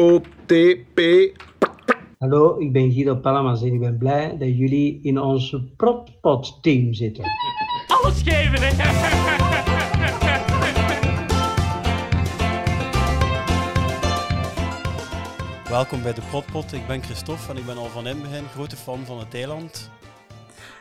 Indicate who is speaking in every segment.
Speaker 1: P-R-O-T-P.
Speaker 2: Hallo, ik ben Guido Palamas en ik ben blij dat jullie in onze propot-team zitten.
Speaker 3: Alles geven, hè?
Speaker 4: Welkom bij de Proppot. Ik ben Christophe en ik ben al van in het begin grote fan van het eiland.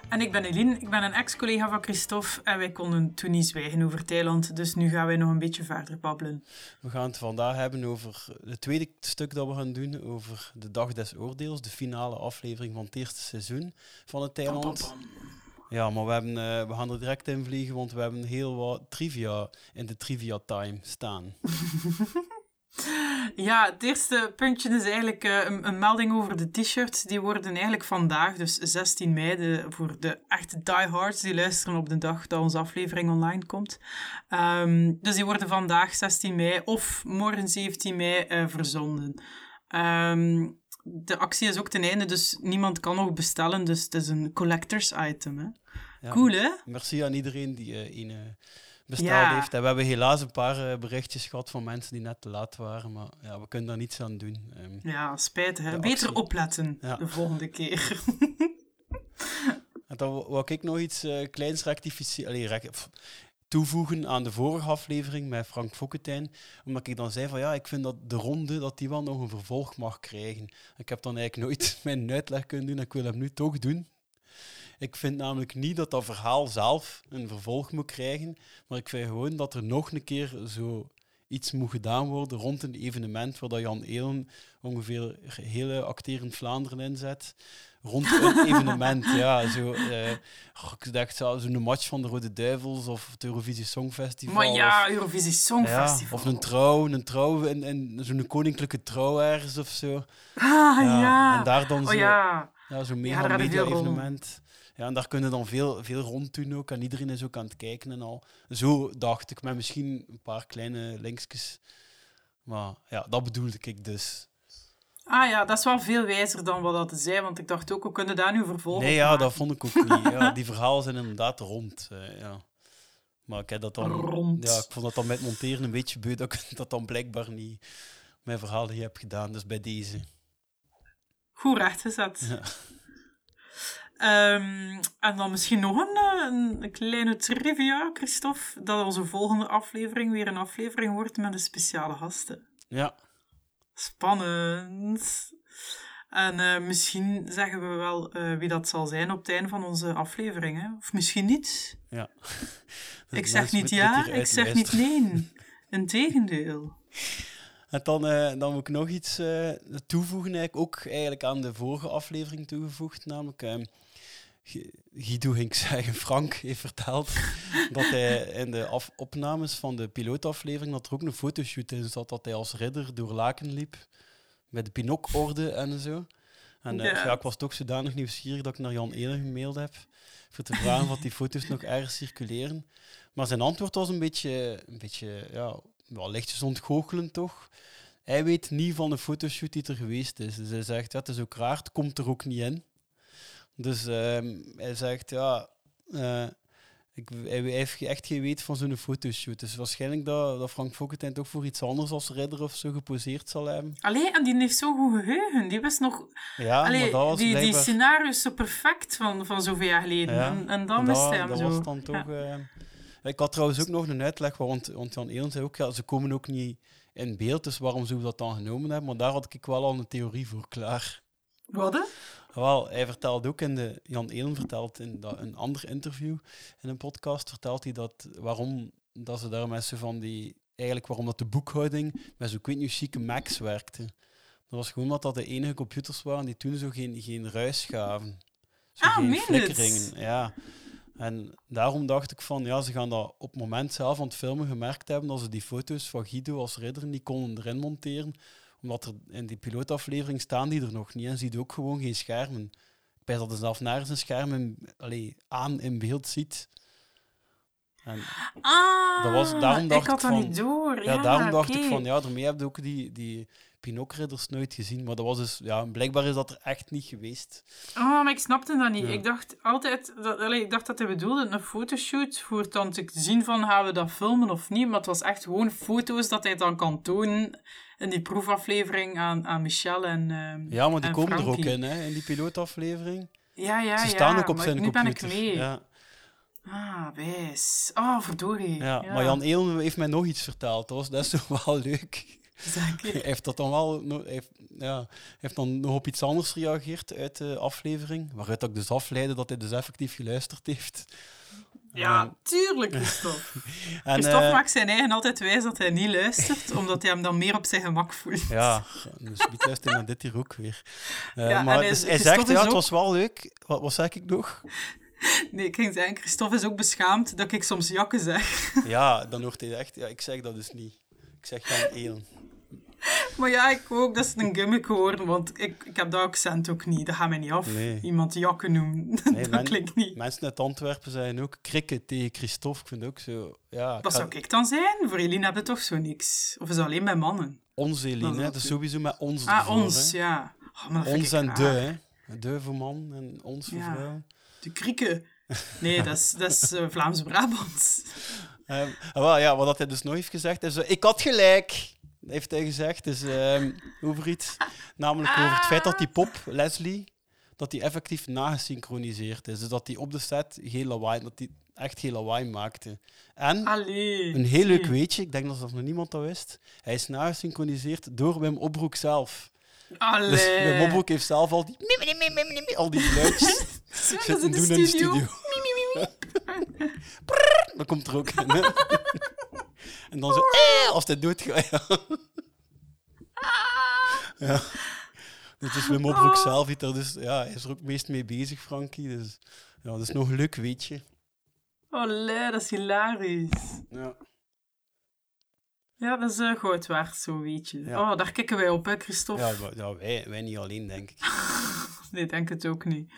Speaker 5: En ik ben Eline, ik ben een ex-collega van Christophe en wij konden toen niet zwijgen over Thailand, dus nu gaan wij nog een beetje verder babbelen.
Speaker 4: We gaan het vandaag hebben over het tweede stuk dat we gaan doen, over de Dag des Oordeels, de finale aflevering van het eerste seizoen van het
Speaker 5: Pam, pam,
Speaker 4: Thailand.
Speaker 5: pam.
Speaker 4: Ja, maar we, hebben, eh, we gaan er direct in vliegen, want we hebben heel wat trivia in de trivia time staan.
Speaker 5: Ja, het eerste puntje is eigenlijk eh, een, een melding over de t-shirts. Die worden eigenlijk vandaag, dus 16 mei, de- voor de echte diehards die luisteren op de dag dat onze aflevering online komt. Ehm, dus die worden vandaag 16 mei of morgen 17 mei eh, verzonden. Ehm, de actie is ook ten einde, dus niemand kan nog bestellen. Dus het is een collectors item. Hè?
Speaker 4: Ja.
Speaker 5: Cool, hè?
Speaker 4: Merci aan iedereen die eh een eh, besteld
Speaker 5: Ja.
Speaker 4: heeft. En we hebben helaas een paar eh, berichtjes gehad van mensen die net te laat waren, maar ja, we kunnen daar niets aan doen. Ehm,
Speaker 5: Ja, spijtig. Hè?
Speaker 4: De
Speaker 5: Beter
Speaker 4: actie.
Speaker 5: opletten
Speaker 4: Ja.
Speaker 5: de volgende keer.
Speaker 4: En dan wou- wou ik nog iets eh, kleins rectificeren. Allee, rec- pff, toevoegen aan de vorige aflevering met Frank Fokkentijn. Omdat ik dan zei van ja, ik vind dat de ronde dat die wel nog een vervolg mag krijgen. Ik heb dan eigenlijk nooit mijn uitleg kunnen doen. en Ik wil hem nu toch doen. Ik vind namelijk niet dat dat verhaal zelf een vervolg moet krijgen. Maar ik vind gewoon dat er nog een keer zo iets moet gedaan worden rond een evenement waar dat Jan Elen ongeveer hele acterend Vlaanderen inzet. Rond een evenement, ja. Zo, eh, goh, ik dacht zo- zo'n match van de Rode Duivels of het Eurovisie Songfestival.
Speaker 5: Maar ja,
Speaker 4: of-
Speaker 5: Eurovisie
Speaker 4: ja,
Speaker 5: Songfestival.
Speaker 4: of een trouw, een trouw en, en zo'n koninklijke trouw ergens of zo.
Speaker 5: Ah, ja.
Speaker 4: En daar dan zo,
Speaker 5: Oh ja.
Speaker 4: ja, zo'n
Speaker 5: Ja, daar hadden we veel
Speaker 4: mega-media-evenement. Ja, en daar kunnen dan veel, veel rond doen ook. En iedereen is ook aan het kijken en al. Zo dacht ik, met misschien een paar kleine linkjes. Maar ja, dat bedoelde ik dus.
Speaker 5: Ah ja, dat is wel veel wijzer dan wat dat zei, want ik dacht ook, we kunnen daar nu vervolgen.
Speaker 4: Nee, ja, dat vond ik ook niet. Ja, die verhalen zijn inderdaad rond. eh, ja. Maar ik heb dat dan...
Speaker 5: Rond.
Speaker 4: Ja, ik vond dat dan met monteren een beetje beu dat ik dat dan blijkbaar niet mijn verhaal hier heb gedaan. Dus bij deze.
Speaker 5: Goed rechtgezet.
Speaker 4: Ja.
Speaker 5: Ehm, en dan misschien nog een, eh, een, een kleine trivia, Christophe, dat onze volgende aflevering weer een aflevering wordt met een speciale gasten.
Speaker 4: Ja,
Speaker 5: Spannend. En eh, misschien zeggen we wel eh, wie dat zal zijn op het einde van onze aflevering. Hè? Of misschien niet.
Speaker 4: ja.
Speaker 5: Ik
Speaker 4: Dus mensen
Speaker 5: zeg niet
Speaker 4: moeten dit
Speaker 5: ja,
Speaker 4: hier
Speaker 5: ik zeg niet
Speaker 4: uitluisteren.
Speaker 5: nee. Integendeel.
Speaker 4: En dan, eh, dan moet ik nog iets eh, toevoegen, eigenlijk, ook eigenlijk aan de vorige aflevering toegevoegd, namelijk... eh, Gu- Guido ging ik zeggen, Frank heeft verteld dat hij in de af- opnames van de pilootaflevering dat er ook een fotoshoot in zat dat hij als ridder door Laken liep met de Pinokorde en zo. En eh,
Speaker 5: Ja.
Speaker 4: ja, ik was toch zodanig nieuwsgierig dat ik naar Jan Elen gemaild heb voor te vragen wat die foto's nog ergens circuleren. Maar zijn antwoord was een beetje, een beetje ja, wel lichtjes ontgoochelend toch. Hij weet niet van de fotoshoot die er geweest is. Dus hij zegt, ja, het is ook raar, het komt er ook niet in. Dus ehm, hij zegt, ja, eh, ik, hij, hij heeft ge- echt geen weet van zo'n fotoshoot. Dus waarschijnlijk dat, dat Frank Fokkentijn toch voor iets anders als ridder of zo geposeerd zal hebben.
Speaker 5: Allee, en die heeft zo'n goed geheugen. Die wist nog...
Speaker 4: Ja, maar
Speaker 5: Allee,
Speaker 4: dat was
Speaker 5: die, die
Speaker 4: blijkbaar-
Speaker 5: scenario is zo perfect van, van zoveel jaar geleden.
Speaker 4: Ja,
Speaker 5: En, en dan
Speaker 4: dat-
Speaker 5: wist hij hem
Speaker 4: dat
Speaker 5: zo.
Speaker 4: was dan toch...
Speaker 5: Ja.
Speaker 4: eh, ik had trouwens ook nog een uitleg, want, want Jan Elen zei ook, ja, ze komen ook niet in beeld, dus waarom zouden we dat dan genomen hebben? Maar daar had ik wel al een theorie voor klaar.
Speaker 5: Wat, hè?
Speaker 4: Wel, hij vertelde ook in de. Jan Elen vertelt in dat, een ander interview in een podcast. Vertelt hij dat waarom dat ze daar mensen van die. Eigenlijk waarom dat de boekhouding met zo'n kwintje chique Macs werkte. Dat was gewoon omdat dat de enige computers waren die toen zo geen, geen ruis gaven. Zo
Speaker 5: Ah,
Speaker 4: geen
Speaker 5: meen het?
Speaker 4: flikkeringen. Ja. En daarom dacht ik van, ja, ze gaan dat op het moment zelf aan het filmen gemerkt hebben dat ze die foto's van Guido als ridder niet konden erin monteren omdat er in die pilootaflevering staan die er nog niet en ziet ook gewoon geen schermen. Ik pijs dat hij zelf naar zijn scherm in- allee, aan in beeld ziet. En
Speaker 5: Ah,
Speaker 4: Dat was- daarom dacht
Speaker 5: ik had
Speaker 4: ik
Speaker 5: dat
Speaker 4: van-
Speaker 5: niet door.
Speaker 4: ja,
Speaker 5: Ja,
Speaker 4: daarom dacht ik
Speaker 5: oké.
Speaker 4: van, ja, daarmee heb je ook die, die Pinokridders nooit gezien. Maar dat was dus, ja, blijkbaar is dat er echt niet geweest.
Speaker 5: Oh, maar ik snapte dat niet.
Speaker 4: Ja.
Speaker 5: Ik dacht altijd, dat, allee, ik dacht dat hij bedoelde een fotoshoot voor dan te zien van gaan we dat filmen of niet. Maar het was echt gewoon foto's dat hij dan kan tonen in die proefaflevering aan, aan Michel en ehm,
Speaker 4: Ja, maar die
Speaker 5: En
Speaker 4: komen er
Speaker 5: Frankie.
Speaker 4: ook in, hè, in die pilootaflevering.
Speaker 5: ja, ja,
Speaker 4: Ze
Speaker 5: ja,
Speaker 4: staan ook op
Speaker 5: maar
Speaker 4: zijn
Speaker 5: nu ben ik
Speaker 4: computer.
Speaker 5: mee.
Speaker 4: Ja,
Speaker 5: Ah, wijs. Oh, verdorie.
Speaker 4: ja. Maar Jan Eel heeft mij nog iets verteld. Dat, was, dat is toch wel leuk. Hij
Speaker 5: Zeker.
Speaker 4: heeft dat dan wel no- hij heeft, ja, hij heeft dan nog op iets anders gereageerd uit de aflevering. Waaruit dat ik dus afleidde dat hij dus effectief geluisterd heeft.
Speaker 5: Ja, tuurlijk, Christophe.
Speaker 4: En,
Speaker 5: Christophe
Speaker 4: eh,
Speaker 5: maakt zijn eigen altijd wijs dat hij niet luistert, omdat hij hem dan meer op zijn gemak voelt.
Speaker 4: Ja, dus niet luisteren naar dit hier ook weer. Eh,
Speaker 5: Ja, en
Speaker 4: maar
Speaker 5: hij-
Speaker 4: dus hij
Speaker 5: Christophe
Speaker 4: zegt,
Speaker 5: is
Speaker 4: ja, het
Speaker 5: ook-
Speaker 4: was wel leuk. Wat, wat zeg ik nog?
Speaker 5: Nee, ik ging zeggen, Christophe is ook beschaamd dat ik soms jakken zeg.
Speaker 4: Ja, dan hoort hij echt, ja, ik zeg dat dus niet. Ik zeg Jan Eel.
Speaker 5: Maar ja, ik wou ook dat is een gimmick geworden, want ik, ik heb dat accent ook niet. Dat gaat mij niet af.
Speaker 4: Nee.
Speaker 5: Iemand jakken noemen, dat
Speaker 4: men-
Speaker 5: klinkt niet.
Speaker 4: Mensen uit Antwerpen zijn ook krikken tegen Christophe. Ik vind het ook zo, ja... ik
Speaker 5: Dat
Speaker 4: ga-
Speaker 5: zou ik dan zijn? Voor Eline heb je toch zo niks? Of is het alleen bij mannen?
Speaker 4: Ons
Speaker 5: Dat
Speaker 4: Eline,
Speaker 5: is
Speaker 4: hè.
Speaker 5: ook
Speaker 4: dus
Speaker 5: zo.
Speaker 4: sowieso met ons
Speaker 5: Ah,
Speaker 4: ervoor,
Speaker 5: ons,
Speaker 4: hè.
Speaker 5: ja. Oh, maar dat vind
Speaker 4: Ons
Speaker 5: ik
Speaker 4: en
Speaker 5: raar.
Speaker 4: de, hè. De voor man en ons voor
Speaker 5: Ja.
Speaker 4: vrouw.
Speaker 5: De krieken. Nee, dat is, dat is eh, Vlaams-Brabant.
Speaker 4: Ehm, ah, wel, ja, wat dat hij dus nooit heeft gezegd, is... eh, ik had gelijk, heeft hij gezegd. Dus, ehm, over iets. Namelijk over het feit dat die pop, Leslie, dat die effectief nagesynchroniseerd is. Dus dat die op de set geen lawaai, dat die echt geen lawaai maakte. En...
Speaker 5: Allee.
Speaker 4: Een heel leuk
Speaker 5: zie.
Speaker 4: weetje, ik denk dat dat nog niemand dat wist. Hij is nagesynchroniseerd door Wim Opbroek zelf.
Speaker 5: Allee.
Speaker 4: Dus Wim Opbroek heeft zelf al die, al die geluidjes
Speaker 5: Zo, dat is
Speaker 4: zitten
Speaker 5: in de
Speaker 4: doen in de
Speaker 5: studio.
Speaker 4: studio. Prrr, Dat komt er ook in. hè. En dan zo, eh, als hij doet. Ja. ja. Dit is Wim Opbroek
Speaker 5: Oh.
Speaker 4: zelf, die er dus, ja, hij is er ook meest mee bezig, Frankie. Dus ja, dat is nog een leuk weetje.
Speaker 5: Allee, dat is hilarisch.
Speaker 4: Ja.
Speaker 5: Ja, dat is eh, goud waard, zo weet je.
Speaker 4: Ja.
Speaker 5: Oh, daar kikken wij op, hè, Christophe?
Speaker 4: Ja, maar- ja, wij, wij niet alleen, denk ik.
Speaker 5: Nee, ik denk het ook niet.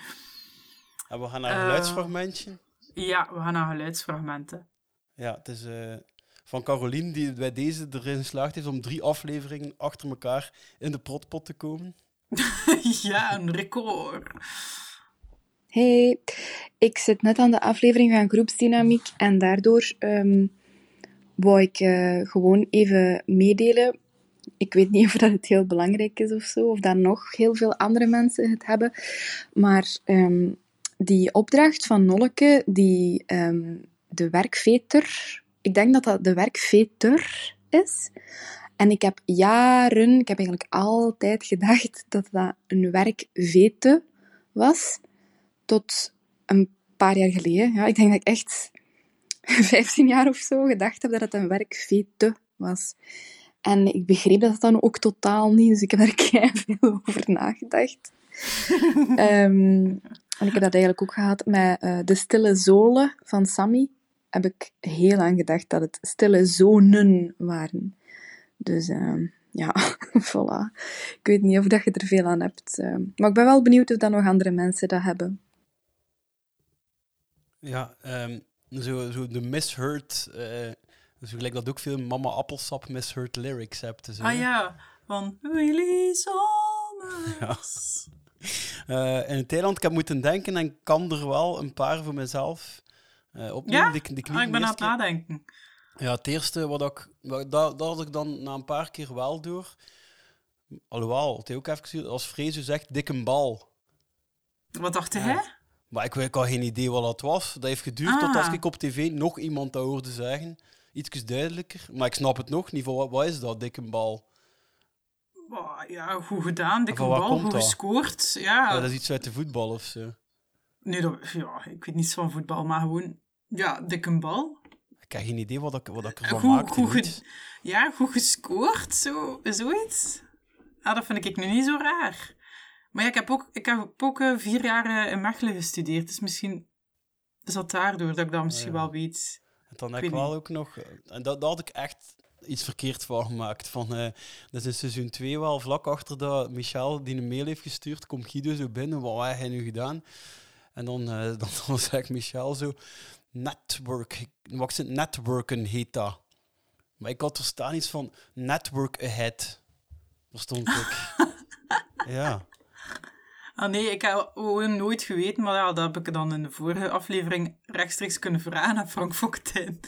Speaker 4: En we gaan naar een
Speaker 5: Eh.
Speaker 4: geluidsfragmentje.
Speaker 5: Ja, we gaan naar geluidsfragmenten.
Speaker 4: Ja, het is eh, van Caroline die bij deze erin geslaagd heeft om drie afleveringen achter elkaar in de protpot te komen.
Speaker 5: ja, een record.
Speaker 1: Hey, ik zit net aan de aflevering van groepsdynamiek en daardoor ehm wou ik eh, gewoon even meedelen. Ik weet niet of dat het heel belangrijk is of zo, of dat nog heel veel andere mensen het hebben. Maar ehm, die opdracht van Nolleke, die ehm, de werkveter, ik denk dat dat de werkveter is. En ik heb jaren, ik heb eigenlijk altijd gedacht dat dat een werkvete was tot een paar jaar geleden. Ja, ik denk dat ik echt 15 jaar of zo gedacht heb dat het een werkvete was. En ik begreep dat dan ook totaal niet, dus ik heb daar veel over nagedacht. Ehm, en ik heb dat eigenlijk ook gehad met eh, De Stille Zolen van Sammy. Heb ik heel lang gedacht dat het Stille Zonen waren. Dus ehm, ja, voilà. Ik weet niet of dat je er veel aan hebt. ehm. maar ik ben wel benieuwd of dat nog andere mensen dat hebben.
Speaker 4: Ja, ehm, zo, zo de misheard. eh zo gelijk dat ook veel Mama Appelsap misheard lyrics hebt. Dus, hè.
Speaker 5: Ah ja, van Willy Sommers.
Speaker 4: Eh, in Thailand, ik heb moeten denken en kan er wel een paar voor mezelf eh opnemen.
Speaker 5: Ja?
Speaker 4: Die- die knieën
Speaker 5: Ah, ik ben
Speaker 4: de
Speaker 5: aan
Speaker 4: eerste
Speaker 5: het
Speaker 4: keer-
Speaker 5: nadenken.
Speaker 4: Ja, het eerste wat ik. wat- Dat, dat had ik dan na een paar keer wel door. Alhoewel, het heeft ook even geduurd. Als Frezo zegt, dikke bal.
Speaker 5: Wat dacht hij?
Speaker 4: Maar ik, ik had geen idee wat dat was. Dat heeft geduurd
Speaker 5: Ah.
Speaker 4: tot als ik op tv nog iemand dat hoorde zeggen. Iets duidelijker. Maar ik snap het nog niet. Van wat, wat is dat, dikke bal?
Speaker 5: Oh, ja, goed gedaan, dikke
Speaker 4: Van waar
Speaker 5: bal,
Speaker 4: komt
Speaker 5: goed
Speaker 4: dat?
Speaker 5: gescoord. Ja.
Speaker 4: Ja, dat is iets uit de voetbal of zo.
Speaker 5: Nee, dat, ja, ik weet niets van voetbal, maar gewoon... Ja, dikke bal.
Speaker 4: Ik heb geen idee wat ik, wat ik ervan
Speaker 5: Goed,
Speaker 4: maakte.
Speaker 5: goed
Speaker 4: niet.
Speaker 5: ge- Ja, goed gescoord, zo, zoiets. Ah, dat vind ik nu niet zo raar. Maar ja, ik heb ook, ik heb ook eh, vier jaar eh, in Mechelen gestudeerd, dus misschien is dat daardoor dat ik dat misschien
Speaker 4: Ah, ja.
Speaker 5: wel weet.
Speaker 4: En dan
Speaker 5: Ik
Speaker 4: heb ik
Speaker 5: weet
Speaker 4: wel ook nog... eh, En dat, dat had ik echt iets verkeerd van gemaakt. Van, eh, dat is in seizoen 2 wel, vlak achter dat Michel die een mail heeft gestuurd, komt Guido zo binnen, wat heb hij nu gedaan? En dan, eh, dan, dan zegt Michel zo... network, wat is het? networken heet dat. Maar ik had er staan iets van network ahead. Daar stond ik. ja.
Speaker 5: Ah nee, ik heb gewoon nooit geweten, maar ja, dat heb ik dan in de vorige aflevering rechtstreeks kunnen vragen aan Frank Foktijn.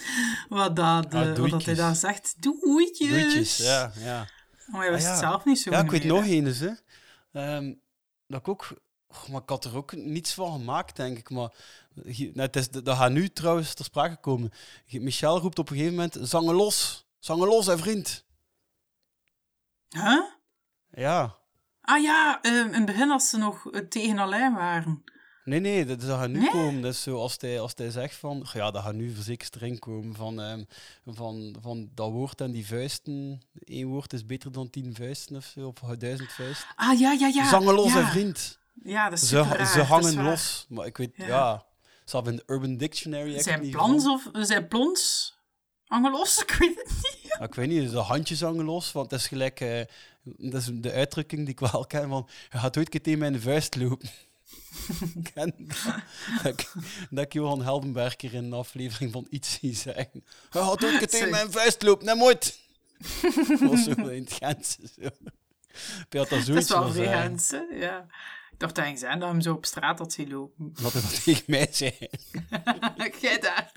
Speaker 5: Wat, dat, eh,
Speaker 4: Ah,
Speaker 5: wat dat
Speaker 4: doeitjes.
Speaker 5: hij daar zegt. Doeitjes!
Speaker 4: Doetjes, ja, ja.
Speaker 5: Maar hij wist
Speaker 4: Ah,
Speaker 5: het
Speaker 4: ja.
Speaker 5: zelf niet zo
Speaker 4: Ja, ik
Speaker 5: goed
Speaker 4: weet
Speaker 5: meer,
Speaker 4: nog
Speaker 5: hè.
Speaker 4: eens, hè. Ehm, dat ik ook... och, maar ik had er ook niets van gemaakt, denk ik. Maar hier- nou, het is, dat gaat nu trouwens ter sprake komen. Michel roept op een gegeven moment... Zangen los! Zangen los, hè, vriend!
Speaker 5: Huh?
Speaker 4: Ja.
Speaker 5: Ah ja, ehm, in het begin als ze nog eh, tegen Alain waren.
Speaker 4: Nee, nee, dat, dat gaat nu
Speaker 5: Nee?
Speaker 4: komen. Dat is zo als hij, als hij zegt van... "Goh, Ja, dat gaat nu verzekerd erin komen van, ehm, van, van dat woord en die vuisten. Eén woord is beter dan tien vuisten of zo, of duizend vuisten.
Speaker 5: Ah ja, ja, ja.
Speaker 4: Zangen los,
Speaker 5: ja.
Speaker 4: hè, vriend!
Speaker 5: Ja, dat is
Speaker 4: Ze,
Speaker 5: super raar,
Speaker 4: ze
Speaker 5: dat is
Speaker 4: hangen
Speaker 5: waar.
Speaker 4: los. Maar ik weet, ja.
Speaker 5: Ja.
Speaker 4: Ze hebben in de Urban Dictionary. echt
Speaker 5: Zijn
Speaker 4: niet
Speaker 5: plans
Speaker 4: gevonden.
Speaker 5: of... Zijn plons? Hangen los? Ik weet het niet.
Speaker 4: Maar ik weet niet, de handjes hangen los. Want dat is gelijk. eh, dat is de uitdrukking die ik wel ken. Van, je gaat ooit een keer tegen mijn vuist lopen. Ik ken dat. Dat ik- dat ik Johan Heldenberger in een aflevering van iets zie zeggen. Je gaat ooit een keer tegen
Speaker 5: Zeg.
Speaker 4: mijn vuist lopen. Nee, nooit. Of zo in het Gens. Zo. Dat, dat
Speaker 5: Dat is wel
Speaker 4: was, eh,
Speaker 5: vreemd, hè. Ja. Ik dacht eigenlijk zijn dat hij hem zo op straat had zien lopen.
Speaker 4: Wat hij dat tegen mij zei.
Speaker 5: Jij daar.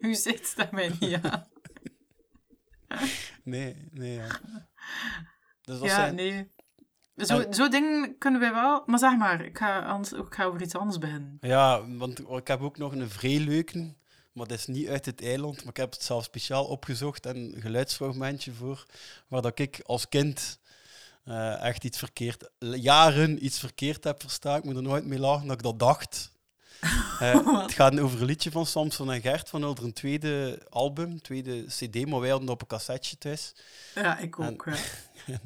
Speaker 5: U zit daar mij niet aan.
Speaker 4: Nee, nee. Ja. Dus dat
Speaker 5: Ja,
Speaker 4: zijn,
Speaker 5: nee. Zo, zo dingen kunnen wij wel... Maar zeg maar, ik ga, anders, ik ga over iets anders beginnen.
Speaker 4: Ja, want ik heb ook nog een vrij leuke, maar dat is niet uit het eiland, maar ik heb het zelf speciaal opgezocht en een geluidsfragmentje voor, waar dat ik als kind eh, echt iets verkeerd, jaren iets verkeerd heb verstaan. Ik moet er nooit mee lachen dat ik dat dacht. Eh, het gaat over een liedje van Samson en Gert van onder een tweede album, tweede CD, maar wij hadden dat op een cassetje thuis.
Speaker 5: Ja, ik ook. ja.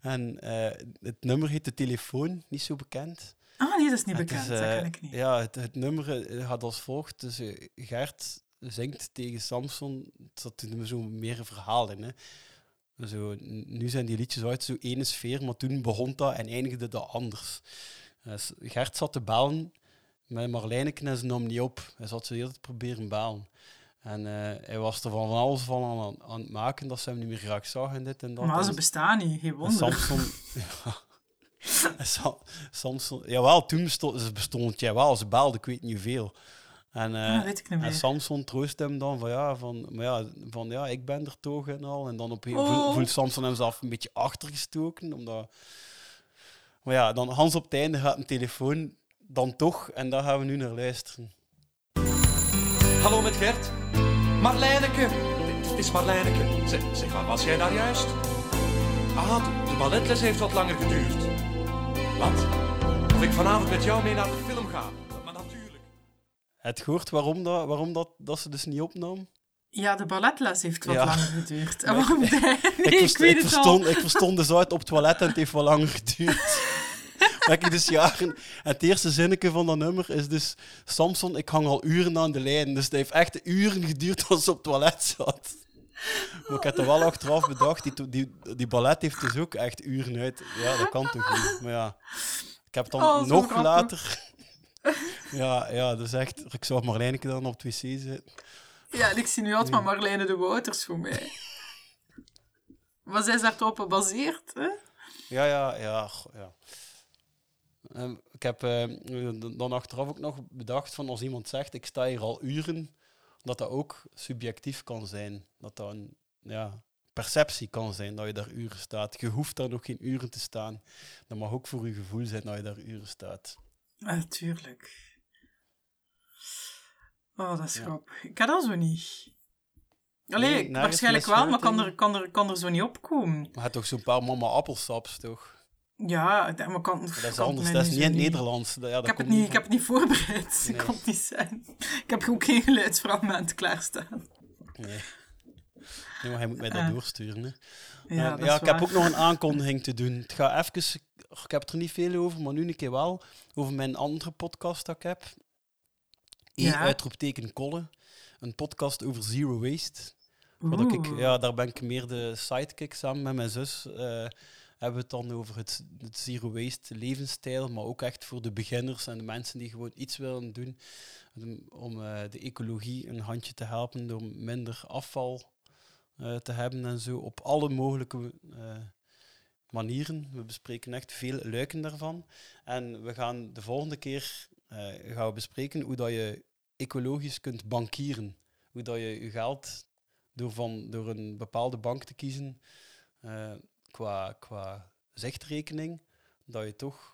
Speaker 4: En eh, het nummer heet De Telefoon, niet zo bekend.
Speaker 5: Ah nee, dat is niet
Speaker 4: Het
Speaker 5: bekend.
Speaker 4: is,
Speaker 5: dat
Speaker 4: eh,
Speaker 5: ken ik niet.
Speaker 4: Ja, het, het nummer eh, gaat als volgt. Dus eh, Gert zingt tegen Samson. Er zat toen zo meer een verhaal in. Hè. Zo, n- nu zijn die liedjes uit zo ene sfeer, maar toen begon dat en eindigde dat anders. Eh, s- Gert zat te bellen met Marlijneken en ze nam niet op. Hij zat zo de hele tijd te proberen bellen. En eh, hij was er van alles van aan, aan het maken dat ze hem niet meer graag zag en dit en dat.
Speaker 5: Maar
Speaker 4: En
Speaker 5: ze
Speaker 4: ze-
Speaker 5: bestaan niet, geen
Speaker 4: en
Speaker 5: wonder.
Speaker 4: Samson. Ja. En Sam- Samson. Jawel, toen bestond, ze bestond jij wel. Ze belde, ik weet niet hoeveel. En, eh,
Speaker 5: Ah, weet ik niet
Speaker 4: en
Speaker 5: meer.
Speaker 4: Samson troost hem dan van ja, van, maar ja, van ja, ik ben er toch en al. En dan op een
Speaker 5: Oh.
Speaker 4: voelt Samson hem zelf een beetje achtergestoken. Omdat... Maar ja, dan Hans op het einde gaat een telefoon dan toch. En daar gaan we nu naar luisteren.
Speaker 6: Hallo met Gert. Marlijneke. Het is Marlijneke. Zeg, zeg, waar was jij daar juist? Ah, de balletles heeft wat langer geduurd. Wat? Of ik vanavond met jou mee naar de film ga? Maar natuurlijk.
Speaker 4: Het gehoord waarom, dat, waarom dat, dat ze dus niet opnam?
Speaker 5: Ja, de balletles heeft wat
Speaker 4: Ja.
Speaker 5: langer geduurd. En waarom nee,
Speaker 4: ik,
Speaker 5: ik,
Speaker 4: verst-
Speaker 5: weet
Speaker 4: ik
Speaker 5: het
Speaker 4: verstond,
Speaker 5: al.
Speaker 4: Ik verstond dus uit op het toilet en het heeft wel langer geduurd. dat ik dus jaren... En het eerste zinnetje van dat nummer is dus... Samson, ik hang al uren aan de lijn. Dus het heeft echt uren geduurd als ze op het toilet zat. Maar ik heb er wel achteraf bedacht. Die, to- die, die ballet heeft dus ook echt uren uit. Ja, dat kan toch niet. Maar ja, ik heb dan
Speaker 5: Oh, zo
Speaker 4: nog
Speaker 5: grappig.
Speaker 4: later... Ja, ja, dat is echt... Ik zou Marlijneke dan op het wc zitten.
Speaker 5: Ja, en ik zie nu altijd maar Marlijne de Wouters voor mij. Maar zij is daarop gebaseerd, hè?
Speaker 4: Ja, ja, ja. goh, ja. Ehm, ik heb ehm, d- dan achteraf ook nog bedacht van als iemand zegt ik sta hier al uren, dat dat ook subjectief kan zijn. Dat dat een ja, perceptie kan zijn dat je daar uren staat. Je hoeft daar nog geen uren te staan. Dat mag ook voor je gevoel zijn dat je daar uren staat.
Speaker 5: Ah, Natuurlijk. oh, dat is grappig. Ik had dat zo niet. Allee,
Speaker 4: Nee, nergens
Speaker 5: waarschijnlijk wel, maar kan
Speaker 4: misgehoord,
Speaker 5: er, kan, er, kan er zo niet opkomen.
Speaker 4: Maar je hebt toch zo'n paar mama appelsaps, toch?
Speaker 5: Ja, ik denk, maar kan...
Speaker 4: Dat is anders, dat is niet in het Nederlands. Dat- Ja, dat
Speaker 5: Ik heb, het
Speaker 4: komt
Speaker 5: niet, ik
Speaker 4: van-
Speaker 5: heb het niet voorbereid. Ik
Speaker 4: Nee.
Speaker 5: kon het niet zijn. Ik heb ook geen geluidsfragment klaarstaan.
Speaker 4: Nee. Nee, maar hij moet mij dat
Speaker 5: Eh.
Speaker 4: doorsturen. Hè.
Speaker 5: Ja,
Speaker 4: Ehm,
Speaker 5: dat
Speaker 4: ja
Speaker 5: is
Speaker 4: ik heb
Speaker 5: waar.
Speaker 4: ook nog een aankondiging te doen. Het gaat even, och, ik heb het er niet veel over, maar nu een keer wel. Over mijn andere podcast dat ik heb. E
Speaker 5: Ja.
Speaker 4: uitroepteken Kolle. Een podcast over zero waste. Wat
Speaker 5: Oeh.
Speaker 4: ik, ja, daar ben ik meer de sidekick samen met mijn zus. eh, hebben we het dan over het, het zero waste levensstijl, maar ook echt voor de beginners en de mensen die gewoon iets willen doen om- om eh, de ecologie een handje te helpen door minder afval eh, te hebben en zo op alle mogelijke eh, manieren. We bespreken echt veel luiken daarvan. En we gaan de volgende keer eh, gaan we bespreken hoe dat je ecologisch kunt bankieren. Hoe dat je je geld door, van, door een bepaalde bank te kiezen eh, qua, qua zichtrekening, dat je toch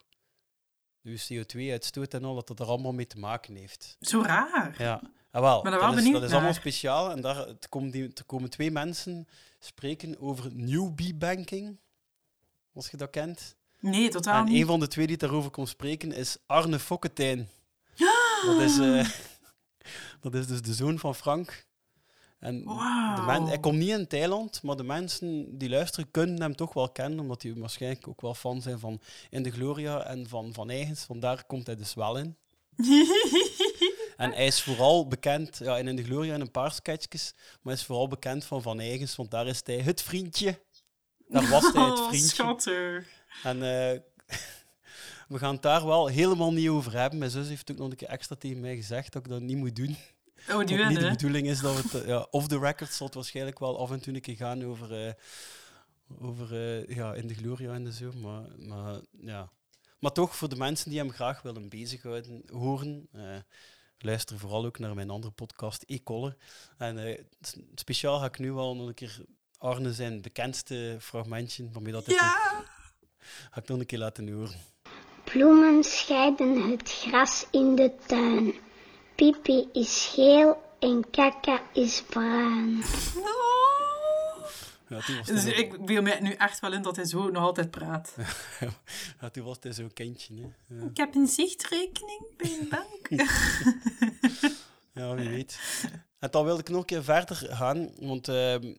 Speaker 4: je CO2-uitstoot en al, dat dat er allemaal mee te maken heeft.
Speaker 5: Zo raar.
Speaker 4: Ja, ah, wel,
Speaker 5: ben wel
Speaker 4: dat, is,
Speaker 5: benieuwd
Speaker 4: dat is allemaal
Speaker 5: naar.
Speaker 4: speciaal. En daar het komen, die, er komen twee mensen spreken over newbie banking, als je dat kent.
Speaker 5: Nee, totaal
Speaker 4: en
Speaker 5: niet.
Speaker 4: een van de twee die daarover komt spreken is Arne Fokketijn. Dat, is, eh, dat is dus de zoon van Frank. En de men,
Speaker 5: Wauw.
Speaker 4: hij komt niet in Thailand, maar de mensen die luisteren kunnen hem toch wel kennen, omdat die waarschijnlijk ook wel fan zijn van In de Gloria en van Van Eigens. Vandaar komt hij dus wel in. En hij is vooral bekend, ja, en in de Gloria en een paar sketchjes, maar hij is vooral bekend van Van Eigens, want daar is hij het vriendje. Daar was hij het
Speaker 5: Oh,
Speaker 4: vriendje.
Speaker 5: schattig.
Speaker 4: en eh, we gaan het daar wel helemaal niet over hebben. Mijn zus heeft ook nog een keer extra tegen mij gezegd dat ik dat niet moet doen.
Speaker 5: Oh, die
Speaker 4: Dat niet de
Speaker 5: winnen.
Speaker 4: bedoeling is dat we het... eh, Ja, off the record zal het waarschijnlijk wel af en toe een keer gaan over... eh, over eh, ja, in de Gloria en zo, maar, maar ja... Maar toch, voor de mensen die hem graag willen bezighouden, horen... eh, luister vooral ook naar mijn andere podcast, E-Collar. En eh, s- speciaal ga ik nu wel nog een keer Arne zijn bekendste fragmentje, waarmee dat hij
Speaker 5: Ja.
Speaker 4: ga ik nog een keer laten horen.
Speaker 7: Bloemen scheiden het gras in de tuin. Pipi is geel en kaka is bruin.
Speaker 5: Oh.
Speaker 4: Ja, toen was hij
Speaker 5: Dus
Speaker 4: nog-
Speaker 5: ik wil mij nu echt wel in dat hij zo nog altijd praat.
Speaker 4: ja, toen was hij zo'n kindje, hè. Ja.
Speaker 5: Ik heb een zichtrekening bij een bank.
Speaker 4: Ja, wie weet. En dan wilde ik nog een keer verder gaan, want ehm,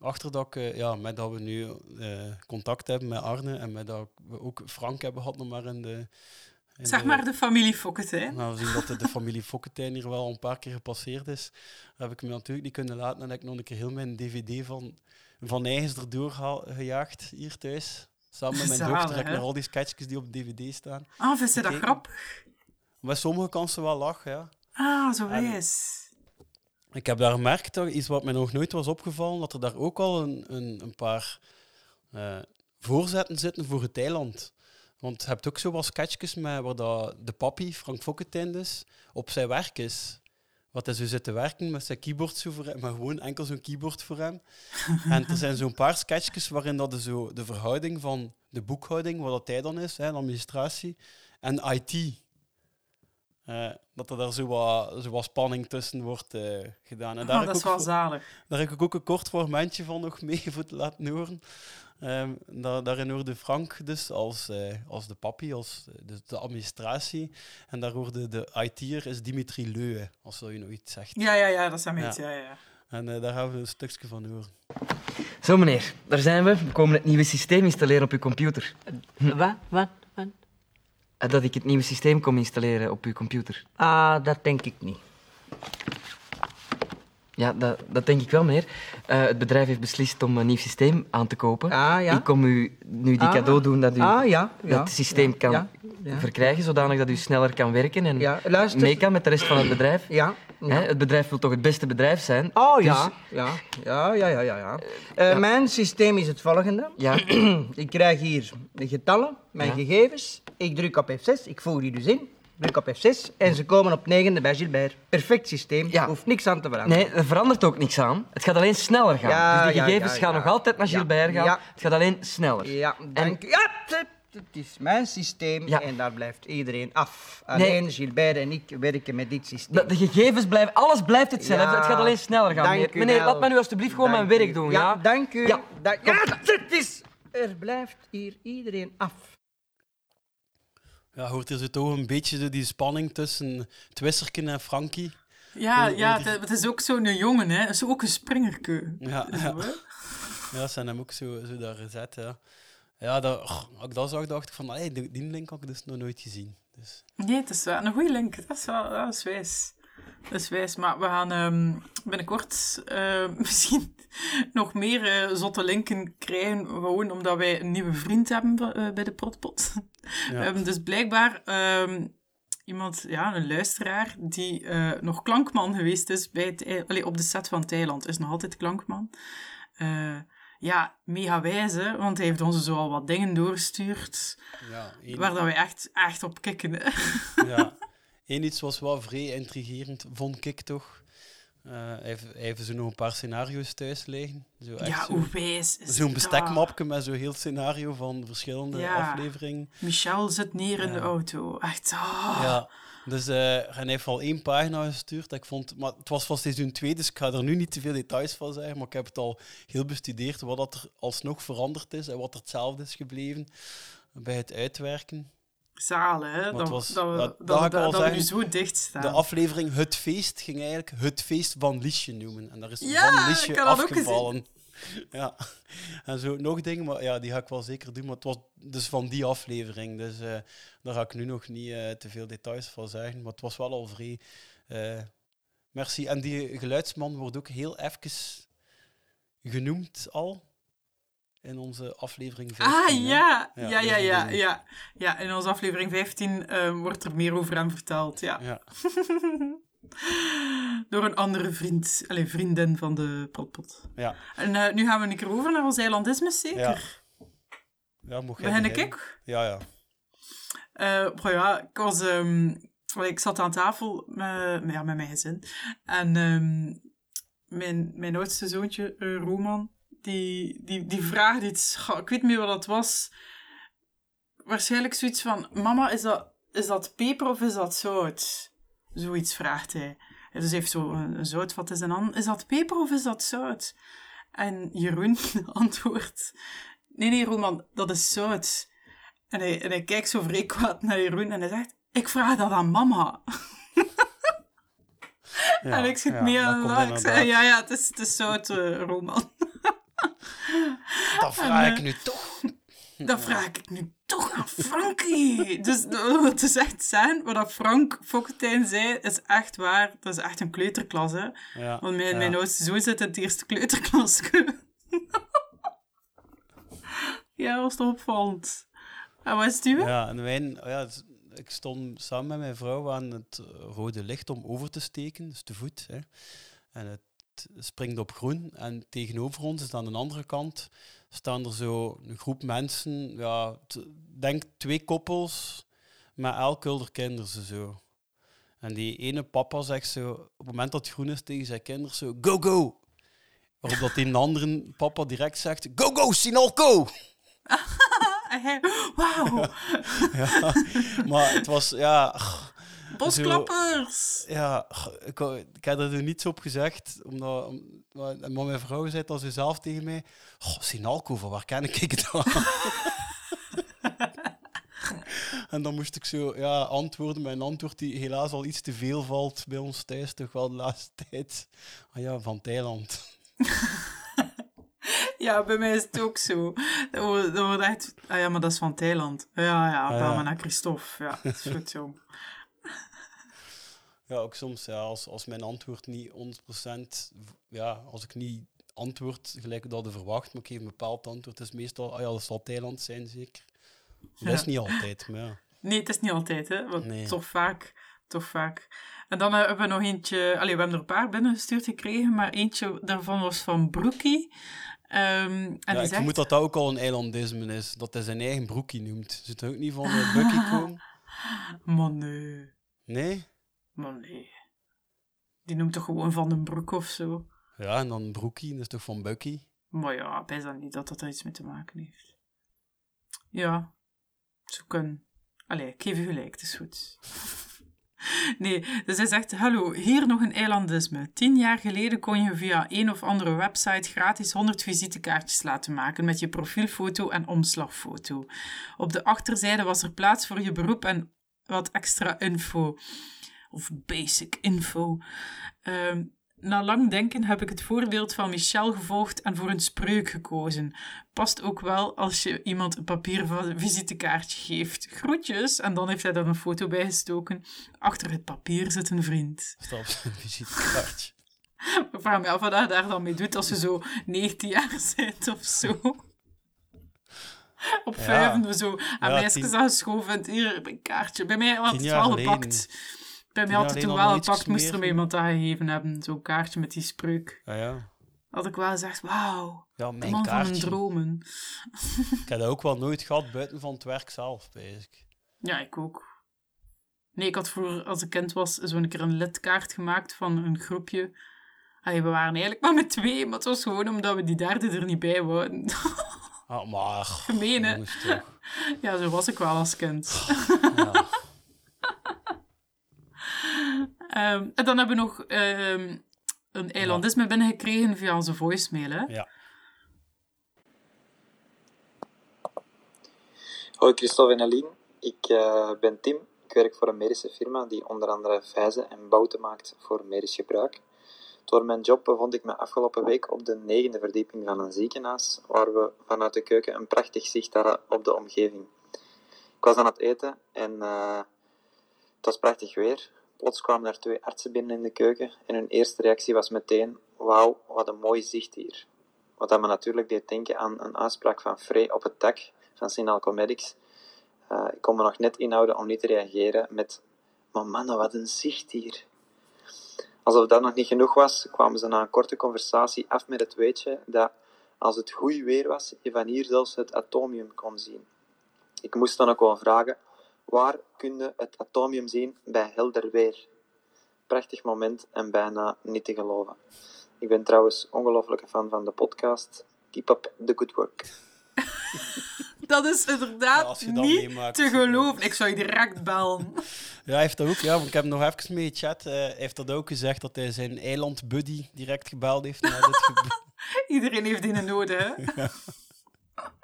Speaker 4: achter dat, ik, eh, ja, met dat we nu eh, contact hebben met Arne en met dat we ook Frank hebben gehad, nog maar in de... in
Speaker 5: Zeg
Speaker 4: de-
Speaker 5: maar de familie Fokkert, hè.
Speaker 4: nou, we zien dat de, de familie Fokkentijn hier wel een paar keer gepasseerd is. Dat heb ik me natuurlijk niet kunnen laten en heb ik nog een keer heel mijn dvd van, van eigens erdoor geha- gejaagd hier thuis. Samen met mijn
Speaker 5: Zalig,
Speaker 4: dochter heb ik
Speaker 5: hè?
Speaker 4: naar al die sketchjes die op de dvd staan.
Speaker 5: Ah, vind je dat
Speaker 4: Oké.
Speaker 5: grappig?
Speaker 4: Maar sommige kansen wel lachen, ja.
Speaker 5: Ah, zo
Speaker 4: En-
Speaker 5: wijs.
Speaker 4: Ik heb daar gemerkt, dat iets wat mij nog nooit was opgevallen, dat er daar ook al een, een, een paar eh, voorzetten zitten voor het eiland. Want je hebt ook zo wat sketchjes met waar dat de papi, Frank Fokkentijn dus, op zijn werk is. Wat hij zo zit te werken met zijn keyboard zo voor hem, maar gewoon enkel zo'n keyboard voor hem. en er zijn zo'n paar sketchjes waarin dat de, zo, de verhouding van de boekhouding, wat dat hij dan is, hè, de administratie, en IT. Eh, dat er daar zo wat, zo wat spanning tussen wordt eh, gedaan. En daar heb
Speaker 5: Ah,
Speaker 4: ik
Speaker 5: dat is
Speaker 4: ook
Speaker 5: wel
Speaker 4: voor-
Speaker 5: zalig.
Speaker 4: daar heb ik ook een kort fragmentje van nog mee voor te laten horen. Ehm, da- daarin hoorde Frank dus als, eh, als de papi, als eh, de, de administratie. En daar hoorde de IT'er is Dimitri Leuwe, als dat je nog iets zegt.
Speaker 5: Ja, ja, ja, dat zijn mensen,
Speaker 4: Ja.
Speaker 5: ja, ja.
Speaker 4: En eh, daar gaan we een stukje van horen.
Speaker 8: Zo meneer, daar zijn we. We komen het nieuwe systeem installeren op uw computer.
Speaker 9: Wat? Wat? Wat?
Speaker 8: Eh, Dat ik het nieuwe systeem kom installeren op uw computer.
Speaker 9: Ah, dat denk ik niet.
Speaker 8: Ja, dat, dat denk ik wel meneer. Eh, het bedrijf heeft beslist om een nieuw systeem aan te kopen.
Speaker 9: Ah, ja.
Speaker 8: Ik kom u nu die
Speaker 9: Ah.
Speaker 8: cadeau doen dat u
Speaker 9: Ah, ja. ja
Speaker 8: het systeem
Speaker 9: ja,
Speaker 8: kan
Speaker 9: Ja, ja.
Speaker 8: verkrijgen, zodanig dat u sneller kan werken en
Speaker 9: Ja, luister.
Speaker 8: mee kan met de rest van het bedrijf.
Speaker 9: ja. ja.
Speaker 8: Hè, het bedrijf wil toch het beste bedrijf zijn?
Speaker 9: Oh
Speaker 8: Dus-
Speaker 9: ja. ja, ja, ja, ja, ja. ja. Eh, Mijn systeem is het volgende.
Speaker 8: Ja,
Speaker 9: ik krijg hier de getallen, mijn
Speaker 8: Ja.
Speaker 9: gegevens. Ik druk op F6, ik voer die dus in. Druk op F6 en ze komen op negende bij Gilbert. Perfect systeem,
Speaker 8: Ja.
Speaker 9: hoeft niks aan te veranderen.
Speaker 8: nee, er verandert ook niks aan. Het gaat alleen sneller gaan.
Speaker 9: Ja,
Speaker 8: dus die
Speaker 9: ja,
Speaker 8: gegevens
Speaker 9: ja,
Speaker 8: gaan
Speaker 9: ja.
Speaker 8: nog altijd naar Gilbert
Speaker 9: Ja.
Speaker 8: gaan.
Speaker 9: Ja.
Speaker 8: Het gaat alleen sneller.
Speaker 9: Ja, dank u. Ja, het, het is mijn systeem
Speaker 8: Ja.
Speaker 9: en daar blijft iedereen af.
Speaker 8: Nee.
Speaker 9: Alleen Gilbert en ik werken met dit systeem.
Speaker 8: De, de gegevens blijven, alles blijft hetzelfde.
Speaker 9: Ja.
Speaker 8: het gaat alleen sneller gaan.
Speaker 9: Dank
Speaker 8: meneer,
Speaker 9: u
Speaker 8: meneer
Speaker 9: wel.
Speaker 8: laat mij nu alstublieft gewoon
Speaker 9: Dank
Speaker 8: mijn werk
Speaker 9: u.
Speaker 8: doen.
Speaker 9: Ja,
Speaker 8: Ja,
Speaker 9: dank u.
Speaker 8: Ja.
Speaker 9: Dank-
Speaker 8: Kom.
Speaker 9: ja, het is... Er blijft hier iedereen af.
Speaker 4: Ja, hoort er zo toch een beetje zo die spanning tussen Twisserken en Frankie?
Speaker 5: Ja,
Speaker 4: Hoe-
Speaker 5: ja
Speaker 4: hoe
Speaker 5: het,
Speaker 4: die-
Speaker 5: het is ook zo'n jongen, hè. Het is ook een springerkeu.
Speaker 4: Ja,
Speaker 5: Zo,
Speaker 4: ja.
Speaker 5: hè.
Speaker 4: Ja, ze zijn hem ook zo, zo daar gezet. Ja, ja dat, och, als ik dat zag, dacht ik van, hey, die die link had ik dus nog nooit gezien. Dus,
Speaker 5: Nee, het is wel een goede link. Dat is wel dat is wijs. Dat is wijs, maar we gaan ehm, binnenkort eh, misschien nog meer eh, zotte linken krijgen, gewoon omdat wij een nieuwe vriend hebben b- eh, bij de Protpot.
Speaker 4: Ja.
Speaker 5: Ehm, dus blijkbaar ehm, iemand, ja, een luisteraar, die eh, nog klankman geweest is bij het, ei- allee, op de set van Thailand, is nog altijd klankman. Eh, ja, mega wijs, hè, want hij heeft ons zo al wat dingen doorgestuurd,
Speaker 4: Ja, één,
Speaker 5: waar dat wij echt, echt op kikken. hè.
Speaker 4: ja. Eén iets was wel vrij intrigerend, vond ik toch. Eh, hij, heeft, hij heeft zo nog een paar scenario's thuis liggen. Zo echt
Speaker 5: Ja,
Speaker 4: zo-
Speaker 5: hoe wijs is
Speaker 4: Zo'n
Speaker 5: dat?
Speaker 4: bestekmapje met zo'n heel scenario van verschillende
Speaker 5: Ja.
Speaker 4: afleveringen.
Speaker 5: Michel zit neer in de auto. Echt, ah.
Speaker 4: Ja. Dus eh, en hij heeft al één pagina gestuurd. dat Ik vond, maar het was van seizoen 2, dus ik ga er nu niet te veel details van zeggen. Maar ik heb het al heel bestudeerd wat dat er alsnog veranderd is en wat er hetzelfde is gebleven bij het uitwerken.
Speaker 5: Zalen, hè?
Speaker 4: het
Speaker 5: Dat,
Speaker 4: was-
Speaker 5: dat, we-
Speaker 4: dat-
Speaker 5: dat,
Speaker 4: dat ga ik
Speaker 5: dat,
Speaker 4: wel
Speaker 5: dat, we nu
Speaker 4: zeggen.
Speaker 5: zo dicht staan.
Speaker 4: De aflevering Het Feest ging eigenlijk Het Feest van Liesje noemen. En daar is
Speaker 5: Ja,
Speaker 4: Van
Speaker 5: ik
Speaker 4: Liesje
Speaker 5: had dat ook
Speaker 4: afgevallen. Ja, en zo nog dingen, maar ja, die ga ik wel zeker doen. Maar het was dus van die aflevering, dus eh, daar ga ik nu nog niet eh, te veel details van zeggen. Maar het was wel al vrij. eh, merci. En die geluidsman wordt ook heel even genoemd al in onze aflevering 15.
Speaker 5: ah,
Speaker 4: hè.
Speaker 5: ja.
Speaker 4: Ja,
Speaker 5: Ja, ja,
Speaker 4: dat is
Speaker 5: ja,
Speaker 4: de
Speaker 5: ja,
Speaker 4: bedoeling.
Speaker 5: ja. in onze aflevering 15 eh, wordt er meer over hem verteld, ja.
Speaker 4: ja.
Speaker 5: Door een andere vriend, alleen vriendin van de potpot.
Speaker 4: Ja,
Speaker 5: En eh, nu gaan we een keer over naar ons eilandisme, zeker?
Speaker 4: ja. Ja, mocht jij
Speaker 5: Begin ik
Speaker 4: beginnen?
Speaker 5: ook?
Speaker 4: Ja, ja.
Speaker 5: Eh, goh, ja, ik was... ehm, wel, ik zat aan tafel met, met- ja, met mijn gezin. En ehm, mijn, mijn oudste zoontje, eh, Roman, die, die, die vraagde iets... Goh, ik weet niet meer wat dat was. Waarschijnlijk zoiets van... Mama, is dat, is dat peper of is dat zout? Zoiets vraagt hij. En Dus hij heeft zo een, een zoutvat in zijn hand. Is dat peper of is dat zout? En Jeroen antwoordt... Nee, nee, Roman, dat is zout. En hij, en hij kijkt zo vrij kwaad naar Jeroen en hij zegt... Ik vraag dat aan mama.
Speaker 4: Ja,
Speaker 5: en ik zit
Speaker 4: ja,
Speaker 5: meer
Speaker 4: dat
Speaker 5: aan de
Speaker 4: komt
Speaker 5: lach. Ik zeg,
Speaker 4: inderdaad.
Speaker 5: ja, ja, het is, het is zout, eh, Roman.
Speaker 4: Dat vraag
Speaker 5: eh,
Speaker 4: ik nu toch.
Speaker 5: Dat vraag ik nu toch aan Frankie. dus eh, het is echt zijn. Wat dat Frank Fokkentijn zei, is echt waar. Dat is echt een kleuterklas, hè.
Speaker 4: Ja,
Speaker 5: Want mijn,
Speaker 4: ja.
Speaker 5: mijn oudste zoon zit in het eerste kleuterklasje. ja, was toch opvallend. En wat is het uwe?
Speaker 4: Ja, en mijn, oh ja, het- ik stond samen met mijn vrouw aan het eh, rode licht om over te steken, dus te voet. Hè. En het springt op groen. En tegenover ons, dus aan de andere kant, staan er zo een groep mensen. Ja, t- denk twee koppels met elk hun kinderen zo. En die ene papa zegt zo, op het moment dat het groen is tegen zijn kinderen, zo, go, go. Waarop dat die andere papa direct zegt, go, go, Sinalco.
Speaker 5: En hij, wauw,
Speaker 4: Ja, maar het was, ja...
Speaker 5: bosklappers!
Speaker 4: Ja, goh, ik, wou- ik had er niet zo op gezegd, omdat om- maar maar mijn vrouw zei het al zo zelf tegen mij. Goh, Sinalco, van waar ken ik het dan? en dan moest ik zo ja, antwoorden met een antwoord die helaas al iets te veel valt bij ons thuis, toch wel de laatste tijd. Ah ja, van Thailand.
Speaker 5: Ja, bij mij is het ook zo. Dat wordt, dat wordt echt... Ah ja, maar dat is van Thailand. Ja, ja, bel
Speaker 4: Ah, ja.
Speaker 5: maar naar Christophe. Ja, dat is goed zo.
Speaker 4: Ja, ook soms ja, als, als mijn antwoord niet 100%, v- ja, als ik niet antwoord gelijk dat ik verwacht, maar ik geef een bepaald antwoord, is meestal, ah ja, dat zal Thailand zijn zeker. Dat is
Speaker 5: Ja.
Speaker 4: niet altijd, maar ja.
Speaker 5: Nee, het is niet altijd, hè. Want
Speaker 4: Nee.
Speaker 5: toch vaak, toch vaak. En dan eh, hebben we nog eentje... Allee, we hebben er een paar binnengestuurd gekregen, maar eentje daarvan was van Broekie. Ehm, en
Speaker 4: Ja,
Speaker 5: die
Speaker 4: ik
Speaker 5: zegt...
Speaker 4: vermoed dat dat ook al een eilandisme is, dat hij zijn eigen broekie noemt. Zit er ook niet van uh, Bucky komen?
Speaker 5: Maar nee,
Speaker 4: Nee?
Speaker 5: maar nee. Die noemt toch gewoon Van den Broek of zo?
Speaker 4: Ja, en dan broekie, dat is toch van Bucky?
Speaker 5: Maar ja, best dan niet dat dat daar iets mee te maken heeft. Ja, ze kunnen. Allee, ik geef u gelijk, het is goed. Nee, dus hij zegt, hallo, hier nog een eilandisme. Tien jaar geleden kon je via een of andere website gratis 100 visitekaartjes laten maken met je profielfoto en omslagfoto. Op de achterzijde was er plaats voor je beroep en wat extra info. Of basic info. Ehm, Na lang denken heb ik het voorbeeld van Michel gevolgd en voor een spreuk gekozen. Past ook wel als je iemand een papieren visitekaartje geeft. Groetjes! En dan heeft hij daar een foto bij gestoken. Achter het papier zit een vriend.
Speaker 4: Stap, visitekaartje.
Speaker 5: Ik vraag me af wat hij daar dan mee doet als je zo 19 jaar bent of zo. Op
Speaker 4: Ja.
Speaker 5: vijf en zo. En
Speaker 4: Ja,
Speaker 5: meisjes
Speaker 4: tien-
Speaker 5: aan school vindt hier een kaartje. Bij mij had
Speaker 4: Tien
Speaker 5: het
Speaker 4: jaar
Speaker 5: wel
Speaker 4: geleden.
Speaker 5: gepakt. Bij mij
Speaker 4: jaar
Speaker 5: had het
Speaker 4: geleden
Speaker 5: toen
Speaker 4: had
Speaker 5: wel
Speaker 4: nog iets
Speaker 5: gepakt. Moest er
Speaker 4: gesmeerd.
Speaker 5: mij iemand aangegeven hebben. Zo'n kaartje met die spreuk.
Speaker 4: Ah ja.
Speaker 5: Had ik wel gezegd, wauw.
Speaker 4: Ja,
Speaker 5: De
Speaker 4: mijn
Speaker 5: man van mijn
Speaker 4: kaartje.
Speaker 5: dromen.
Speaker 4: Ik heb dat ook wel nooit gehad buiten van het werk zelf, basic.
Speaker 5: Ja, ik ook. Nee, ik had vroeger, als ik kind was, zo'n keer een lidkaart gemaakt van een groepje. Allee, we waren eigenlijk maar met twee, maar het was gewoon omdat we die derde er niet bij wouden.
Speaker 4: Ah, maar... goh,
Speaker 5: Gemeen, hè?
Speaker 4: jongens, toch.
Speaker 5: ja, zo was ik wel als kind.
Speaker 4: Ja.
Speaker 5: Ehm, en dan hebben we nog ehm, een eilandisme binnengekregen via onze voicemail, hè?
Speaker 4: ja.
Speaker 10: Hoi Christophe en Aline, ik eh, ben Tim. Ik werk voor een medische firma die onder andere vijzen en bouten maakt voor medisch gebruik. Door mijn job bevond ik me afgelopen week op de negende verdieping van een ziekenhuis, waar we vanuit de keuken een prachtig zicht hadden op de omgeving. Ik was aan het eten en eh, het was prachtig weer. Plots kwamen er twee artsen binnen in de keuken en hun eerste reactie was meteen: Wauw, Oh, wat een mooi zicht hier. Wat dat me natuurlijk deed denken aan een uitspraak van Frey op het dak van Sinal Comedics. Eh, ik kon me nog net inhouden om niet te reageren met... Maar mannen, wat een zicht hier. Alsof dat nog niet genoeg was, kwamen ze na een korte conversatie af met het weetje dat als het goed weer was, je van hier zelfs het atomium kon zien. Ik moest dan ook wel vragen, waar kun je het atomium zien bij helder weer? Prachtig moment en bijna niet te geloven. Ik ben trouwens ongelooflijke fan van de podcast. Keep up the good work.
Speaker 5: Dat is
Speaker 4: Ja, als
Speaker 5: inderdaad
Speaker 4: je dat
Speaker 5: niet
Speaker 4: meemaakt,
Speaker 5: te
Speaker 4: is het
Speaker 5: geloven. Ik zou je direct bellen.
Speaker 4: Ja, hij heeft dat ook, ja, want ik heb hem nog even mee gechat. eh, hij heeft dat ook gezegd dat hij zijn eilandbuddy direct gebeld heeft. Na dit gebe-
Speaker 5: Iedereen heeft die nodig, hè?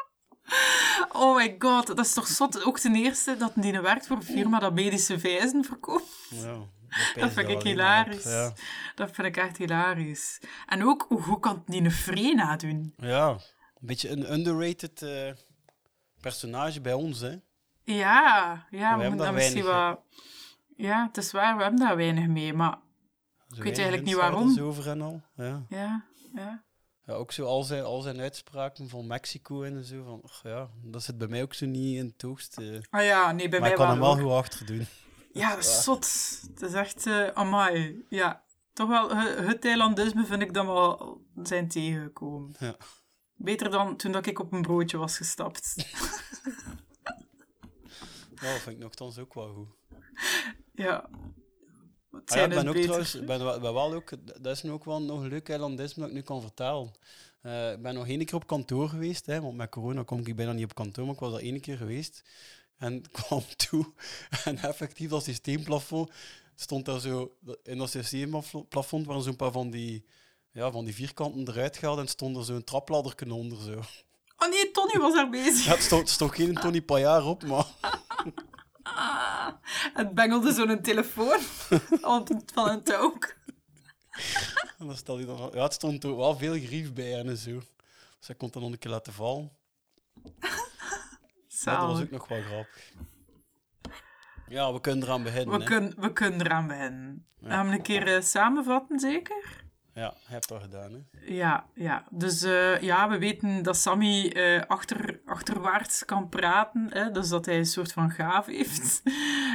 Speaker 5: Oh my god, dat is toch zot. Ook ten eerste dat die nou werkt voor een firma dat medische vijzen verkoopt.
Speaker 4: ja, dat
Speaker 5: Dat
Speaker 4: pijs je
Speaker 5: vind ik
Speaker 4: alleen maar op,
Speaker 5: hilarisch.
Speaker 4: Ja.
Speaker 5: Dat vind ik echt hilarisch. En ook, hoe hoe kan die een vree nadoen?
Speaker 4: ja, een beetje een underrated eh, personage bij ons, hè?
Speaker 5: Ja, ja, we
Speaker 4: hebben
Speaker 5: moeten
Speaker 4: daar
Speaker 5: dat misschien
Speaker 4: weinig, hè.
Speaker 5: wat... Ja, het is waar, we hebben daar weinig mee, maar...
Speaker 4: Ik
Speaker 5: eigenlijk niet waarom.
Speaker 4: Over en al. Ja.
Speaker 5: Ja, ja.
Speaker 4: Ja, ook zo al zijn, al zijn uitspraken van Mexico en zo. Van, och, ja, dat zit bij mij ook zo niet in het hoogste.
Speaker 5: Ah ja, nee, bij
Speaker 4: maar
Speaker 5: mij
Speaker 4: ik kan hem
Speaker 5: waren
Speaker 4: wel
Speaker 5: ook-
Speaker 4: goed achter doen.
Speaker 5: Ja, dat is zot. Het is echt... eh amai. Ja, toch wel... he- Het Thailandisme vind ik dan wel zijn tegengekomen.
Speaker 4: Ja.
Speaker 5: Beter dan toen dat ik op een broodje was gestapt.
Speaker 4: Ja, dat vind ik nogthans ook wel goed.
Speaker 5: ja. Het
Speaker 4: Ah ja,
Speaker 5: zijn
Speaker 4: ik ben
Speaker 5: dus
Speaker 4: ook
Speaker 5: beter.
Speaker 4: trouwens, ik ben, wel- ik ben wel ook, dat is nu ook wel nog een leuk eilandisme dat ik nu kan vertellen. Eh, ik ben nog één keer op kantoor geweest, hè, want met corona kom ik bijna niet op kantoor, maar ik was al één keer geweest. En ik kwam toe en effectief dat systeemplafond stond daar zo, in dat systeemplafond waren zo'n paar van die, ja, van die vierkanten eruit gehaald en stond er zo'n trapladderken onder. Zo.
Speaker 5: Oh nee, Tony was daar bezig.
Speaker 4: Ja, het stond, het stond geen Tony Pajaar op, maar
Speaker 5: Ah, het bengelde zo'n telefoon op, van een toek.
Speaker 4: En dan stel je dan, ja, het stond er wel veel grief bij en zo. Dus hij kon het dan nog een keer laten vallen. Ja, dat was
Speaker 5: Zalig.
Speaker 4: ook nog wel grappig. Ja, we kunnen eraan beginnen.
Speaker 5: we,
Speaker 4: hè.
Speaker 5: kunnen we kunnen eraan beginnen. Gaan we een keer eh, samenvatten, zeker?
Speaker 4: Ja, je hebt dat gedaan. Hè.
Speaker 5: Ja, ja. Dus eh, ja, we weten dat Sammy eh, achter, achterwaarts kan praten. Hè? Dus dat hij een soort van gaaf heeft.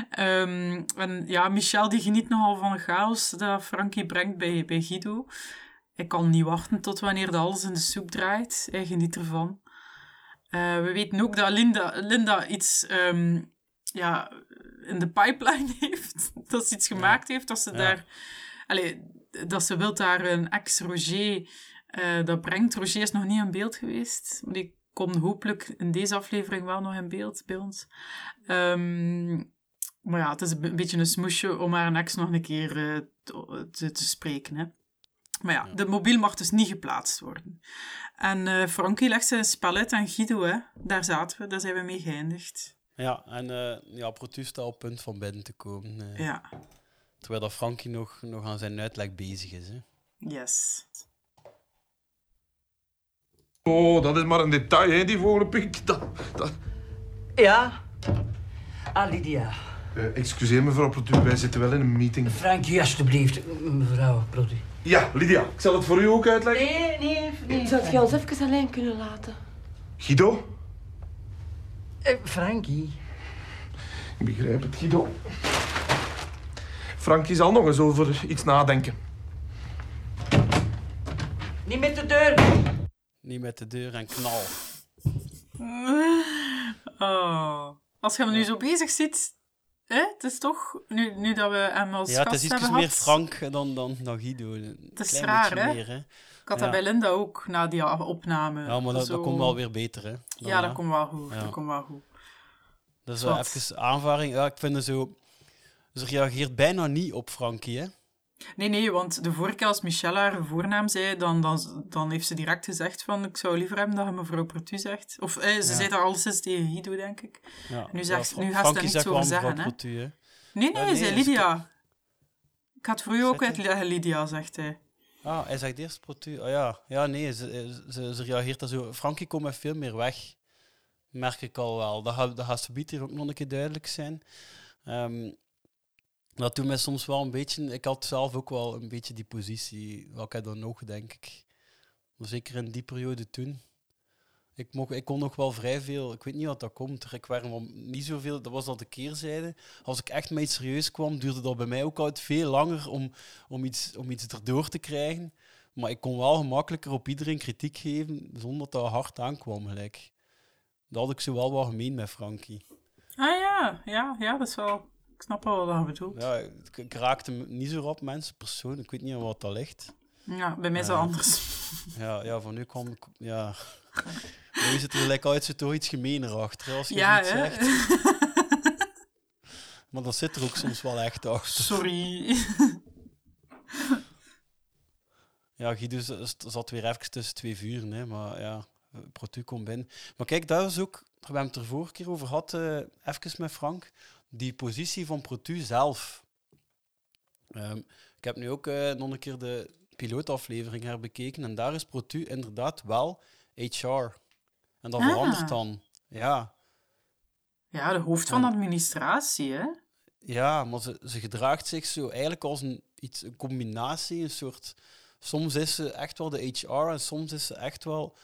Speaker 5: Ehm, en ja, Michel die geniet nogal van de chaos dat Frankie brengt bij, bij Guido. Hij kan niet wachten tot wanneer de alles in de soep draait. Hij geniet ervan. Eh, we weten ook dat Linda, Linda iets ehm, ja, in de pipeline heeft. Dat ze iets gemaakt heeft. Dat ze daar... Allee, dat ze wil daar een ex-Roger... eh, dat brengt. Roger is nog niet in beeld geweest. Maar die komt hopelijk in deze aflevering wel nog in beeld bij ons. Ehm, maar ja, het is een be- een beetje een smoesje om haar ex nog een keer eh, te, te- te spreken, hè. Maar ja, de mobiel mag dus niet geplaatst worden. En eh, Frankie legt zijn spel uit aan Guido, hè. Daar zaten we, daar zijn we mee geëindigd.
Speaker 4: Ja, en eh ja, Protus staat op punt van binnen te komen. eh.
Speaker 5: Ja,
Speaker 4: Terwijl dat Frankie nog, nog aan zijn uitleg bezig is. Hè.
Speaker 5: Yes.
Speaker 11: Oh, dat is maar een detail, hè, die vogelpik. Dat, dat...
Speaker 12: Ja? Ah, Lydia.
Speaker 11: Eh, excuseer mevrouw Plotu, wij zitten wel in een meeting.
Speaker 12: Frankie, alsjeblieft. Mevrouw Brody.
Speaker 11: Ja, Lydia, ik zal het voor u ook uitleggen.
Speaker 12: Nee, nee, nee.
Speaker 13: Zou je ons even alleen kunnen laten?
Speaker 11: Guido?
Speaker 12: Eh, Frankie.
Speaker 11: Ik begrijp het, Guido. Frankie zal nog eens over iets nadenken.
Speaker 12: Niet met de deur.
Speaker 4: Niet met de deur en knal.
Speaker 5: Eh, Oh. Als je hem nu zo bezig ziet, hè, het is toch, nu, nu dat we hem als
Speaker 4: Ja, het
Speaker 5: gast
Speaker 4: is iets
Speaker 5: hebben
Speaker 4: meer
Speaker 5: gehad,
Speaker 4: Frank dan, dan, dan Guido. Een
Speaker 5: het is
Speaker 4: klein
Speaker 5: raar,
Speaker 4: beetje
Speaker 5: hè?
Speaker 4: meer, hè?
Speaker 5: Ik had
Speaker 4: Ja.
Speaker 5: dat bij Linda ook, na die opname.
Speaker 4: Ja, maar dat,
Speaker 5: Zo-
Speaker 4: dat komt wel weer beter, hè? Dan,
Speaker 5: ja, dat
Speaker 4: hè.
Speaker 5: komt wel goed,
Speaker 4: Ja.
Speaker 5: dat komt wel goed.
Speaker 4: Dat is wel
Speaker 5: Zwart.
Speaker 4: even aanvaring. Ja, ik vind het zo... Ze reageert bijna niet op Frankie, hè?
Speaker 5: Nee, nee, want de vorige keer als Michelle haar voornaam zei, dan, dan, dan heeft ze direct gezegd van, ik zou liever hebben dat je mevrouw Pertu zegt. Of eh, ze
Speaker 4: Ja.
Speaker 5: zei dat al sinds tegen Guido, denk ik.
Speaker 4: Ja.
Speaker 5: Nu,
Speaker 4: Ja,
Speaker 5: zegt,
Speaker 4: Fra-
Speaker 5: nu gaat ze
Speaker 4: Frankie
Speaker 5: daar niets
Speaker 4: zegt wel
Speaker 5: over
Speaker 4: mevrouw
Speaker 5: zeggen, hè.
Speaker 4: Protu, hè? Ja,
Speaker 5: Nee, nee,
Speaker 4: nee,
Speaker 5: zei
Speaker 4: dat is
Speaker 5: Lydia. Ik had vroeger ook uit dat je Lydia, zegt hij.
Speaker 4: Ah, hij zegt eerst Protu. Ah ja, ja nee, ze, ze, ze reageert daar zo... Frankie komt met veel meer weg. Merk ik al wel. Dat gaat, dat gaat ze hier ook nog een keer duidelijk zijn. Ehm, dat doet mij soms wel een beetje... Ik had zelf ook wel een beetje die positie. Wat ik dan nog, denk ik. Maar zeker in die periode toen. Ik, mocht, ik kon nog wel vrij veel... Ik weet niet wat dat komt. Ik werd wel niet zoveel... Dat was dat de keerzijde. Als ik echt met iets serieus kwam, duurde dat bij mij ook altijd veel langer om, om, iets, om iets erdoor te krijgen. Maar ik kon wel gemakkelijker op iedereen kritiek geven, zonder dat dat hard aankwam gelijk. Dat had ik zo wel wat gemeen met Frankie.
Speaker 5: Ah ja, ja, ja, dat is wel... Ik snap wel wat je bedoelt.
Speaker 4: Ja, ik, ik raakte m- niet zo rap mensen persoon. Ik weet niet aan wat dat ligt.
Speaker 5: Ja, bij mij is dat
Speaker 4: Ja.
Speaker 5: anders.
Speaker 4: Ja, ja, van nu kwam ik... Ja. Nu is het er gelijk uit, zit toch iets gemener achter, hè, als je
Speaker 5: Ja,
Speaker 4: iets
Speaker 5: hè?
Speaker 4: zegt. Maar dat zit er ook soms wel echt achter.
Speaker 5: Sorry.
Speaker 4: Ja, Guido z- z- zat weer even tussen twee vuren, hè, maar ja, eh, Protu komt binnen. Maar kijk, dat is ook, we hebben het er vorige keer over gehad, eh, even met Frank, die positie van Protu zelf. Ehm, ik heb nu ook eh, nog een keer de pilootaflevering herbekeken en daar is Protu inderdaad wel HR. En dat
Speaker 5: Ah.
Speaker 4: verandert dan. Ja,
Speaker 5: Ja, de hoofd van de administratie, hè.
Speaker 4: ja, maar ze, ze gedraagt zich zo eigenlijk als een, iets, een combinatie, een soort... Soms is ze echt wel de HR en soms is ze echt wel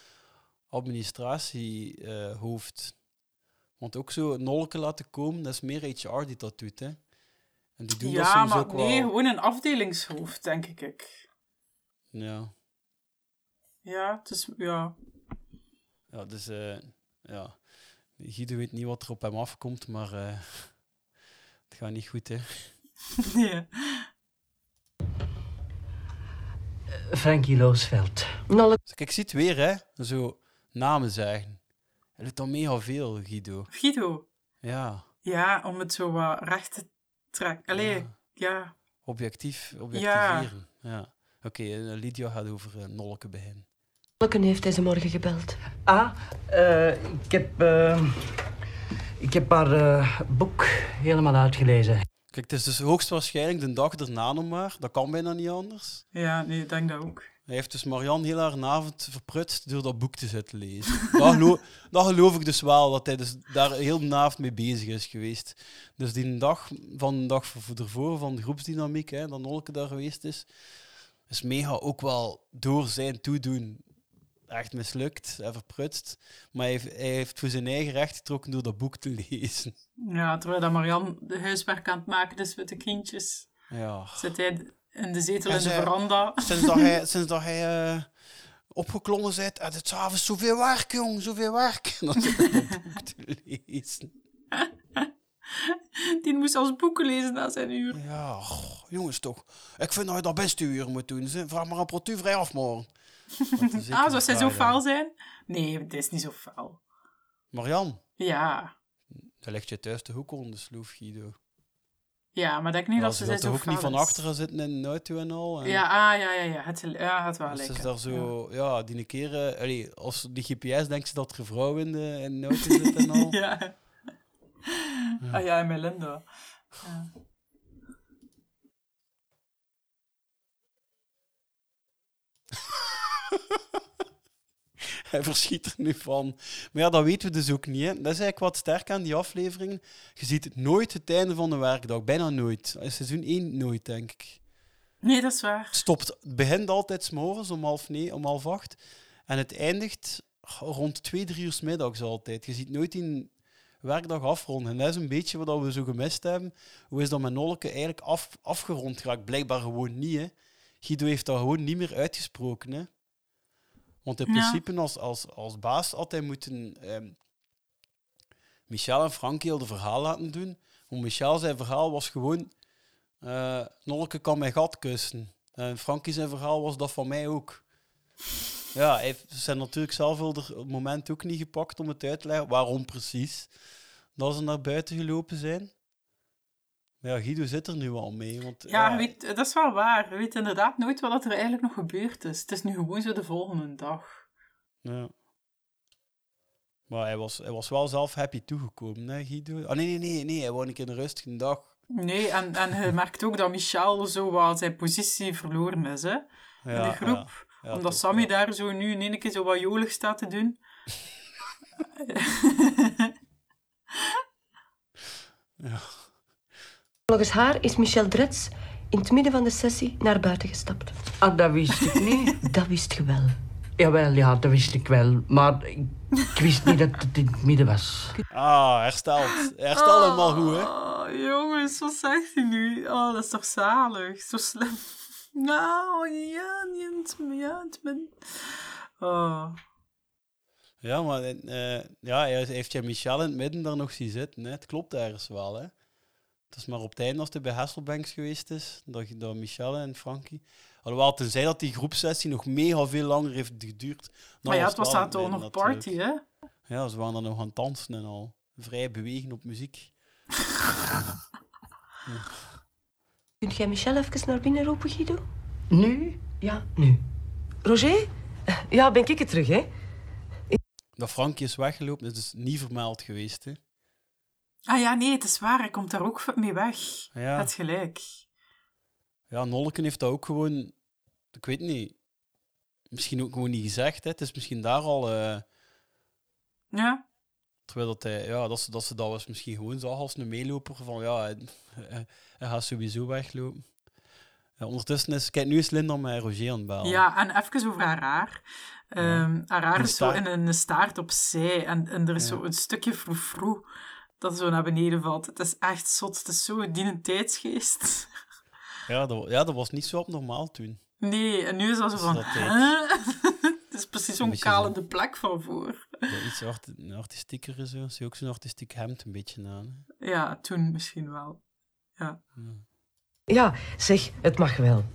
Speaker 4: administratiehoofd. hoofd. Want ook zo nolken laten komen, dat is meer HR die dat doet, hè. En die doen dat
Speaker 5: Ja,
Speaker 4: soms
Speaker 5: maar
Speaker 4: ook
Speaker 5: nee,
Speaker 4: wel.
Speaker 5: gewoon een afdelingshoofd, denk ik. ik.
Speaker 4: Ja,
Speaker 5: Ja, het is... Ja.
Speaker 4: ja dus... eh, ja. Guido weet niet wat er op hem afkomt, maar... eh, het gaat niet goed, hè.
Speaker 5: Nee.
Speaker 12: Frankie Loosveld.
Speaker 4: Dus Kijk, ik zie het weer, hè. Zo namen zeggen. Hij doet dan mega veel, Guido.
Speaker 5: Guido.
Speaker 4: Ja,
Speaker 5: Ja, om het zo wat recht te trekken. Allee, ja.
Speaker 4: objectief, objectiveren. Ja. Oké, eh, Lydia gaat over eh, Nolke beginnen.
Speaker 13: Welke heeft deze morgen gebeld?
Speaker 12: Ah, eh, ik heb... eh, ik heb haar eh, boek helemaal uitgelezen.
Speaker 4: Kijk, het is dus hoogstwaarschijnlijk de dag erna nog maar. Dat kan bijna niet anders.
Speaker 5: Ja, nee, ik denk dat ook.
Speaker 4: Hij heeft dus Marianne heel haar avond verprutst door dat boek te zitten lezen. dat, gelo- dat geloof ik dus wel, dat hij dus daar heel de avond mee bezig is geweest. Dus die dag van de dag v- ervoor, van de groepsdynamiek, hè, dat Nolke daar geweest is, is Mega ook wel door zijn toedoen echt mislukt en verprutst. Maar hij heeft, hij heeft voor zijn eigen recht getrokken door dat boek te lezen.
Speaker 5: Ja, terwijl dat Marianne de huiswerk aan het maken is met de kindjes,
Speaker 4: Ja.
Speaker 5: zit hij in de zetel
Speaker 4: En
Speaker 5: in de
Speaker 4: zij-
Speaker 5: veranda.
Speaker 4: Sinds dat hij, sinds dat hij eh, opgeklommen bent, had het s'avonds zoveel werk, jong, zoveel werk. En dan zit hij dat boek te lezen.
Speaker 5: Die moest als boeken lezen na zijn uur.
Speaker 4: Ja, goh, jongens toch. Ik vind dat je dat best uur moet doen. ze. Vraag maar een portu vrij af morgen. Want dat is
Speaker 5: Ah,
Speaker 4: zeker
Speaker 5: zou zij zo
Speaker 4: een vraag, hè.
Speaker 5: faal zijn? Nee, het is niet zo faal.
Speaker 4: Marian,
Speaker 5: Ja.
Speaker 4: daar ligt je thuis de hoek onder de sloef, Guido.
Speaker 5: Ja, maar denk niet
Speaker 4: Ja,
Speaker 5: dat
Speaker 4: ze
Speaker 5: ze,
Speaker 4: wil
Speaker 5: zij
Speaker 4: toch
Speaker 5: zo
Speaker 4: ook
Speaker 5: faal
Speaker 4: niet van
Speaker 5: is.
Speaker 4: achteren zitten in de auto en al. En
Speaker 5: Ja, ah, ja, ja, ja. Het, ja, het wel
Speaker 4: Dus Ze
Speaker 5: lekker.
Speaker 4: is daar zo, ja, die een keer, eh, allee, als die GPS denkt ze dat er een vrouw in de, in de auto zit en al.
Speaker 5: Ja. Ah ja, en Melinda. Ja.
Speaker 4: Hij verschiet er nu van. Maar ja, dat weten we dus ook niet. Hè. Dat is eigenlijk wat sterk aan die afleveringen. Je ziet nooit het einde van de werkdag. Bijna nooit. In seizoen 1 nooit, denk ik.
Speaker 5: Nee, dat is waar.
Speaker 4: Het stopt, het begint altijd s'morgens om half, nee, om half acht. En het eindigt rond twee, drie uur 's middags altijd. Je ziet nooit die werkdag afronden. En dat is een beetje wat we zo gemist hebben. Hoe is dat met Nolke eigenlijk af, afgerond geraakt? Blijkbaar gewoon niet, hè. Guido heeft dat gewoon niet meer uitgesproken, hè. Want in
Speaker 5: Ja.
Speaker 4: principe als, als, als baas had hij moeten ehm, Michel en Frankie heel de verhaal laten doen. Want Michel zijn verhaal was gewoon... eh Nolke kan mijn gat kussen. En Frankie zijn Eh, verhaal was dat van mij ook. Ja, hij heeft- ze zijn natuurlijk zelf wel er- het moment ook niet gepakt om het uit te leggen waarom precies dat ze naar buiten gelopen zijn. Maar ja, Guido zit er nu al mee. Want,
Speaker 5: Ja, je Weet, dat is wel waar. Je weet inderdaad nooit wat dat er eigenlijk nog gebeurd is. Het is nu gewoon zo de volgende dag.
Speaker 4: Ja. Maar hij was, hij was wel zelf happy toegekomen, hè, Guido? Ah, nee, nee, nee, nee, hij wou een keer een rustige dag.
Speaker 5: Nee, en, en je merkt ook dat Michel zo wat zijn positie verloren is, hè. in de
Speaker 4: Ja,
Speaker 5: groep.
Speaker 4: ja. Ja,
Speaker 5: Omdat Sammy daar zo nu in één keer zo wat jolig staat te doen.
Speaker 13: Volgens haar is Michel Drets in het midden van de sessie naar buiten gestapt.
Speaker 12: Ah, dat wist ik niet.
Speaker 13: dat wist je wel.
Speaker 12: Jawel, ja, dat wist ik wel. Maar ik, ik wist niet dat het in het midden was.
Speaker 4: Ah, hersteld. Herstel
Speaker 5: Oh.
Speaker 4: helemaal goed, hè?
Speaker 5: Oh, jongens, wat zegt hij nu? Oh, dat is toch zalig? Zo slim. Nou, ja, niet, ja, het ben... Oh.
Speaker 4: Nou, Ja, maar eh, ja, hij heeft je Michel in het midden daar nog zien zitten. Hè? Het klopt ergens wel. Hè? Het is maar op het einde als hij bij Hasselbanks geweest is, dat, dat Michel en Frankie. Alhoewel, tenzij dat die groepsessie nog mega veel langer heeft geduurd. Dan
Speaker 5: Maar ja,
Speaker 4: was
Speaker 5: het was
Speaker 4: wel in
Speaker 5: daar
Speaker 4: het
Speaker 5: toch nog
Speaker 4: midden natuurlijk.
Speaker 5: party, hè?
Speaker 4: Ja, ze waren dan nog aan het dansen en al. Vrij bewegen op muziek.
Speaker 13: Kunt jij Michel even naar binnen roepen, Guido?
Speaker 12: Nu?
Speaker 13: Ja.
Speaker 12: Nu.
Speaker 13: Roger? Eh, Ja, ben ik het terug, hè?
Speaker 4: Dat Frankie is weggelopen, dat is dus niet vermeld geweest. Hè?
Speaker 5: Ah ja, nee, het is waar. Hij komt daar ook mee weg.
Speaker 4: Ah Ja.
Speaker 5: Het gelijk.
Speaker 4: Ja, Nolken heeft dat ook gewoon, ik weet niet, misschien ook gewoon niet gezegd. Hè? Het is misschien daar al. eh,
Speaker 5: Ja.
Speaker 4: Terwijl dat hij, ja, dat ze dat, ze dat was misschien gewoon zag als een meeloper van ja, hij, hij- hij gaat sowieso weglopen. Ja, ondertussen is, kijk, nu is Linda met Roger aan het bellen.
Speaker 5: Ja, en even over haar haar. Ehm, haar haar
Speaker 4: Een
Speaker 5: is zo
Speaker 4: staart.
Speaker 5: in een staart opzij. En, en er is zo een stukje froe dat zo naar beneden valt. Het is echt zot. Het is zo die een tijdsgeest.
Speaker 4: Ja, dat, wa- ja, dat was niet zo abnormaal toen.
Speaker 5: Nee, en nu is dat zo
Speaker 4: Is
Speaker 5: van...
Speaker 4: dat dit?
Speaker 5: huh? Het is precies
Speaker 4: Een
Speaker 5: zo'n
Speaker 4: beetje zo.
Speaker 5: kalende plek van voor.
Speaker 4: Ja, iets art, een artistieker zo. Ze ook zo'n artistiek hemd een beetje aan. hè.
Speaker 5: Ja, toen misschien wel. Ja.
Speaker 13: Ja, zeg, het mag wel.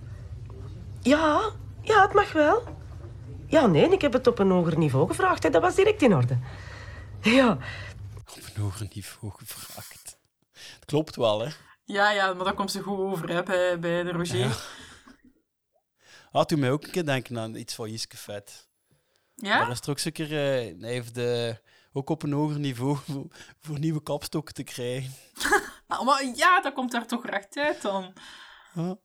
Speaker 13: Ja, ja, het mag wel. Ja, nee, ik heb het op een hoger niveau gevraagd. Hè. Dat was direct in orde. Ja.
Speaker 4: Op een hoger niveau gevraagd. Het klopt wel, hè?
Speaker 5: Ja, ja, maar dat komt ze goed over hè, bij, bij de Roger.
Speaker 4: Ja. Had u mij ook een keer denken aan iets van Jiske Vet.
Speaker 5: Ja?
Speaker 4: Daar is er ook zo'n keer, eh, hij heeft eh, ook op een hoger niveau voor, voor nieuwe kapstokken te krijgen.
Speaker 5: Ah, Maar ja, dat komt daar toch recht uit dan.
Speaker 4: Ja.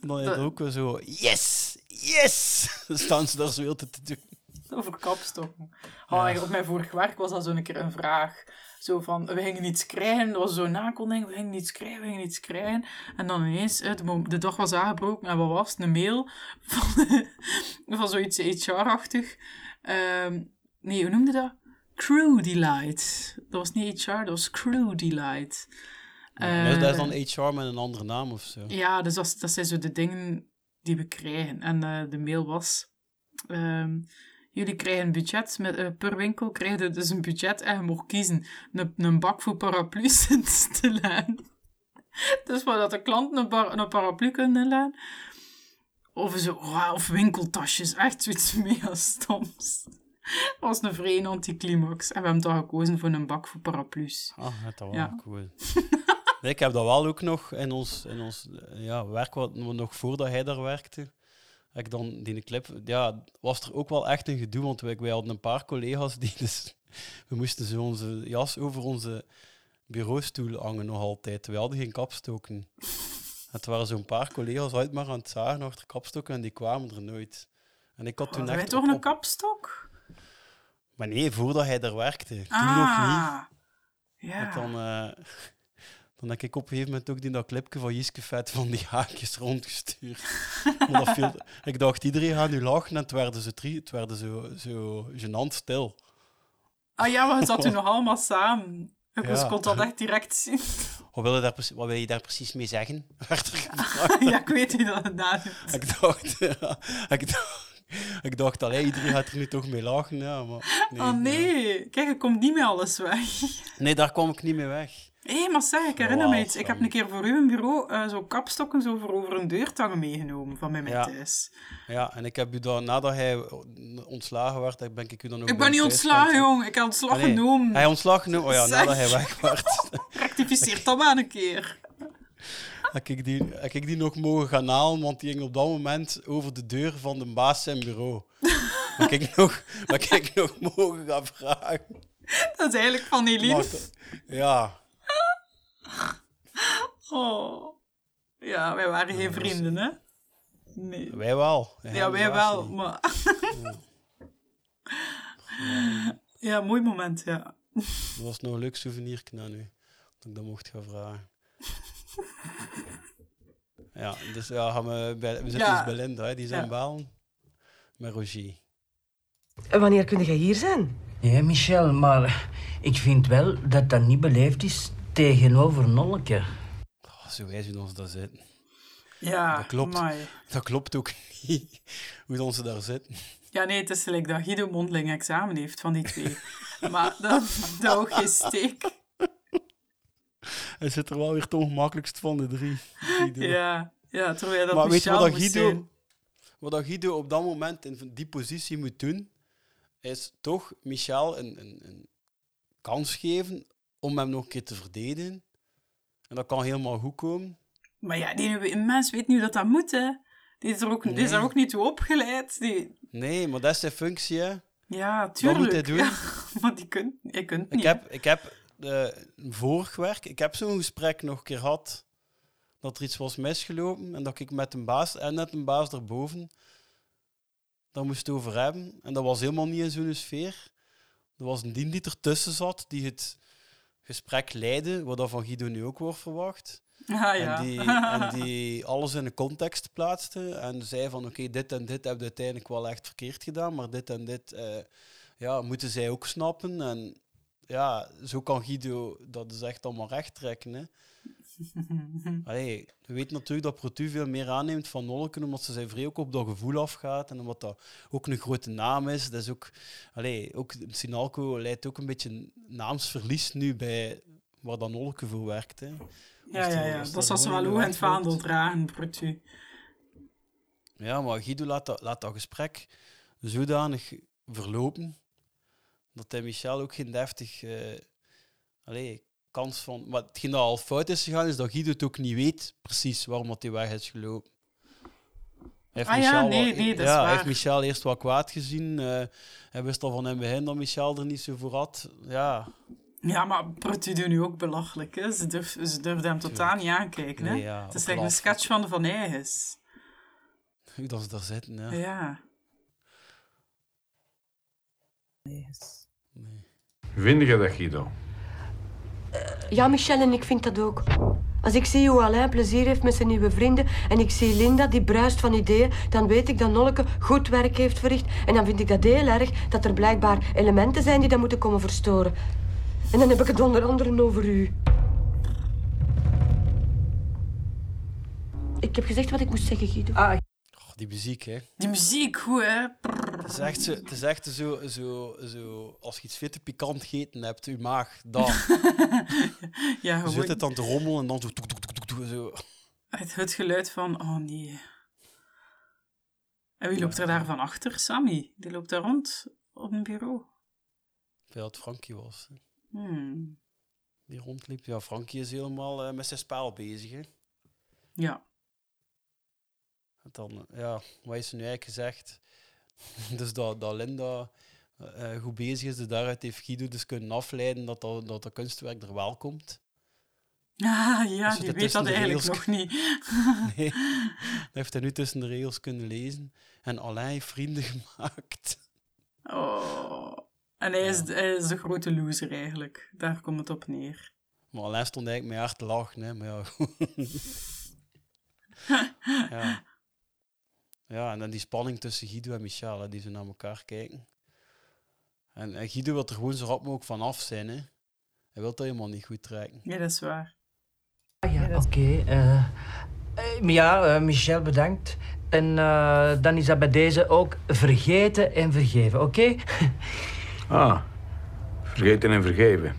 Speaker 4: En dan is het
Speaker 5: De-
Speaker 4: ook weer zo, yes, yes! Dan staan ze daar zo heel te te doen.
Speaker 5: Over kapstokken. Oh, en Op mijn vorig werk was dat zo'n keer een vraag. Zo van, we gingen iets krijgen. Dat was zo'n nakondiging. We gingen iets krijgen, we gingen iets krijgen. En dan ineens, eh, de, mom- de dag was aangebroken. En wat was het? Een mail van, van zoiets HR-achtig. Ehm, nee, hoe noemde dat? Crew Delight. Dat was niet HR, dat was Crew Delight.
Speaker 4: Dus dat is
Speaker 5: Eh,
Speaker 4: dan HR met een andere naam of zo.
Speaker 5: ja, dus dat, dat zijn zo de dingen die we krijgen. En eh, de mail was... ehm, jullie krijgen een budget. Met, eh, per winkel krijg je dus een budget en je mag kiezen. Een, een bak voor paraplu's in te laan. Dus waar dat de klanten een, bar- een paraplu kunnen inlaan. Of, zo, wauw, of winkeltasjes. Echt zoiets mega stoms. Dat was een vreemde anticlimax. En we hebben dan gekozen voor een bak voor paraplu's.
Speaker 4: Ah, dat was
Speaker 5: Ja.
Speaker 4: wel cool. Nee, ik heb dat wel ook nog in ons, in ons eh, ja, werk, wat, nog voordat hij daar werkte. heb Ik dan die clip, ja, was er ook wel echt een gedoe, want wij, wij hadden een paar collega's die dus, we moesten zo onze jas over onze bureaustoel hangen nog altijd. We hadden geen kapstoken. Het waren zo'n paar collega's uit maar aan het zagen achter kapstokken en die kwamen er nooit. En ik had toen
Speaker 5: Hadden wij
Speaker 4: echt...
Speaker 5: Oh,
Speaker 4: op-
Speaker 5: toch een
Speaker 4: op-
Speaker 5: kapstok?
Speaker 4: Maar nee, voordat hij daar werkte. Toen nog
Speaker 5: Ah.
Speaker 4: niet.
Speaker 5: Ja.
Speaker 4: Want dan, eh, dan heb ik op een gegeven moment ook die dat clipje van Jiske Vet van die haakjes rondgestuurd. maar dat viel, ik dacht, iedereen gaat nu lachen en het werden ze, drie, het werden zo, zo gênant stil.
Speaker 5: Ah ja, maar het zat toen nog allemaal samen. Ik
Speaker 4: Ja.
Speaker 5: kon dat echt direct zien.
Speaker 4: Wat wil je daar, precies- wat wil je daar precies mee zeggen? Werd er gevraagd.
Speaker 5: ja, ik weet niet dat het daar
Speaker 4: ik dacht, ja, ik dacht, ik dacht allee, iedereen gaat er nu toch mee lachen. Ja, maar nee.
Speaker 5: oh nee, kijk, je komt niet met alles weg.
Speaker 4: nee, daar kwam ik niet mee weg.
Speaker 5: Hé, maar zeg, ik herinner me
Speaker 4: Wauw,
Speaker 5: iets. Ik heb een keer voor uw bureau eh, zo kapstokken zo voor over een deurtang meegenomen van bij mij thuis.
Speaker 4: Ja, en ik heb u dan, nadat hij ontslagen werd, ben ik u dan ook...
Speaker 5: Ik
Speaker 4: bij
Speaker 5: ben niet
Speaker 4: thuis
Speaker 5: ontslagen,
Speaker 4: gaan-
Speaker 5: jong. Ik heb ontslag
Speaker 4: Ah, nee.
Speaker 5: genomen.
Speaker 4: Hij ontslag genomen. Oh ja,
Speaker 5: Zeg.
Speaker 4: nadat hij weg was,
Speaker 5: Rectificeer dat maar een keer.
Speaker 4: heb ik, die, heb ik die nog mogen gaan halen, want die ging op dat moment over de deur van de baas zijn bureau. Wat ik nog, wat ik nog mogen gaan vragen.
Speaker 5: Dat is eigenlijk van Eline.
Speaker 4: Maar dat- Ja,
Speaker 5: Oh. Ja, wij waren geen vrienden, hè? Nee.
Speaker 4: wij wel. Hij
Speaker 5: Ja, wij
Speaker 4: helaas
Speaker 5: wel,
Speaker 4: niet.
Speaker 5: maar... Ja, mooi moment, ja.
Speaker 4: Dat was nog een leuk souvenir aan u, dat ik dat mocht gaan vragen. Ja, dus ja, gaan we, bij, we zitten
Speaker 13: Ja.
Speaker 4: dus bij Linda, hè, die zijn
Speaker 13: Ja.
Speaker 4: baan met Roger.
Speaker 13: En wanneer kun jij hier zijn?
Speaker 12: Ja, Michel, maar ik vind wel dat dat niet beleefd is tegenover Nolke.
Speaker 4: Oh, zo wijs hoe ons daar zitten.
Speaker 5: Ja,
Speaker 4: dat klopt.
Speaker 5: amai.
Speaker 4: Dat klopt ook niet, hoe dat ze daar zitten.
Speaker 5: Ja, nee, het is gelijk dat Guido mondeling examen heeft van die twee. maar dat, dat ook geen steek.
Speaker 4: Hij zit er wel weer het ongemakkelijkst van, de drie. Guido.
Speaker 5: Ja, ja, terwijl dat
Speaker 4: maar weet je wat
Speaker 5: Michel
Speaker 4: dat
Speaker 5: moest
Speaker 4: Guido,
Speaker 5: zijn.
Speaker 4: wat dat Guido op dat moment in die positie moet doen, is toch Michel een, een, een kans geven om hem nog een keer te verdedigen. En dat kan helemaal goed komen.
Speaker 5: Maar ja, die een mens weet nu dat dat moet, hè. Die is er ook, die is er
Speaker 4: Nee.
Speaker 5: ook niet toe opgeleid. Die...
Speaker 4: Nee, maar dat is zijn functie, hè.
Speaker 5: Ja, tuurlijk.
Speaker 4: Dat moet hij doen.
Speaker 5: Ja, maar die kunt, je kunt
Speaker 4: Ik
Speaker 5: niet.
Speaker 4: heb, ik heb eh, vorig werk, ik heb zo'n gesprek nog een keer gehad dat er iets was misgelopen en dat ik met een baas en net een baas erboven daar moest over hebben. En dat was helemaal niet in zo'n sfeer. Er was een dien die ertussen zat, die het gesprek leidde, wat dat van Guido nu ook wordt verwacht.
Speaker 5: Ah, ja.
Speaker 4: en, die, en die alles in een context plaatste en zei van oké, dit en dit hebben we uiteindelijk wel echt verkeerd gedaan, maar dit en dit eh, ja, moeten zij ook snappen. En ja, zo kan Guido dat dus echt allemaal recht trekken. Hè. Allee, je weet natuurlijk dat Protu veel meer aanneemt van Nolken, omdat ze zijn vrij ook op dat gevoel afgaat en omdat dat ook een grote naam is. Dat is ook, allee, ook Sinalco leidt ook een beetje naamsverlies nu bij waar dan Nolken voor werkt. Hè.
Speaker 5: Ja,
Speaker 4: Als
Speaker 5: ja,
Speaker 4: er-
Speaker 5: ja.
Speaker 4: als
Speaker 5: Dat
Speaker 4: er
Speaker 5: zal ze
Speaker 4: gewoon
Speaker 5: wel
Speaker 4: een
Speaker 5: hoe in het
Speaker 4: werkwoord-
Speaker 5: vaandel dragen, Brutu.
Speaker 4: Ja, maar Guido laat dat, laat dat gesprek zodanig verlopen dat hij Michel ook geen deftig eh, allee, kans van. Maar hetgeen dat al fout is gegaan, is dat Guido het ook niet weet precies waarom dat hij weg is gelopen. Hij heeft
Speaker 5: Ah ja,
Speaker 4: wel-
Speaker 5: nee, nee, dat is
Speaker 4: ja,
Speaker 5: waar.
Speaker 4: Hij heeft Michel eerst wat kwaad gezien. eh, hij wist al van hem begin dat Michel er niet zo voor had. Ja,
Speaker 5: Ja, maar Brutu doet nu ook belachelijk, hè. Ze durft, ze durft hem totaal niet aankijken, hè.
Speaker 4: Nee, ja,
Speaker 5: het is
Speaker 4: ook
Speaker 5: slechts een
Speaker 4: laf.
Speaker 5: sketch van de Van Eyges.
Speaker 4: hoe dat ze daar zitten.
Speaker 5: Ja.
Speaker 4: Ja.
Speaker 11: Vind je dat, Guido?
Speaker 14: Ja, Michel, en ik vind dat ook. Als ik zie hoe Alain plezier heeft met zijn nieuwe vrienden en ik zie Linda die bruist van ideeën, dan weet ik dat Nolke goed werk heeft verricht. En dan vind ik dat heel erg dat er blijkbaar elementen zijn die dat moeten komen verstoren. En dan heb ik het onder andere over u. Ik heb gezegd wat ik moest zeggen, Guido.
Speaker 4: Oh, die muziek, hè.
Speaker 5: Die muziek, goed, hè.
Speaker 4: Het is echt, zo, het is echt zo, zo, zo, als je iets veel te pikant gegeten hebt, je maag, dan.
Speaker 5: Ja,
Speaker 4: Je
Speaker 5: gewoon.
Speaker 4: zit het dan te rommelen en dan zo... toek, toek, toek, toek, toek, zo.
Speaker 5: Het, het geluid van, oh nee. En wie loopt er daar van achter? Sammy. Die loopt daar rond op een bureau.
Speaker 4: Terwijl het Frankie was, hè,
Speaker 5: Hmm.
Speaker 4: die rondliep. Ja, Frankie is helemaal eh, met zijn spel bezig, hè.
Speaker 5: Ja.
Speaker 4: En dan, eh, ja, wat is er nu eigenlijk gezegd? dus dat, dat Linda eh, eh, goed bezig is, dus daaruit heeft Guido dus kunnen afleiden dat dat, dat, dat kunstwerk er wel komt.
Speaker 5: Ah, ja,
Speaker 4: Als je
Speaker 5: die
Speaker 4: dat
Speaker 5: weet
Speaker 4: tussen
Speaker 5: dat
Speaker 4: de
Speaker 5: eigenlijk
Speaker 4: regels-
Speaker 5: nog niet.
Speaker 4: Nee, dat heeft hij nu tussen de regels kunnen lezen. En Alain heeft vrienden gemaakt.
Speaker 5: Oh. En hij is, hij is de grote loser eigenlijk. Daar komt het op neer.
Speaker 4: Maar Alain stond eigenlijk met haar te lachen, hè. Maar ja, ja. ja, en dan die spanning tussen Guido en Michel, hè, die ze naar elkaar kijken. En, en Guido wil er gewoon zo rap mogelijk van af zijn, hè. Hij wil dat helemaal niet goed trekken.
Speaker 5: Ja, dat is waar.
Speaker 12: Oké, eh, eh, maar ja, eh, Michel bedankt. En eh, dan is dat bij deze ook vergeten en vergeven, oké?
Speaker 15: Ah, vergeten en vergeven.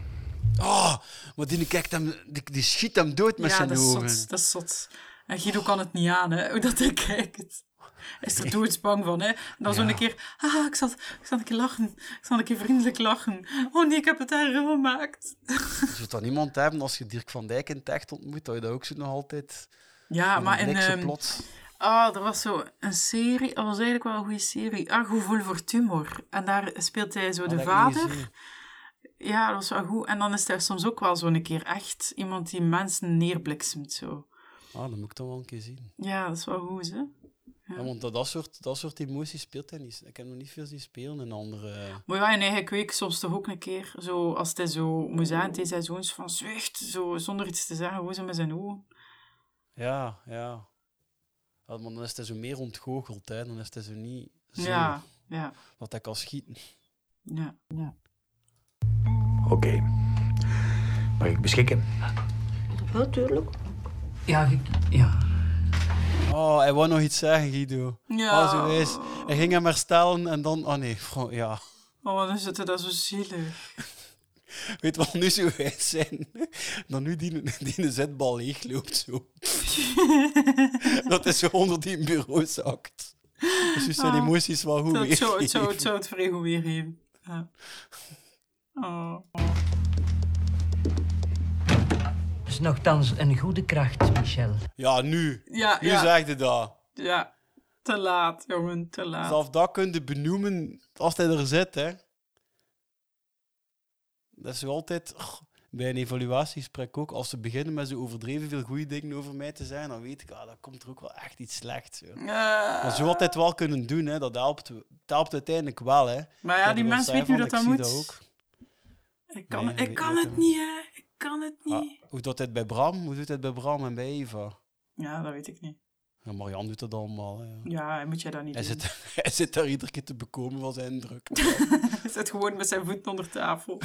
Speaker 4: Oh, maar die, kijkt hem, die, die schiet hem dood met
Speaker 5: ja,
Speaker 4: zijn
Speaker 5: dat is
Speaker 4: ogen.
Speaker 5: zot. Dat is zot. En Guido kan het niet aan, hè, hoe dat hij kijkt. Hij is er doodsbang van, hè. En dan zo'n
Speaker 4: Ja.
Speaker 5: keer, ah, ik zal, ik zal een keer lachen. Ik zal een keer vriendelijk lachen. Oh nee, ik heb het erg gemaakt.
Speaker 4: Je zult dan iemand hebben als je Dirk van Dijk in het echt ontmoet, dat je dat ook zo nog altijd...
Speaker 5: Ja,
Speaker 4: met
Speaker 5: maar
Speaker 4: een
Speaker 5: in,
Speaker 4: blik zo
Speaker 5: ehm,
Speaker 4: plots.
Speaker 5: Ah, er was zo een serie, dat was eigenlijk wel een goede serie. Ah, Gevoel voor Tumor. En daar speelt hij zo
Speaker 4: Ah,
Speaker 5: de
Speaker 4: dat heb ik niet
Speaker 5: vader.
Speaker 4: gezien.
Speaker 5: Ja, dat was wel goed. En dan is hij soms ook wel zo'n keer echt iemand die mensen neerbliksemt. Zo.
Speaker 4: Ah, dat moet ik dan wel een keer zien.
Speaker 5: Ja, dat is wel goed, hè?
Speaker 4: Ja. want dat, dat, soort, dat soort emoties speelt hij niet. Ik heb nog niet veel zien spelen in andere...
Speaker 5: Maar ja, in eigen kweek soms toch ook een keer, zo, als hij zo moet zijn, tegen zijn zoons van zwicht, zo, zonder iets te zeggen, gewoon zo met zijn ogen.
Speaker 4: Ja, ja. Ja, Maar dan is hij zo meer ontgoocheld, hè. Dan is hij zo niet zo
Speaker 5: Ja, ja,
Speaker 4: dat hij kan schieten.
Speaker 5: ja. ja.
Speaker 15: Oké. Mag ik beschikken?
Speaker 13: Natuurlijk.
Speaker 12: Ja, ik- ja.
Speaker 4: Oh, hij wou nog iets zeggen, Guido.
Speaker 5: Ja.
Speaker 4: Ah, zo is. Hij ging hem herstellen en dan... Oh nee, gewoon- ja.
Speaker 5: Oh, dan zit hij daar zo zielig.
Speaker 4: Weet wat nu zo wijs zijn? Dan nu die, die zetbal leegloopt zo. dat is zo onder die bureau zakt. Dus dus zijn
Speaker 5: Ah,
Speaker 4: emoties wel goed
Speaker 5: dat zou, het, zou,
Speaker 4: weergeven.
Speaker 5: het zou het vrij goed weergeven. Ja. Oh.
Speaker 12: Dat is nogthans een goede kracht, Michel.
Speaker 4: Ja, nu.
Speaker 5: Ja,
Speaker 4: nu
Speaker 5: ja.
Speaker 4: zegt hij dat.
Speaker 5: Ja, te laat, jongen, te laat.
Speaker 4: Zelf dat kun je benoemen als hij er zit, hè. Dat is zo altijd... oh, bij een evaluatiegesprek ook, als ze beginnen met zo overdreven veel goede dingen over mij te zeggen, dan weet ik, ah, dan komt er ook wel echt iets slechts. joh. Maar zo altijd wel kunnen doen, hè, dat, helpt, dat helpt uiteindelijk wel. Hè.
Speaker 5: Maar Ah ja,
Speaker 4: Dat
Speaker 5: die
Speaker 4: wil
Speaker 5: mensen
Speaker 4: zeggen
Speaker 5: weten hoe
Speaker 4: van, ik
Speaker 5: dat dat
Speaker 4: zie
Speaker 5: moet.
Speaker 4: ook.
Speaker 5: Ik kan,
Speaker 4: Nee,
Speaker 5: ik
Speaker 4: weet
Speaker 5: kan
Speaker 4: niet,
Speaker 5: het
Speaker 4: hè.
Speaker 5: niet, hè. Ik kan het niet.
Speaker 4: Ah, hoe doet het bij Bram? Hoe doet het bij Bram en bij Eva?
Speaker 5: Ja, dat weet ik niet.
Speaker 4: Ja, Marian doet dat allemaal. Hè.
Speaker 5: Ja, moet jij dat niet
Speaker 4: Hij
Speaker 5: doen.
Speaker 4: zit, hij zit daar iedere keer te bekomen van zijn druk.
Speaker 5: Hij zit gewoon met zijn voeten onder tafel.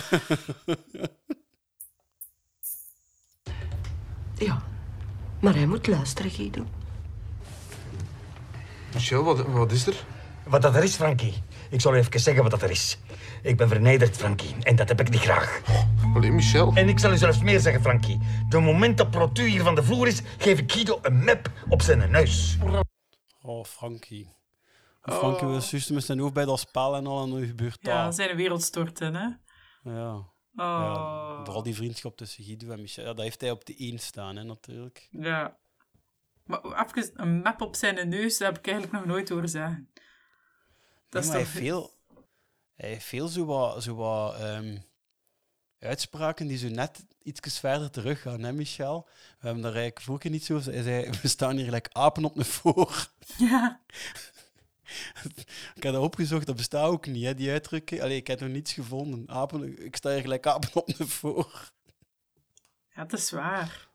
Speaker 14: Ja, maar hij moet luisteren, Guido.
Speaker 11: Michel, wat, wat is er?
Speaker 16: Wat dat er is, Frankie. Ik zal u even zeggen wat dat er is. Ik ben vernederd, Frankie. En dat heb ik niet graag.
Speaker 15: Oh,
Speaker 16: Alleen Michel. En ik zal u zelfs meer zeggen, Frankie. De moment dat Protu hier van de vloer is, geef ik Guido een map op zijn neus.
Speaker 4: Oh, Frankie. Frankie wil juist met zijn hoofd bij dat spel en al, en dan gebeurt dat.
Speaker 5: Oh. Ja, zijn wereld storten, hè. Oh,
Speaker 4: Ja. ja. Vooral die vriendschap tussen Guido en Michel, ja, dat heeft hij op de één staan, hè, natuurlijk.
Speaker 5: Ja. Maar even een map op zijn neus, dat heb ik eigenlijk nog nooit horen zeggen.
Speaker 4: Dat
Speaker 5: is
Speaker 4: maar hij
Speaker 5: toch-
Speaker 4: heeft veel, hij heeft veel zo wat, zo wat ehm, uitspraken die zo net iets verder teruggaan, hè, Michel? We hebben daar eigenlijk vorige keer niet zo over. Hij zei, we staan hier gelijk apen op de voor.
Speaker 5: Ja.
Speaker 4: ik heb dat opgezocht, dat bestaat ook niet, hè, die uitdrukking. Allee, ik heb nog niets gevonden. Apen, ik sta hier gelijk apen op de voor.
Speaker 5: Ja, dat is waar.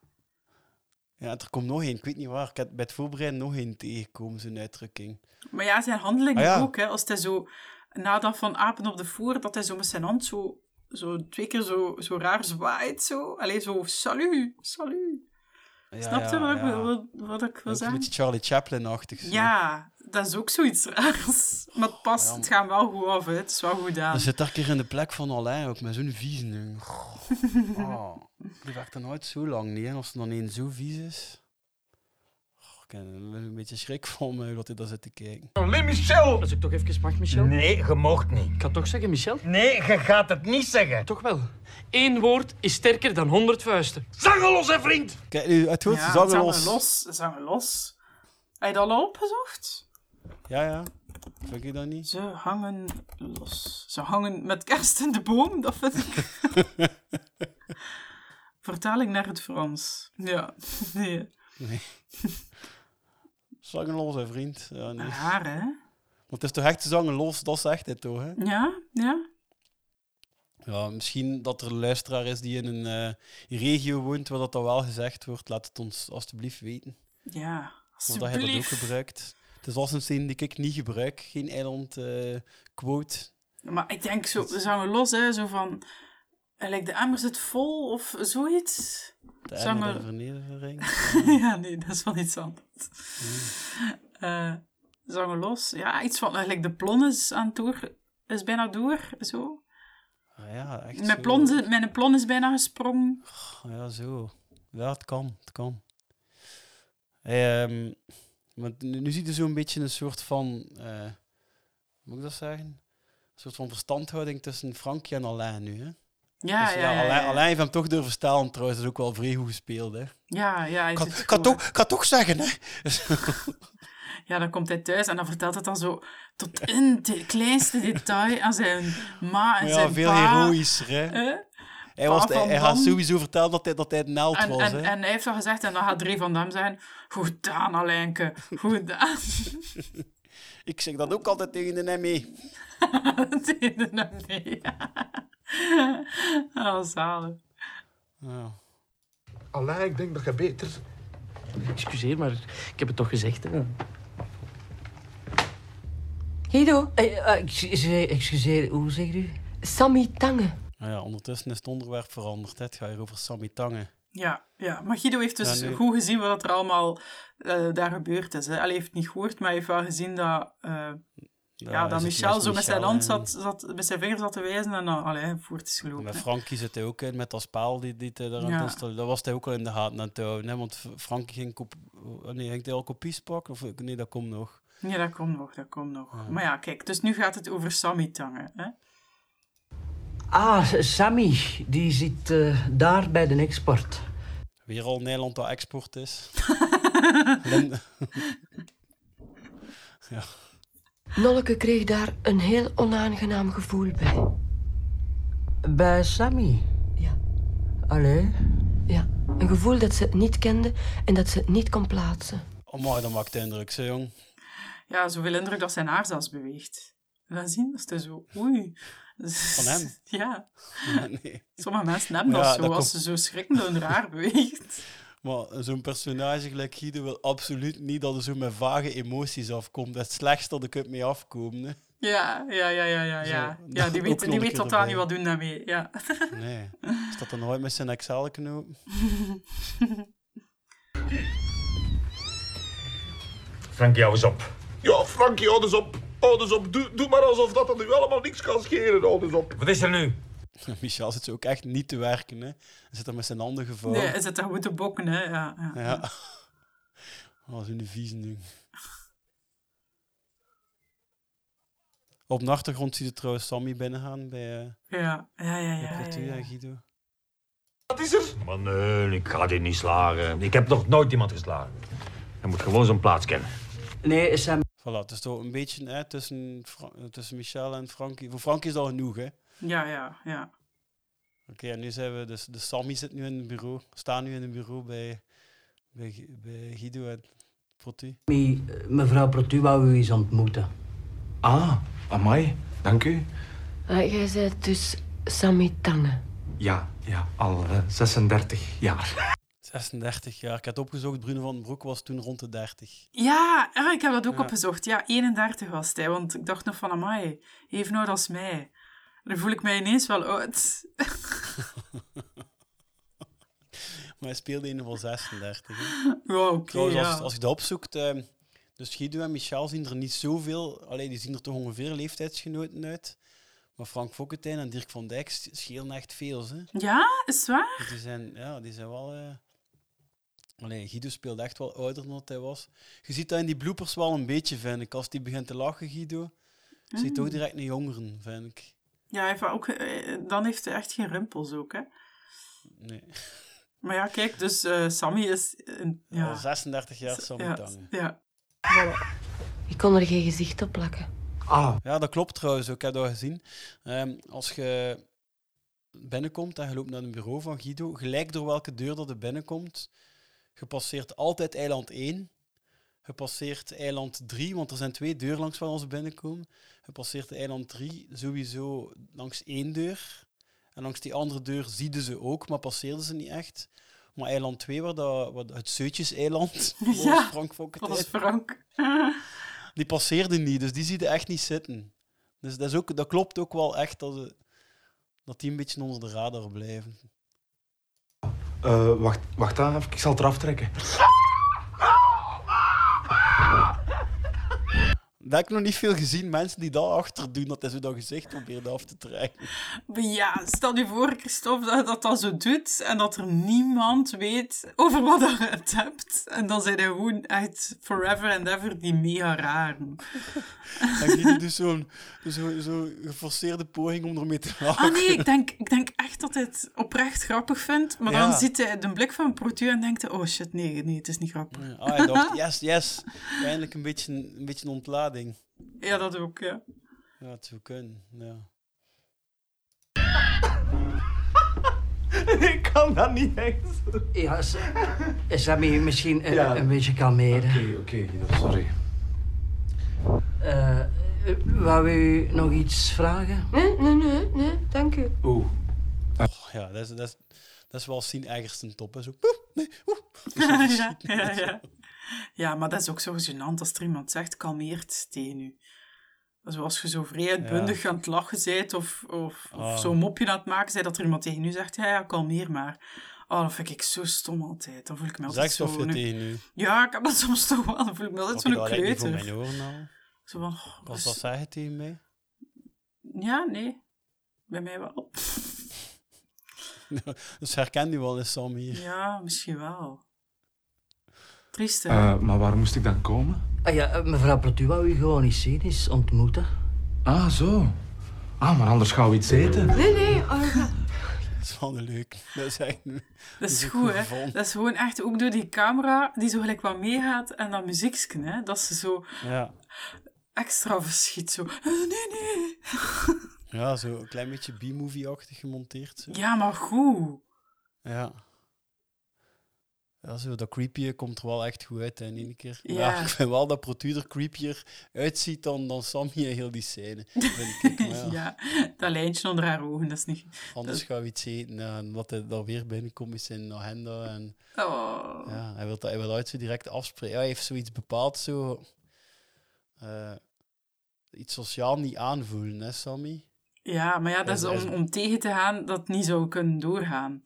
Speaker 4: Ja, er komt nog één, ik weet niet waar. Ik heb bij het voorbereiden nog één tegengekomen, zo'n uitdrukking.
Speaker 5: Maar ja, zijn handelingen
Speaker 4: Ah, ja.
Speaker 5: ook, hè. Als hij zo, na dat van apen op de voer, dat hij zo met zijn hand zo, zo twee keer zo, zo raar zwaait, zo. Allee, zo, salut, salut.
Speaker 4: Ja,
Speaker 5: Snap je
Speaker 4: ja,
Speaker 5: wat, ik-
Speaker 4: ja.
Speaker 5: wat, wat ik wil
Speaker 4: Ook een
Speaker 5: zeggen?
Speaker 4: beetje Charlie Chaplin-achtig. zo.
Speaker 5: Ja, dat is ook zoiets raars. Maar het past, het gaat wel goed af, hè. Het is wel goed aan.
Speaker 4: Dan zit daar keer in de plek van Alain ook, met zo'n vies nu. Oh, die werkt er nooit zo lang niet, hè, als er dan één zo vies is. Oh, ik heb er een beetje schrik van me dat hij daar zit te kijken.
Speaker 16: Alleen Michel!
Speaker 4: Als ik toch even mag,
Speaker 16: Michel? Nee, je moogt niet. Ik
Speaker 17: kan toch zeggen, Michel?
Speaker 16: Nee, je gaat het niet zeggen.
Speaker 17: Toch wel. Eén woord is sterker dan honderd vuisten. Zangelos, hè, vriend!
Speaker 4: Kijk nu, het
Speaker 5: ja, zangen los. Zangen los. Heb je dat al opgezocht?
Speaker 4: Ja, ja. Vind ik dat niet?
Speaker 5: Ze hangen los. Ze hangen met kerst in de boom, dat vind ik. Vertaling naar het Frans. Ja. Nee.
Speaker 4: Nee. Zangen los, hè, vriend. Ja, nee.
Speaker 5: Haar, hè?
Speaker 4: Want het is toch echt zangen los, dat zegt het toch, hè?
Speaker 5: Ja, ja.
Speaker 4: Ja, misschien dat er een luisteraar is die in een eh, regio woont waar dat dan wel gezegd wordt. Laat het ons alstublieft weten.
Speaker 5: Ja,
Speaker 4: Of dat je dat ook
Speaker 5: alstublieft.
Speaker 4: gebruikt. Het is als een zin die ik niet gebruik. Geen eiland eh, quote.
Speaker 5: Maar ik denk zo, zangen los, hè? Zo van. eh, Like de emmer zit vol of zoiets.
Speaker 4: De
Speaker 5: Zangen-
Speaker 4: emmer der vernedering.
Speaker 5: ja, nee, dat is wel iets anders.
Speaker 4: Mm.
Speaker 5: Eh, zangen los. Ja, iets van eigenlijk de plonnes aan toer is bijna door. Zo.
Speaker 4: Ah, ja, echt
Speaker 5: Mijn,
Speaker 4: zo.
Speaker 5: plonze, mijn plon is bijna gesprongen.
Speaker 4: Ah, Ja, zo. Ja, het kan. Het kan. Ehm, want nu, nu zie je zo'n beetje een soort van... eh, hoe moet ik dat zeggen? Een soort van verstandhouding tussen Frankie en Alain nu, hè?
Speaker 5: Ja,
Speaker 4: Dus
Speaker 5: ja, ja, ja,
Speaker 4: Alain,
Speaker 5: ja.
Speaker 4: Alain heeft hem toch durven staan, trouwens. Dat is ook wel vrij goed gespeeld, hè?
Speaker 5: Ja, ja. hij
Speaker 4: Ik had-
Speaker 5: zit
Speaker 4: ik had
Speaker 5: gewoon-
Speaker 4: toch- ik had toch zeggen, hè?
Speaker 5: Ja, dan komt hij thuis en dan vertelt het dan zo tot in het kleinste detail aan zijn ma en
Speaker 4: Maar
Speaker 5: zijn
Speaker 4: ja, veel
Speaker 5: pa.
Speaker 4: heroïscher, hè?
Speaker 5: Eh?
Speaker 4: Hij, was,
Speaker 5: Pa
Speaker 4: hij,
Speaker 5: van
Speaker 4: hij gaat
Speaker 5: Dam.
Speaker 4: sowieso vertellen dat hij, dat hij het naald
Speaker 5: En,
Speaker 4: was,
Speaker 5: en,
Speaker 4: hè?
Speaker 5: en hij heeft dat gezegd en dan gaat Drie van Dam zijn. Goed gedaan, Alijnke. Goed gedaan.
Speaker 4: Ik zeg dat ook altijd tegen de ME.
Speaker 5: tegen de ME. Oh, zalig.
Speaker 18: Alain, ik denk dat je beter...
Speaker 17: Excuseer, maar ik heb het toch gezegd, hè?
Speaker 14: Guido,
Speaker 12: Eh, eh, excuseer, excuseer, hoe zegt u?
Speaker 14: Sammy Tange.
Speaker 4: Nou ja, ondertussen is het onderwerp veranderd, hè? Het gaat hier over Sammy Tangen.
Speaker 5: Ja, ja, maar Guido heeft dus
Speaker 4: Ja, nu-
Speaker 5: goed gezien wat er allemaal eh, daar gebeurd is. Hè. Allee, hij heeft het niet gehoord, maar hij heeft wel gezien dat, eh, ja,
Speaker 4: hij
Speaker 5: dat
Speaker 4: zit
Speaker 5: Michel
Speaker 4: met
Speaker 5: zo met zijn
Speaker 4: Michel
Speaker 5: hand
Speaker 4: en-
Speaker 5: zat, zat, met zijn vinger zat te wijzen en dan allee, voort is gelopen.
Speaker 4: Met
Speaker 5: hè.
Speaker 4: Frankie zit hij ook in, met dat spaal die, die hij daar aan
Speaker 5: Ja.
Speaker 4: het installeren. Dat was hij ook al in de gaten aan het houden, hè? Want F- Frankie ging, kop... oh, nee, ging hij al kopies pakken? Of... Nee, dat komt nog.
Speaker 5: Ja, dat komt nog, dat komt nog.
Speaker 4: Ja.
Speaker 5: Maar ja, kijk, dus nu gaat het over Sammy Tangen. Hè?
Speaker 12: Ah, S- Sammy, die zit eh, daar bij de export.
Speaker 4: Weer al Nederland dat export is. Linde- ja.
Speaker 14: Nolke kreeg daar een heel onaangenaam gevoel bij.
Speaker 12: Bij Sammy? Ja. Allee?
Speaker 14: Ja, een gevoel dat ze het niet kende en dat ze het niet kon plaatsen.
Speaker 4: Oh, maar dat maakt indruk, zo jong.
Speaker 5: Ja, zoveel indruk dat zijn haar zelfs beweegt. Dan zien dat is dus zo, oei.
Speaker 4: Van hem?
Speaker 5: Ja.
Speaker 4: Ja, nee.
Speaker 5: Sommige mensen hebben
Speaker 4: Maar ja,
Speaker 5: dat zo,
Speaker 4: dat
Speaker 5: als
Speaker 4: komt-
Speaker 5: ze zo schrikken dat hun haar beweegt.
Speaker 4: Maar zo'n personage gelijk Guido wil absoluut niet dat er zo met vage emoties afkomt. Dat is het slechtste dat ik het mee afkom. Hè.
Speaker 5: Ja, ja, ja, ja, ja. Ja,
Speaker 4: Zo,
Speaker 5: ja die
Speaker 4: ook
Speaker 5: weet,
Speaker 4: nog
Speaker 5: die
Speaker 4: een
Speaker 5: weet
Speaker 4: keer
Speaker 5: totaal
Speaker 4: erbij.
Speaker 5: niet wat doen daarmee. Ja.
Speaker 4: Nee. Is dat dan nooit met zijn Excel knoop?
Speaker 16: Frankie, hou eens op.
Speaker 11: Ja, Frankie, houd eens op. Oh. Houd eens op. Doe, doe maar alsof dat dat nu allemaal niks kan scheren. Houd eens op.
Speaker 16: Wat is er nu?
Speaker 4: Michel zit zo ook echt niet te werken. Hè. Hij zit er met zijn handen gevouwen.
Speaker 5: Nee, hij zit daar goed te bokken, hè. Ja, ja.
Speaker 4: Oh. Ja. Oh, zo'n vieze ding. Op de achtergrond ziet je trouwens Sammy binnengaan bij eh
Speaker 5: Ja, ja, ja,
Speaker 4: bij
Speaker 5: ja, ja,
Speaker 4: Portu
Speaker 5: ja.
Speaker 4: en Guido.
Speaker 16: Wat is er? Maar nee, ik ga dit niet slagen. Ik heb nog nooit iemand geslagen. Hij moet gewoon zijn plaats kennen.
Speaker 12: Nee, Sammy.
Speaker 4: Voilà, het is toch een beetje hè, tussen, Fra- eh, tussen Michel en Frankie. Voor Frankie is dat genoeg, hè?
Speaker 5: Ja, ja, ja.
Speaker 4: Oké, en nu zijn we dus. De Sammy zit nu in het bureau, staan nu in het bureau bij, bij, Gu- bij Guido en Protu.
Speaker 12: Sammy, eh, mevrouw Protu wou u eens ontmoeten.
Speaker 15: Ah, amai, dank u.
Speaker 14: Ah, jij bent dus Sammy Tange.
Speaker 15: Ja, ja, al eh, 36 jaar.
Speaker 4: 36 jaar. Ik had opgezocht, Bruno van den Broek was toen rond de 30.
Speaker 5: Ja, ah, ik heb dat ook
Speaker 4: Ja.
Speaker 5: opgezocht. Ja, 31 was hij, want ik dacht nog van, amai, even oud als mij. Dan voel ik mij ineens wel oud.
Speaker 4: Maar hij speelde in ieder geval 36. hè.
Speaker 5: Ja, oké,
Speaker 4: Trouwens, als,
Speaker 5: ja.
Speaker 4: als je dat opzoekt, ehm, dus Guido en Michel zien er niet zoveel, alleen die zien er toch ongeveer leeftijdsgenoten uit. Maar Frank Fokkentijn en Dirk van Dijk s- schelen echt veel. Hè?
Speaker 5: Ja, is het waar?
Speaker 4: Dus Die zijn, ja, die zijn wel. eh, Allee, Guido speelde echt wel ouder dan dat hij was. Je ziet dat in die bloepers wel een beetje, vind ik. Als die begint te lachen, Guido, ziet zie je toch
Speaker 5: Mm.
Speaker 4: direct een jongeren, vind ik.
Speaker 5: Ja, hij heeft wel ook, eh, dan heeft hij echt geen rimpels ook, hè.
Speaker 4: Nee.
Speaker 5: Maar ja, kijk, dus eh, Sammy is... een- ja.
Speaker 4: Al 36 jaar Sammy
Speaker 5: ja,
Speaker 4: Tange.
Speaker 5: ja.
Speaker 14: Ik kon er geen gezicht op plakken.
Speaker 4: Ah. Ja, dat klopt trouwens. ook, Ik heb dat gezien. Ehm, als je binnenkomt en je loopt naar het bureau van Guido, gelijk door welke deur dat er binnenkomt, je passeert altijd eiland 1. Je passeert eiland 3, want er zijn twee deuren langs waar ons binnenkomen. Je passeert eiland 3 sowieso langs één deur. En langs die andere deur zieden ze ook, maar passeerden ze niet echt. Maar eiland 2, waar dat, wat het Zeutjes-eiland, volgens
Speaker 5: Ja,
Speaker 4: Frank Fokke
Speaker 5: volgens
Speaker 4: tijd,
Speaker 5: Frank.
Speaker 4: die passeerde niet, dus die zie je echt niet zitten. Dus dat, is ook, dat klopt ook wel echt dat, ze- dat die een beetje onder de radar blijven.
Speaker 15: Eh, wacht, wacht aan, even, ik zal het eraf trekken.
Speaker 4: Dat heb ik nog niet veel gezien, mensen die dat achter doen, dat is hoe dat gezicht probeerde af te trekken.
Speaker 5: Maar ja, stel je voor, Christophe, dat je dat dan zo doet en dat er niemand weet over wat dat je het hebt. En dan zijn er gewoon echt forever and ever die mega raar.
Speaker 4: En Guido doet dus zo'n zo, zo geforceerde poging om ermee te lachen.
Speaker 5: Ah nee, ik denk, ik denk echt dat hij het oprecht grappig vindt, maar
Speaker 4: Ja.
Speaker 5: dan ziet hij de blik van Protu en denkt hij, oh shit, nee, nee, het is niet grappig.
Speaker 4: Ah, hij dacht, yes, yes. Eindelijk een beetje, een beetje ontlading.
Speaker 5: Ja, dat ook, ja.
Speaker 4: Ja, het zou kunnen, ja.
Speaker 12: Ik kan dat niet eens. Ja, is dat misschien eh,
Speaker 15: Ja.
Speaker 12: een beetje kalmeren?
Speaker 15: Oké, oké, Guido, sorry.
Speaker 12: Eh, eh, wou u nog iets vragen?
Speaker 14: Nee, nee, nee, nee, dank u.
Speaker 15: Oeh.
Speaker 4: Oh, ja, dat is, dat is, dat is wel Sien Eigersten top. Hè. Zo, poep, nee, oeh.
Speaker 5: ja, ja, ja. ja, maar dat is ook zo gênant als er iemand zegt, kalmeert tegen u. Zoals je zo vrij uitbundig aan het lachen bent of, of, of
Speaker 4: Ah.
Speaker 5: zo'n mopje aan het maken bent, dat er iemand tegen u zegt, ja, ja, kalmeer maar. Oh, dat vind ik zo stom altijd. Dan voel ik me altijd
Speaker 4: Zeg
Speaker 5: zo...
Speaker 4: Sofje
Speaker 5: een-
Speaker 4: tegen u.
Speaker 5: Ja, ik heb dat soms toch wel. Dan voel ik me
Speaker 4: Pak
Speaker 5: altijd
Speaker 4: je
Speaker 5: zo'n
Speaker 4: dat eigenlijk niet voor mijn
Speaker 5: kleuter.
Speaker 4: oren nou?
Speaker 5: Zo van, oh,
Speaker 4: Als
Speaker 5: dus-
Speaker 4: dat zeggen tegen mij?
Speaker 5: Ja, nee. Bij mij wel.
Speaker 4: dus herken je wel eens Sam hier.
Speaker 5: Ja, misschien wel. Triest, hè?
Speaker 15: Eh, maar waar moest ik dan komen?
Speaker 12: Ah ja, eh, mevrouw Protu wou u gewoon eens zien, eens ontmoeten.
Speaker 15: Ah, zo. Ah, maar anders gaan we iets eten.
Speaker 14: Nee, nee, eh,
Speaker 4: Dat is wel een leuk. Dat is echt een-
Speaker 5: Dat is
Speaker 4: een
Speaker 5: goed, hè?
Speaker 4: gevonden.
Speaker 5: Dat is gewoon echt ook door die camera die zo gelijk wat meegaat en dat muziekje, hè? Dat ze zo
Speaker 4: Ja.
Speaker 5: extra verschiet. Zo, "Eh, nee, nee.
Speaker 4: ja, zo een klein beetje B-movie-achtig gemonteerd. Zo.
Speaker 5: Ja, maar goed.
Speaker 4: Ja. Ja, zo, dat creepy komt er wel echt goed uit hè, in één keer. Maar
Speaker 5: Ja.
Speaker 4: Ja. ik vind wel dat Protuur er creepier uitziet dan, dan Sammy en heel die scène. Vind ik. Maar
Speaker 5: Ja.
Speaker 4: Oh ja,
Speaker 5: dat lijntje onder haar ogen, dat is niet...
Speaker 4: Anders gaan we iets eten en wat hij dan weer binnenkomt is zijn agenda. En,
Speaker 5: Oh.
Speaker 4: ja, hij wil dat hij wil uit zo direct afspreken. Ja, hij heeft zoiets bepaald, zo, eh, iets sociaal niet aanvoelen, hè Sammy?
Speaker 5: Ja, maar ja, dat is
Speaker 4: Hij- hij
Speaker 5: om, om tegen te gaan dat het niet zou kunnen doorgaan.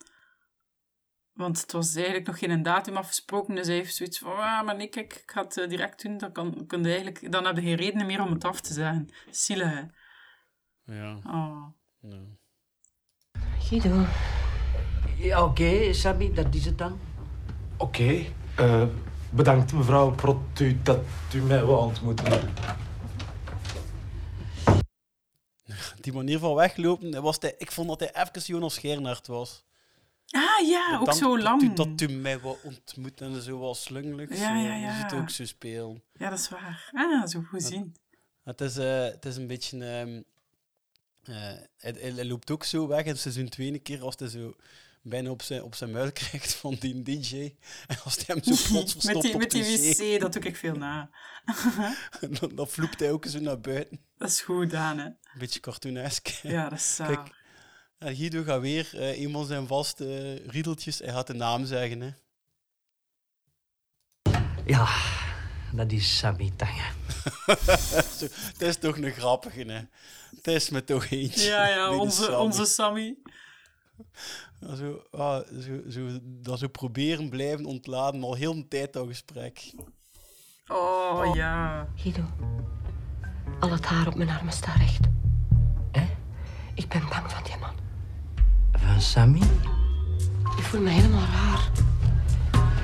Speaker 5: Want het was eigenlijk nog geen datum afgesproken, dus hij heeft zoiets van, ah, maar nee, kijk, ik ga het eh, direct doen, dan, kan, kun je eigenlijk, dan heb je geen reden meer om het af te zeggen. Zielig, hè?
Speaker 4: Ja.
Speaker 5: Oh.
Speaker 4: Ja.
Speaker 12: Guido. Ja, oké, Sammy, dat is het dan.
Speaker 15: Oké. eh, bedankt, mevrouw Protu, dat u mij wil ontmoeten.
Speaker 4: Die manier van weglopen, dat was hij, ik vond dat hij even Jonas Geernaert was.
Speaker 5: Ah ja, ook
Speaker 4: Bedankt
Speaker 5: zo
Speaker 4: dat
Speaker 5: lang.
Speaker 4: u- Dat u mij wel ontmoet en zo wel slungelijk.
Speaker 5: Ja,
Speaker 4: zo.
Speaker 5: ja, ja.
Speaker 4: Je ziet ook zo spelen.
Speaker 5: Ja, dat is waar. Ah, zo goed zien.
Speaker 4: Het is, eh, het is een beetje... ehm, eh, hij, hij- hij loopt ook zo weg in seizoen 2 een keer als hij zo bijna op zijn, op zijn muil krijgt van die DJ. En als hij hem zo plots verstopt
Speaker 5: Met die,
Speaker 4: op
Speaker 5: met die
Speaker 4: het
Speaker 5: wc, dat doe ik veel na.
Speaker 4: dan, dan vloept hij ook zo naar buiten.
Speaker 5: Dat is goed, Daan, hè.
Speaker 4: Een beetje cartoonesk.
Speaker 5: Ja, dat is zalig.
Speaker 4: Kijk, en Guido gaat weer eh, een van zijn vaste eh, riedeltjes. Hij gaat de naam zeggen, hè.
Speaker 12: Ja, dat is Sammy Tange.
Speaker 4: Zo, Het is toch een grappige, hè. Het is me toch eentje.
Speaker 5: Ja, ja,
Speaker 4: die de
Speaker 5: onze,
Speaker 4: Sammy.
Speaker 5: onze Sammy.
Speaker 4: Ja, Zo, ah, zo, zo, dat ze proberen blijven ontladen, al heel een tijd dat gesprek.
Speaker 5: Oh, ja.
Speaker 14: Guido, al het haar op mijn armen staat recht. Hè? Ik ben bang van die man.
Speaker 12: Van Sammy?
Speaker 14: Ik voel me helemaal raar.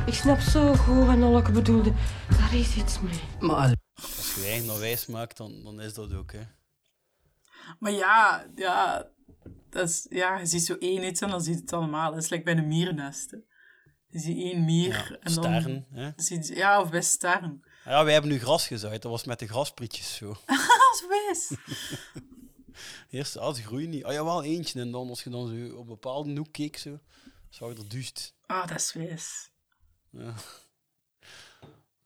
Speaker 14: Ik snap zo goed wat Nolke bedoelde. Daar is iets mee.
Speaker 12: Maar...
Speaker 4: Als je eigen dat wijs maakt, dan, dan is dat ook, hè.
Speaker 5: Maar ja, ja, dat is, ja, je ziet zo één iets en dan ziet het allemaal. Dat is like bij een mierennest. hè. Je ziet één
Speaker 4: Ja,
Speaker 5: mier en dan...
Speaker 4: sterren, hè.
Speaker 5: Zie je- ja, of bij sterren.
Speaker 4: Ah Ja, wij hebben nu gras gezaaid. Dat was met de grasprietjes zo.
Speaker 5: Haha, zo is.
Speaker 4: Eerst, ah, ze groeien niet. Ah, jawel, eentje. En dan, als je dan zo op een bepaalde hoek keek, zo, zag je er duist.
Speaker 5: Ah, dat is wijs.
Speaker 4: Ja.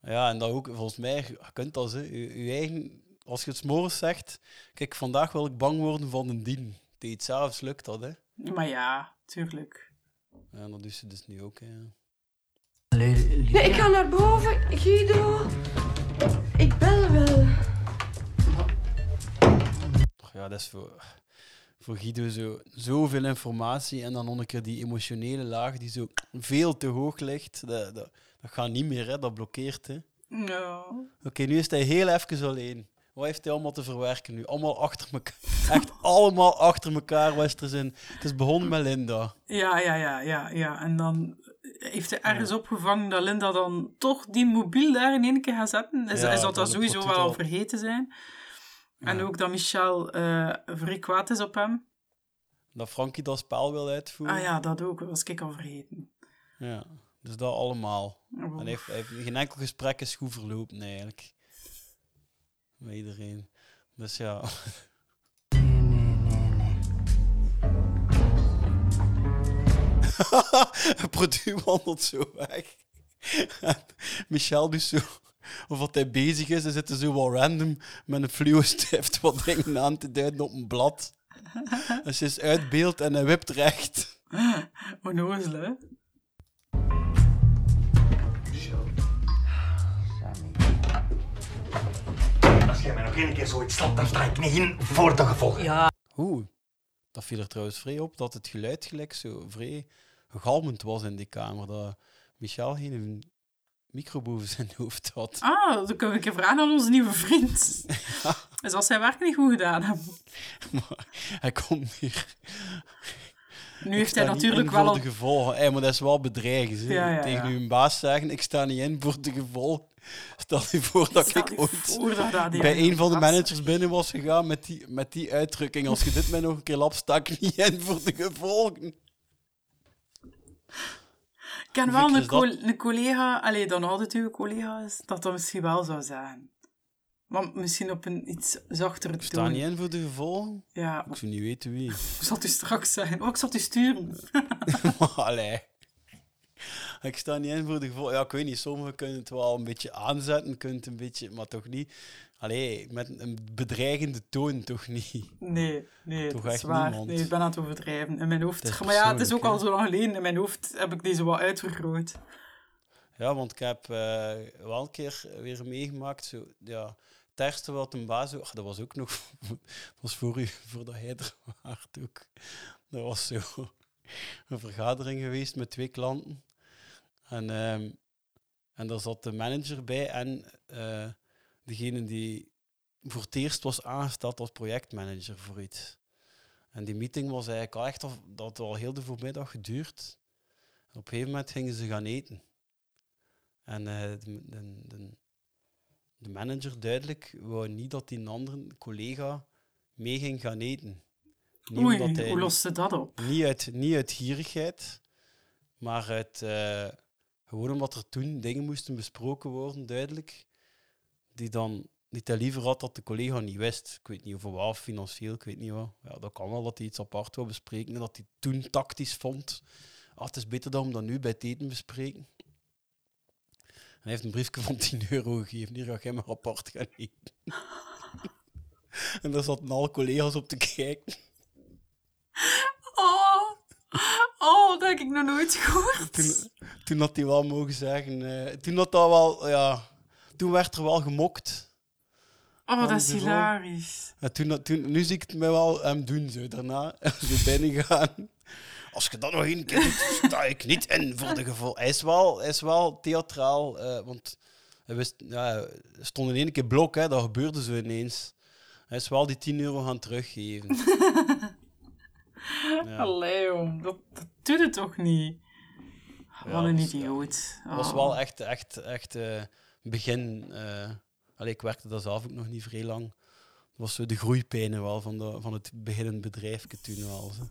Speaker 4: Ah ja, en dat ook, volgens mij, je kunt dat, hè, je, je eigen... Als je het 's morgens zegt, kijk, vandaag wil ik bang worden van een dien. Tegen het s'avonds lukt dat, hè.
Speaker 5: Maar ja, tuurlijk.
Speaker 4: Ja, dat doet ze dus nu ook, hè.
Speaker 14: Nee, ik ga naar boven, Guido. Ik bel wel.
Speaker 4: Och ja, dat is voor, voor Guido zo, zoveel informatie en dan nog een keer die emotionele laag die zo veel te hoog ligt. Dat, dat, dat gaat niet meer, hè? dat blokkeert. Hè?
Speaker 5: No.
Speaker 4: Oké, nu is hij heel even alleen. Wat heeft hij allemaal te verwerken nu? Allemaal achter elkaar. Echt allemaal achter elkaar, Westerzin. Het is begonnen met Linda.
Speaker 5: Ja, ja, ja, ja, ja. En dan heeft hij ergens opgevangen dat Linda dan toch die mobiel daar in één keer gaat zetten. Hij,
Speaker 4: Ja,
Speaker 5: hij zal dat
Speaker 4: dat
Speaker 5: sowieso
Speaker 4: wordt
Speaker 5: wel
Speaker 4: het
Speaker 5: al
Speaker 4: al.
Speaker 5: vergeten zijn. En ook dat Michel eh vrij kwaad is op hem.
Speaker 4: Dat Frankie dat spel wil uitvoeren.
Speaker 5: Ah ja, dat ook. Dat was ik al vergeten.
Speaker 4: Ja, dus dat allemaal.
Speaker 5: Oh.
Speaker 4: En hij heeft, hij heeft geen enkel gesprek is goed verlopen eigenlijk. Met iedereen. Dus ja. Produ wandelt zo weg. En Michel doet zo. Of wat hij bezig is, hij zit er zo wel random met een fluo stift wat dingen aan te duiden op een blad. En ze is uit beeld en hij wipt recht.
Speaker 5: Onnozel, hè?
Speaker 16: Als jij mij nog één keer zoiets slapt, dan sta ik niet in voor de gevolgen.
Speaker 4: Ja. Oeh, dat viel er trouwens vrij op dat het geluid gelijk zo vrij galmend was in die kamer. Dat Michel geen micro boven zijn hoofd had.
Speaker 5: Ah, dan kunnen we een keer vragen aan onze nieuwe vriend. Hij zal zijn werk niet goed gedaan hebben. Ah.
Speaker 4: Maar hij komt hier.
Speaker 5: Nu
Speaker 4: Ik
Speaker 5: heeft
Speaker 4: sta
Speaker 5: hij
Speaker 4: niet
Speaker 5: natuurlijk
Speaker 4: in
Speaker 5: wel
Speaker 4: voor
Speaker 5: al-
Speaker 4: de gevolgen. Hey, maar dat is wel bedreigend. hè.
Speaker 5: Ja, ja,
Speaker 4: Tegen
Speaker 5: ja.
Speaker 4: uw baas zeggen, ik sta niet in voor de gevolgen. Stel je voor dat ik ooit
Speaker 5: voor dat dat die
Speaker 4: bij
Speaker 5: mensen
Speaker 4: een van de
Speaker 5: vast-
Speaker 4: managers binnen was gegaan met die, met die uitdrukking. Als je dit mij nog een keer lapt, sta ik niet in voor de gevolgen.
Speaker 5: Ik ken wel
Speaker 4: Vicky,
Speaker 5: een,
Speaker 4: is Dus dat-
Speaker 5: col- een collega, allee, dan altijd uw collega is, dat dat misschien wel zou zijn. Maar misschien op een iets zachtere
Speaker 4: Ik sta
Speaker 5: toon.
Speaker 4: niet in voor de gevolgen.
Speaker 5: Ja,
Speaker 4: Ik zou niet weten wie.
Speaker 5: ik zal het u straks zijn. Oh, ik zal het u sturen.
Speaker 4: Maar Allee. Ik sta niet in voor de gevolgen. Ja, ik weet niet. Sommigen kunnen het wel een beetje aanzetten, kunnen het een beetje, maar toch niet. Allee, met een bedreigende toon toch niet.
Speaker 5: Nee, nee,
Speaker 4: Toch
Speaker 5: dat is
Speaker 4: echt
Speaker 5: waar.
Speaker 4: niemand.
Speaker 5: Nee, ik ben aan het overdrijven. In mijn
Speaker 4: Het
Speaker 5: hoofd.
Speaker 4: is
Speaker 5: Maar ja, het is ook al
Speaker 4: persoonlijk,
Speaker 5: zo lang geleden. In mijn hoofd heb ik deze wel uitvergroot.
Speaker 4: Ja, want ik heb eh, wel een keer weer meegemaakt. Zo, ja, het ergste wat een baas... Ach, dat was ook nog... was voor u, voordat hij er waart ook. Dat was zo een vergadering geweest met twee klanten. En, ehm, en daar zat de manager bij en eh, degene die voor het eerst was aangesteld als projectmanager voor iets. En die meeting was eigenlijk al echt... al- Dat had al heel de voormiddag geduurd. En op een gegeven moment gingen ze gaan eten. En eh, de, de, de, de manager duidelijk wou niet dat die andere collega mee ging gaan eten.
Speaker 5: Oei,
Speaker 4: omdat hij
Speaker 5: hoe lost ze dat op?
Speaker 4: Niet uit, niet uit gierigheid, maar uit, eh, gewoon omdat er toen dingen moesten besproken worden, duidelijk, die dan die hij liever had dat de collega niet wist. Ik weet niet over wat, financieel, ik weet niet wat. Ja, dat kan wel dat hij iets apart wil bespreken en dat hij toen tactisch vond. Ah, het is beter dan om dat nu bij het eten bespreken. En hij heeft een briefje van 10 euro gegeven. Hier ga jij maar apart gaan eten. en daar zaten al collega's op te kijken.
Speaker 5: Oh, oh, dat heb ik nog nooit gehoord.
Speaker 4: Toen, toen had hij wel mogen zeggen... eh, toen, had dat wel, ja, toen werd er wel gemokt.
Speaker 5: Oh, dat
Speaker 4: Van
Speaker 5: is
Speaker 4: de rol.
Speaker 5: hilarisch.
Speaker 4: Ja, toen, toen, nu zie ik het mij wel hem doen, zo, daarna. zo binnen gaan. Als je dat nog één keer doet, sta ik niet in voor de gevolgen. Hij is wel, hij is wel theatraal, eh, want hij wist, ja, hij stond in één keer blok, hè, dat gebeurde zo ineens. Hij is wel die 10 euro gaan teruggeven. Ja.
Speaker 5: Allee, jong, dat, dat doet het toch niet? Wat een
Speaker 4: was-
Speaker 5: idioot.
Speaker 4: Het was
Speaker 5: Oh.
Speaker 4: wel echt, echt, echt eh, begin. eh, allee, ik werkte daar zelf ook nog niet vrij lang. Het was zo de groeipijnen wel van, de, van het beginnend bedrijfje toen wel. zo.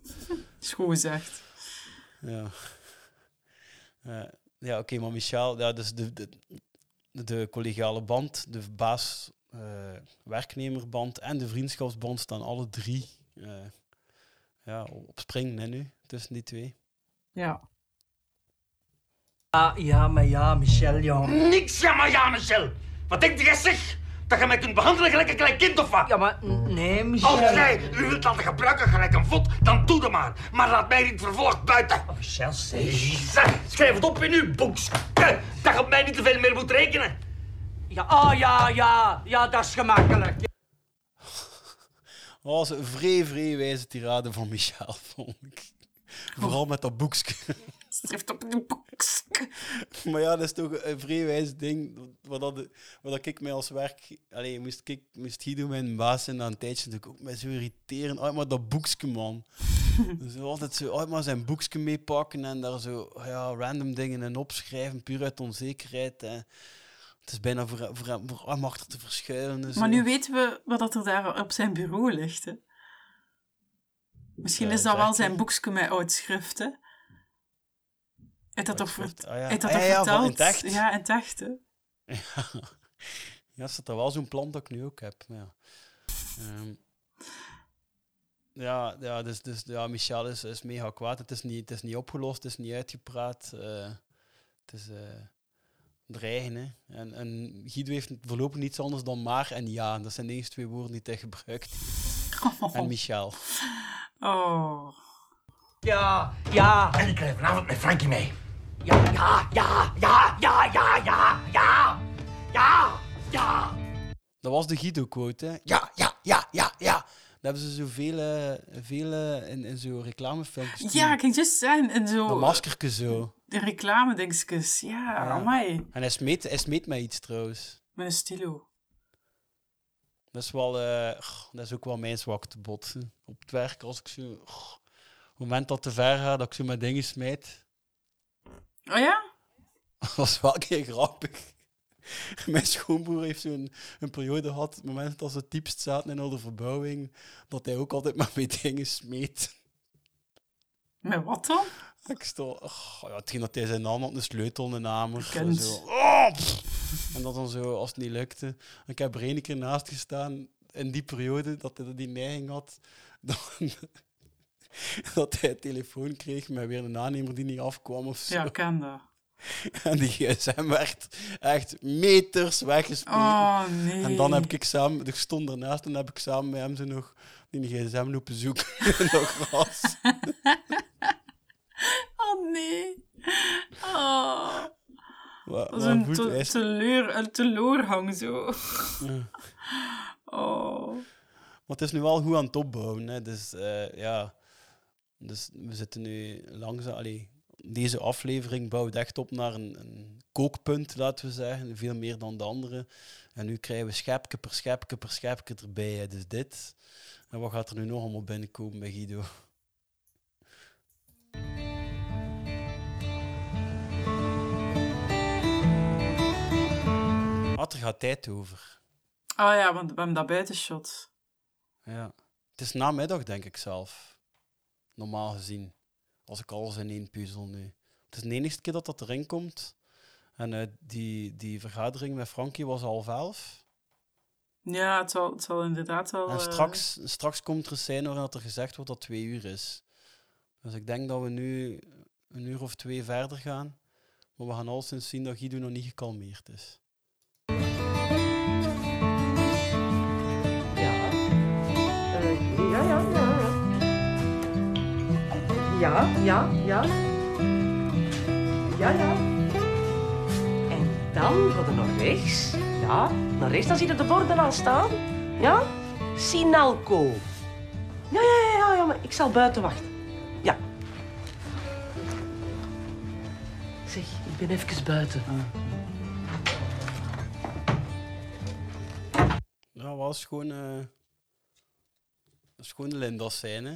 Speaker 5: Schoon gezegd.
Speaker 4: Ja, Eh, ja oké, maar Michel, ja, dus de, de, de collegiale band, de baas eh, werknemerband en de vriendschapsband staan alle drie eh, ja, op springen hè, nu, tussen die twee.
Speaker 5: Ja.
Speaker 12: Ah, ja, maar ja, Michel, jong.
Speaker 16: Niks, ja maar ja, Michel. Wat denk jij zeg? Dat je mij kunt behandelen gelijk een klein kind of wat? Ja, maar nee,
Speaker 12: Michel.
Speaker 16: Als jij u wilt laten gebruiken gelijk een vod, dan doe dat maar. Maar laat mij niet vervolgd buiten.
Speaker 12: Oh,
Speaker 16: Michel, zeg. Schrijf het op in uw boekske. Dat je op mij niet te veel meer moet rekenen.
Speaker 12: Ja, oh ja, ja, ja, dat is gemakkelijk.
Speaker 4: Dat was een vrij, vrij wijze tirade van Michel, vond ik. Vooral met dat boekje.
Speaker 5: Schrijf op een boekje.
Speaker 4: Maar ja, dat is toch een vrij wijs ding. Wat, dat, wat dat ik mij als werk... Allee, moest, ik, moest Guido mijn baas zijn na een tijdje natuurlijk ook mij zo irriteren. Oh, maar dat boekje, man. dus altijd zo, oh, maar zijn boekje meepakken en daar zo ja, random dingen in opschrijven, puur uit onzekerheid. En het is bijna voor, voor, voor hem achter te verschuilen. en zo.
Speaker 5: Maar nu weten we wat dat er daar op zijn bureau ligt. Hè. Misschien
Speaker 4: Ja,
Speaker 5: is dat wel
Speaker 4: zeker.
Speaker 5: zijn boekje met oud schrift. Hè. Heeft dat toch vert-
Speaker 4: ah, ja.
Speaker 5: heeft dat
Speaker 4: Ah,
Speaker 5: toch
Speaker 4: ja, ja, van
Speaker 5: verteld?
Speaker 4: in het echt.
Speaker 5: Ja, in het echt, hè.
Speaker 4: Ja, staat dat wel zo'n plan dat ik nu ook heb. maar Ja, Ehm, ja, ja, dus, dus ja, Michel is, is mega kwaad. Het is, niet, het is niet opgelost, het is niet uitgepraat. eh, het is eh, dreigen. Hè. En, en Guido heeft voorlopig niets anders dan maar en ja. Dat zijn de enige twee woorden die hij gebruikt. heeft. En Michel.
Speaker 5: Oh.
Speaker 12: Ja, ja.
Speaker 16: En ik krijg vanavond met Frankie mee.
Speaker 12: Ja, ja, ja, ja, ja, ja, ja, ja. Ja, ja.
Speaker 4: Dat was de Guido-quote, hè? Ja, ja, ja, ja, ja. Dat hebben ze zoveel eh, veel, eh, in, in zo'n reclamefilmpjes.
Speaker 5: Ja, ik ging juist zijn. En
Speaker 4: Dat
Speaker 5: zo,
Speaker 4: maskerke zo.
Speaker 5: de reclame-dingetjes. Ja, amai.
Speaker 4: En hij smeet, hij smeet mij iets trouwens.
Speaker 5: Met een stilo.
Speaker 4: Dat is wel, eh, goh, dat is ook wel mijn zwakte bot. Op het werk, als ik zo, goh, op het moment dat het te ver gaat, dat ik zo mijn dingen smijt.
Speaker 5: Oh ja?
Speaker 4: Dat was wel een keer grappig. Mijn schoonbroer heeft zo'n een periode gehad, op het moment dat ze diepst zaten in al de verbouwing, dat hij ook altijd maar met dingen smeet.
Speaker 5: Met wat dan?
Speaker 4: Ik stond, oh, ja, hetgeen dat hij zijn naam had, een sleutel in de namer.
Speaker 5: Gekend.
Speaker 4: Zo, oh, pff. en dat dan zo, als het niet lukte. Ik heb er één keer naast gestaan, in die periode, dat hij die neiging had, dat, dat hij een telefoon kreeg met weer een aannemer die niet afkwam of zo.
Speaker 5: Ja, ik ken dat.
Speaker 4: En die gsm werd echt meters weggespeeld.
Speaker 5: Oh, nee.
Speaker 4: En dan heb ik samen, ik stond ernaast en heb ik samen met hem zo nog die gsm lopen zoeken. in dat gras.
Speaker 5: Oh nee. Oh.
Speaker 4: Wa-
Speaker 5: Dat is
Speaker 4: maar
Speaker 5: een,
Speaker 4: goed, hij
Speaker 5: te,
Speaker 4: is-
Speaker 5: teleur, een teleurgang zo.
Speaker 4: Ja.
Speaker 5: Oh.
Speaker 4: Maar het is nu wel goed aan het opbouwen. Hè. Dus eh, ja, dus we zitten nu langzaam. Allee, deze aflevering bouwt echt op naar een, een kookpunt, laten we zeggen. Veel meer dan de andere. En nu krijgen we schepje per schepje per schepje erbij. Hè. Dus dit. En wat gaat er nu nog allemaal binnenkomen bij Guido? Wat er gaat tijd over.
Speaker 5: Oh ja, want we hebben dat buitenshot.
Speaker 4: Ja. Het is namiddag, denk ik zelf. Normaal gezien. Als ik alles in één puzzel nu. Het is de enige keer dat dat erin komt. En eh, die, die vergadering met Frankie was half elf.
Speaker 5: Ja, het zal, het zal inderdaad wel...
Speaker 4: En
Speaker 5: eh,
Speaker 4: straks, straks komt er een scène waarin dat er gezegd wordt dat het twee uur is. Dus ik denk dat we nu een uur of twee verder gaan. Maar we gaan al sinds zien dat Guido nog niet gekalmeerd is.
Speaker 13: Ja, ja, ja. Ja, ja, ja. Ja, ja. En dan gaat het naar rechts. Ja, naar rechts. Dan zie je de borden al staan. Ja? Sinalco. Ja, ja, ja, ja, ja, maar ik zal buiten wachten. Ja. Zeg, ik ben even buiten.
Speaker 4: Ja, was gewoon. eh was gewoon de Linda's zijn, hè?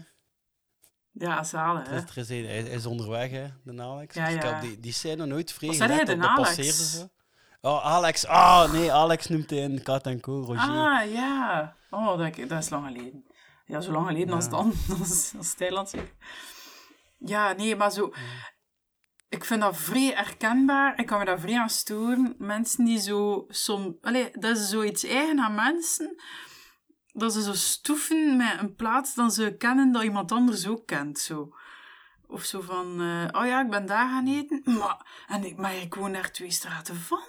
Speaker 5: Ja, zalen,
Speaker 4: Er
Speaker 5: hè.
Speaker 4: is- er is een- hij hij is onderweg, hè, de Alex.
Speaker 5: Ja,
Speaker 4: Dus ik
Speaker 5: ja.
Speaker 4: heb die, die scène nooit vrij
Speaker 5: Wat zei hij,
Speaker 4: gelet,
Speaker 5: de
Speaker 4: dat- dat
Speaker 5: Alex?
Speaker 4: passeerde ze. Oh, Alex. Ah, nee, Alex noemt hij in Kat en Co. Roger.
Speaker 5: Ah, ja. Oh, dat, dat is lang geleden. Ja, zo lang geleden als
Speaker 4: Ja.
Speaker 5: dan. Als, als Thailand, zeg. Ja, nee, maar zo... Ik vind dat vrij herkenbaar. Ik kan me daar vrij aan storen. Mensen die zo som... Allee, dat is zoiets eigen aan mensen. Dat ze zo stoeven met een plaats dat ze kennen dat iemand anders ook kent. Zo. Of zo van... eh, oh ja, ik ben daar gaan eten. Maar, en ik, maar ik woon daar twee straten van.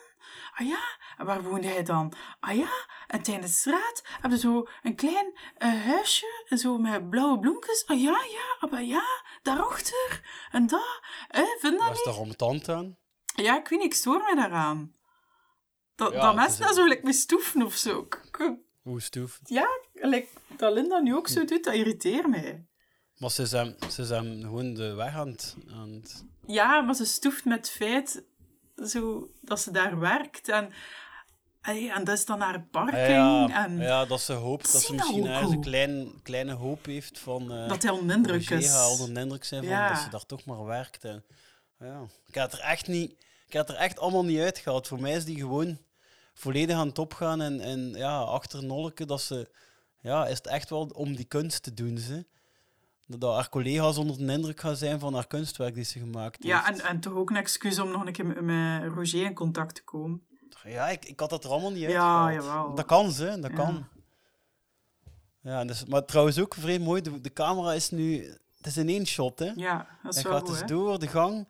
Speaker 5: Ah ja, en waar woonde hij dan? Ah ja, en tijdens de straat hebben ze zo een klein eh, huisje, zo met blauwe bloemjes. Ah ja, ja, ah, maar ja, daarachter. En dat, eh, vind dat
Speaker 4: Was daar om tand aan?
Speaker 5: niet? Ja, ik weet niet, ik stoor me daaraan. Dat,
Speaker 4: Ja,
Speaker 5: dat
Speaker 4: het
Speaker 5: mensen
Speaker 4: is
Speaker 5: daar zo like, mee stoeven of zo. Ik- ik-
Speaker 4: Hoe stoef.
Speaker 5: Ja, like, dat Linda nu ook zo doet, dat irriteert mij.
Speaker 4: Maar ze zijn, ze zijn gewoon de weg aan het... aan het-
Speaker 5: Ja, maar ze stoeft met het feit zo, dat ze daar werkt. En, allee, en dat is dan haar parking.
Speaker 4: Ah ja,
Speaker 5: en,
Speaker 4: ja, dat ze hoopt dat
Speaker 5: Zie
Speaker 4: ze
Speaker 5: dat
Speaker 4: misschien
Speaker 5: ook
Speaker 4: ergens een
Speaker 5: goed.
Speaker 4: klein, kleine hoop heeft van... eh,
Speaker 5: Dat hij onder indruk
Speaker 4: Roger
Speaker 5: is.
Speaker 4: gaat onder indruk zijn van
Speaker 5: Ja.
Speaker 4: dat ze daar toch maar werkt. En, ja. Ik had er echt niet... Ik had er echt allemaal niet uitgehaald. Voor mij is die gewoon volledig aan het opgaan. En, en ja, achter Nolke, dat ze... Ja, is het echt wel om die kunst te doen, ze. Dat, dat haar collega's onder de indruk gaan zijn van haar kunstwerk die ze gemaakt heeft.
Speaker 5: ja en, en toch ook een excuus om nog een keer met- met Roger in contact te komen.
Speaker 4: Ja, ik, ik had dat er allemaal niet
Speaker 5: Ja,
Speaker 4: uitgehaald.
Speaker 5: jawel.
Speaker 4: Dat kan ze, dat
Speaker 5: Ja.
Speaker 4: kan. Ja, dus, maar trouwens ook vrij mooi, de, de camera is nu... Het is in één shot, hè?
Speaker 5: Ja, dat is
Speaker 4: Hij
Speaker 5: wel
Speaker 4: gaat
Speaker 5: goed,
Speaker 4: dus
Speaker 5: hè?
Speaker 4: door de gang.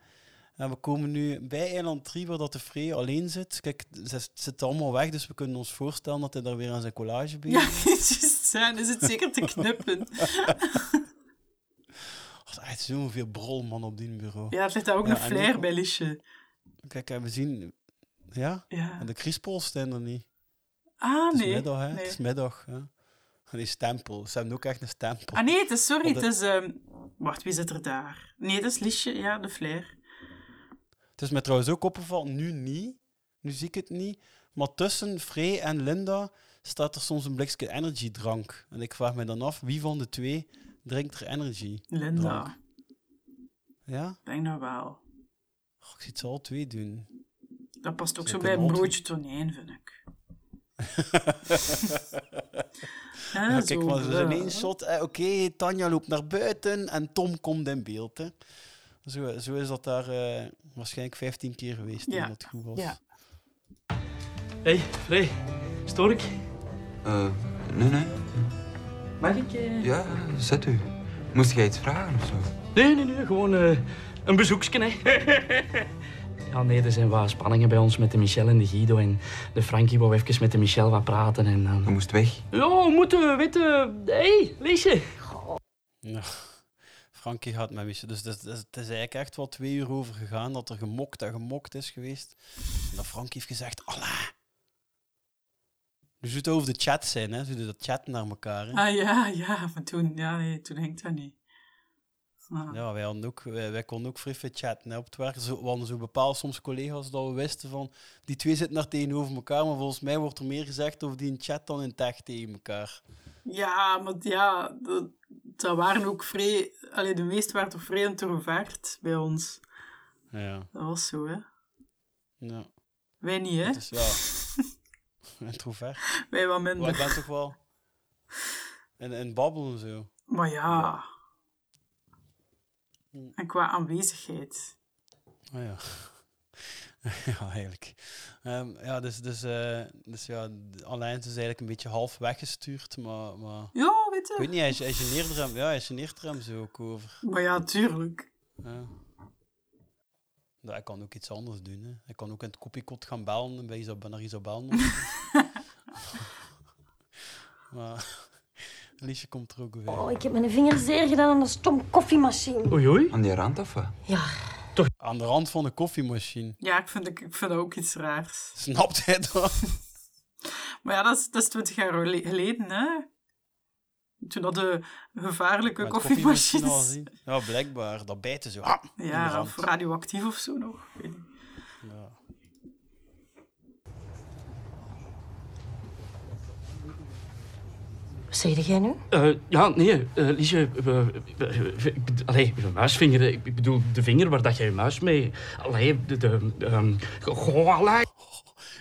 Speaker 4: En we komen nu bij eiland 3, waar dat de Free alleen zit. Kijk, ze zit allemaal weg, dus we kunnen ons voorstellen dat hij daar weer aan zijn collage
Speaker 5: Ja,
Speaker 4: bezig is.
Speaker 5: het is juist zijn, is het zeker te knippen.
Speaker 4: Er Oh, is echt zoveel brol, man, op die bureau.
Speaker 5: Ja, het ligt daar ook een
Speaker 4: en
Speaker 5: flair bij Liesje.
Speaker 4: Kijk, en we zien... Ja?
Speaker 5: Ja.
Speaker 4: En de Crispols zijn er niet.
Speaker 5: Ah,
Speaker 4: Het is
Speaker 5: nee.
Speaker 4: middag, hè.
Speaker 5: nee.
Speaker 4: Het is middag, hè. En die stempel. Ze hebben ook echt een stempel.
Speaker 5: Ah nee, het is, sorry,
Speaker 4: Op
Speaker 5: het
Speaker 4: de-
Speaker 5: is... ehm, Wacht, wie zit er daar? Nee, dat is Liesje, ja, de flair.
Speaker 4: Het is mij trouwens ook opgevallen, nu niet. Nu zie ik het niet. Maar tussen Frey en Linda staat er soms een blikje energiedrank. En ik vraag me dan af, wie van de twee drinkt er energy?
Speaker 5: Linda.
Speaker 4: Ja?
Speaker 5: Ik denk dat wel.
Speaker 4: Oh, ik zie het ze al twee doen.
Speaker 5: Dat past ook
Speaker 4: Ze
Speaker 5: zo bij een
Speaker 4: kunnen
Speaker 5: broodje tonijn, vind ik.
Speaker 4: Ja,
Speaker 17: Ah,
Speaker 5: Ja,
Speaker 4: kijk,
Speaker 5: zo
Speaker 4: maar ze
Speaker 5: wel.
Speaker 4: zijn één shot. eh, Oké, Tanja loopt naar buiten en Tom komt in beeld. Hè. Zo, zo is dat daar eh, waarschijnlijk 15 keer geweest,
Speaker 17: Ja.
Speaker 4: toen dat goed was.
Speaker 17: Ja. Hé, hey, Frey. Stoor ik?
Speaker 18: Eh, nee, nee.
Speaker 17: Mag ik? eh,
Speaker 18: Ja, zet u. Moest jij iets vragen of zo?
Speaker 17: Nee, nee, nee. Gewoon eh, een bezoekje, hè. ja, nee, er zijn wat spanningen bij ons met de Michel en de Guido. En de Frankie wou even met de Michel wat praten en dan... moest weg. Ja, we moeten weten... Hé, Eh, hey, Liesje.
Speaker 4: Ja. Frankie gaat met Michel. Dus het is- het is het is eigenlijk echt wel twee uur over gegaan dat er gemokt en gemokt is geweest. En dat Frankie heeft gezegd, Allah. Nu zou het over de chat zijn, hè. Ze doen dat chatten naar elkaar, hè.
Speaker 5: Ah ja, ja, maar toen, ja, nee, toen hangt dat niet. Ah.
Speaker 4: Ja, wij, hadden ook, wij, wij konden ook vrij veel chatten hè, op het werk. Zo, we hadden zo bepaald soms collega's dat we wisten van... Die twee zitten daar tegenover elkaar, maar volgens mij wordt er meer gezegd over die in chat dan in tech tegen elkaar.
Speaker 5: Ja, maar ja, dat, dat waren ook vrij... Allee, de meesten waren toch vrij introvert bij ons.
Speaker 4: Ja.
Speaker 5: Dat was zo, hè.
Speaker 4: ja.
Speaker 5: Wij niet, hè.
Speaker 4: Dat is wel... Introvert.
Speaker 5: Wij wat minder.
Speaker 4: Maar ik ben toch wel... En, en babbelen zo.
Speaker 5: Maar ja... En qua aanwezigheid.
Speaker 4: Oh ja. ja, eigenlijk. Ehm, ja, dus, dus, eh, dus ja, de Alain is eigenlijk een beetje half weggestuurd, maar... maar...
Speaker 5: Ja, weet je.
Speaker 4: Ik weet niet, hij, hij geneert er hem, ja, hij geneert er hem zo ook over.
Speaker 5: Maar ja, tuurlijk.
Speaker 4: Ja. Ja, Nou, hij kan ook iets anders doen. Hè. Hij kan ook in het kopiekot gaan bellen en bij Isabel, naar Isabel. of zo. maar Liesje komt er ook weer.
Speaker 19: Oh, ik heb mijn vinger zeer gedaan aan de stom koffiemachine.
Speaker 4: Oei, oei. Aan die rand of
Speaker 19: Ja.
Speaker 4: Toch aan de rand van de koffiemachine.
Speaker 5: Ja, ik vind, ik, ik vind dat ook iets raars.
Speaker 4: Snapt hij dat?
Speaker 5: Maar ja, dat is, dat is 20 jaar gele- geleden, hè. Toen dat de gevaarlijke
Speaker 4: Met koffiemachine al zien.
Speaker 5: koffiemachines...
Speaker 4: Ja, blijkbaar. Dat bijten zo. Ah, in de
Speaker 5: Ja,
Speaker 4: rand.
Speaker 5: of radioactief of zo nog. Ik weet niet.
Speaker 4: Ja.
Speaker 17: Wat zei jij nu? ja, nee, eh Liesje. we- we- we- we- ik bedo- Allee, je muisvinger. hè. Ik bedoel, de vinger waar dat jij je muis mee... Allee, de... de ehm, goh, allee.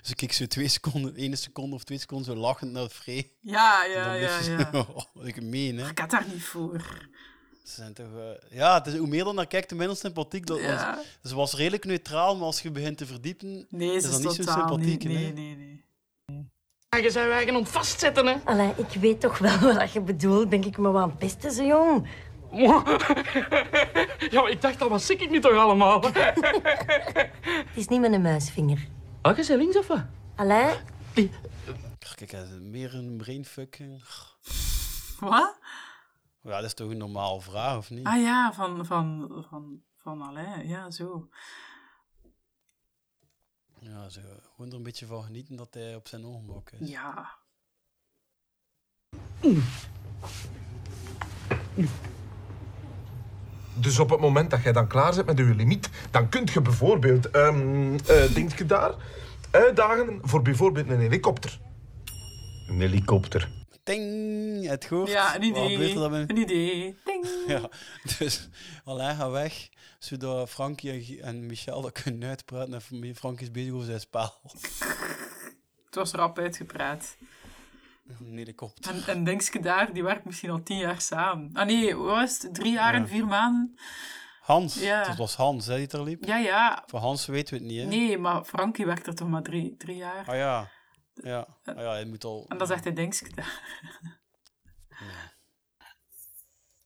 Speaker 4: Dus ik keek zo twee seconden, ene seconde of twee seconden zo lachend naar Free.
Speaker 5: Ja, ja,
Speaker 4: Dan
Speaker 5: ja,
Speaker 4: wist je
Speaker 5: ja.
Speaker 4: zo, oh, wat ik meen, hè.
Speaker 5: Ik had daar niet voor.
Speaker 4: Ze zijn toch, eh, ja, het is, hoe meer dan naar kijkt, hoe minder sympathiek. Dat,
Speaker 5: Ja.
Speaker 4: want Ze was redelijk neutraal, maar als je begint te verdiepen,
Speaker 5: Nee, ze
Speaker 4: is
Speaker 5: is
Speaker 4: dat niet zo
Speaker 5: totaal
Speaker 4: sympathiek.
Speaker 5: niet-
Speaker 4: hè.
Speaker 5: nee,
Speaker 13: En je zijn wij om vastzetten, hè?
Speaker 19: Allee, ik weet toch wel wat je bedoelt. Ben ik me wel aan het pesten, zo jong?
Speaker 17: Ja, maar ik dacht al, wat zie ik nu toch allemaal?
Speaker 19: Het is niet met een muisvinger.
Speaker 17: Ah, je bent links of wat?
Speaker 19: Allee,
Speaker 4: Kijk, hij is meer een brainfuck. hè.
Speaker 5: Wat?
Speaker 4: Ja, dat is toch een normale vraag, of niet?
Speaker 5: Ah ja, van, van, van, van Alain. Ja, zo.
Speaker 4: Ja, ze gewoon er een beetje van genieten dat hij op zijn ongemak is.
Speaker 5: Ja.
Speaker 11: Dus op het moment dat jij dan klaar bent met je limiet, dan kunt je bijvoorbeeld, ehm eh denk je daar, uitdagen voor bijvoorbeeld een helikopter.
Speaker 16: Een helikopter.
Speaker 4: Ting, het gehoord.
Speaker 5: Ja, een idee.
Speaker 4: Wat gebeurt er dan met-
Speaker 5: Een idee. Ding.
Speaker 4: Ja, dus Alain gaat weg, zodat Frankie en Gie- en Michel dat kunnen uitpraten. En Fr- Frankie is bezig over zijn spaal.
Speaker 5: Het was rap uitgepraat.
Speaker 4: Een helikopter.
Speaker 5: En, en Dingske daar, die werkt misschien al tien jaar samen. Ah nee, wat was het? Drie jaar en vier maanden?
Speaker 4: Hans,
Speaker 5: Ja.
Speaker 4: dat was Hans hè, die er liep.
Speaker 5: Ja, ja.
Speaker 4: Voor Hans weten we het niet, hè?
Speaker 5: Nee, maar Frankie werkt er toch maar drie, drie jaar.
Speaker 4: Ah ja. Ja. Ah, ja, hij moet al...
Speaker 5: Eh, En dan zegt hij Dingske daar.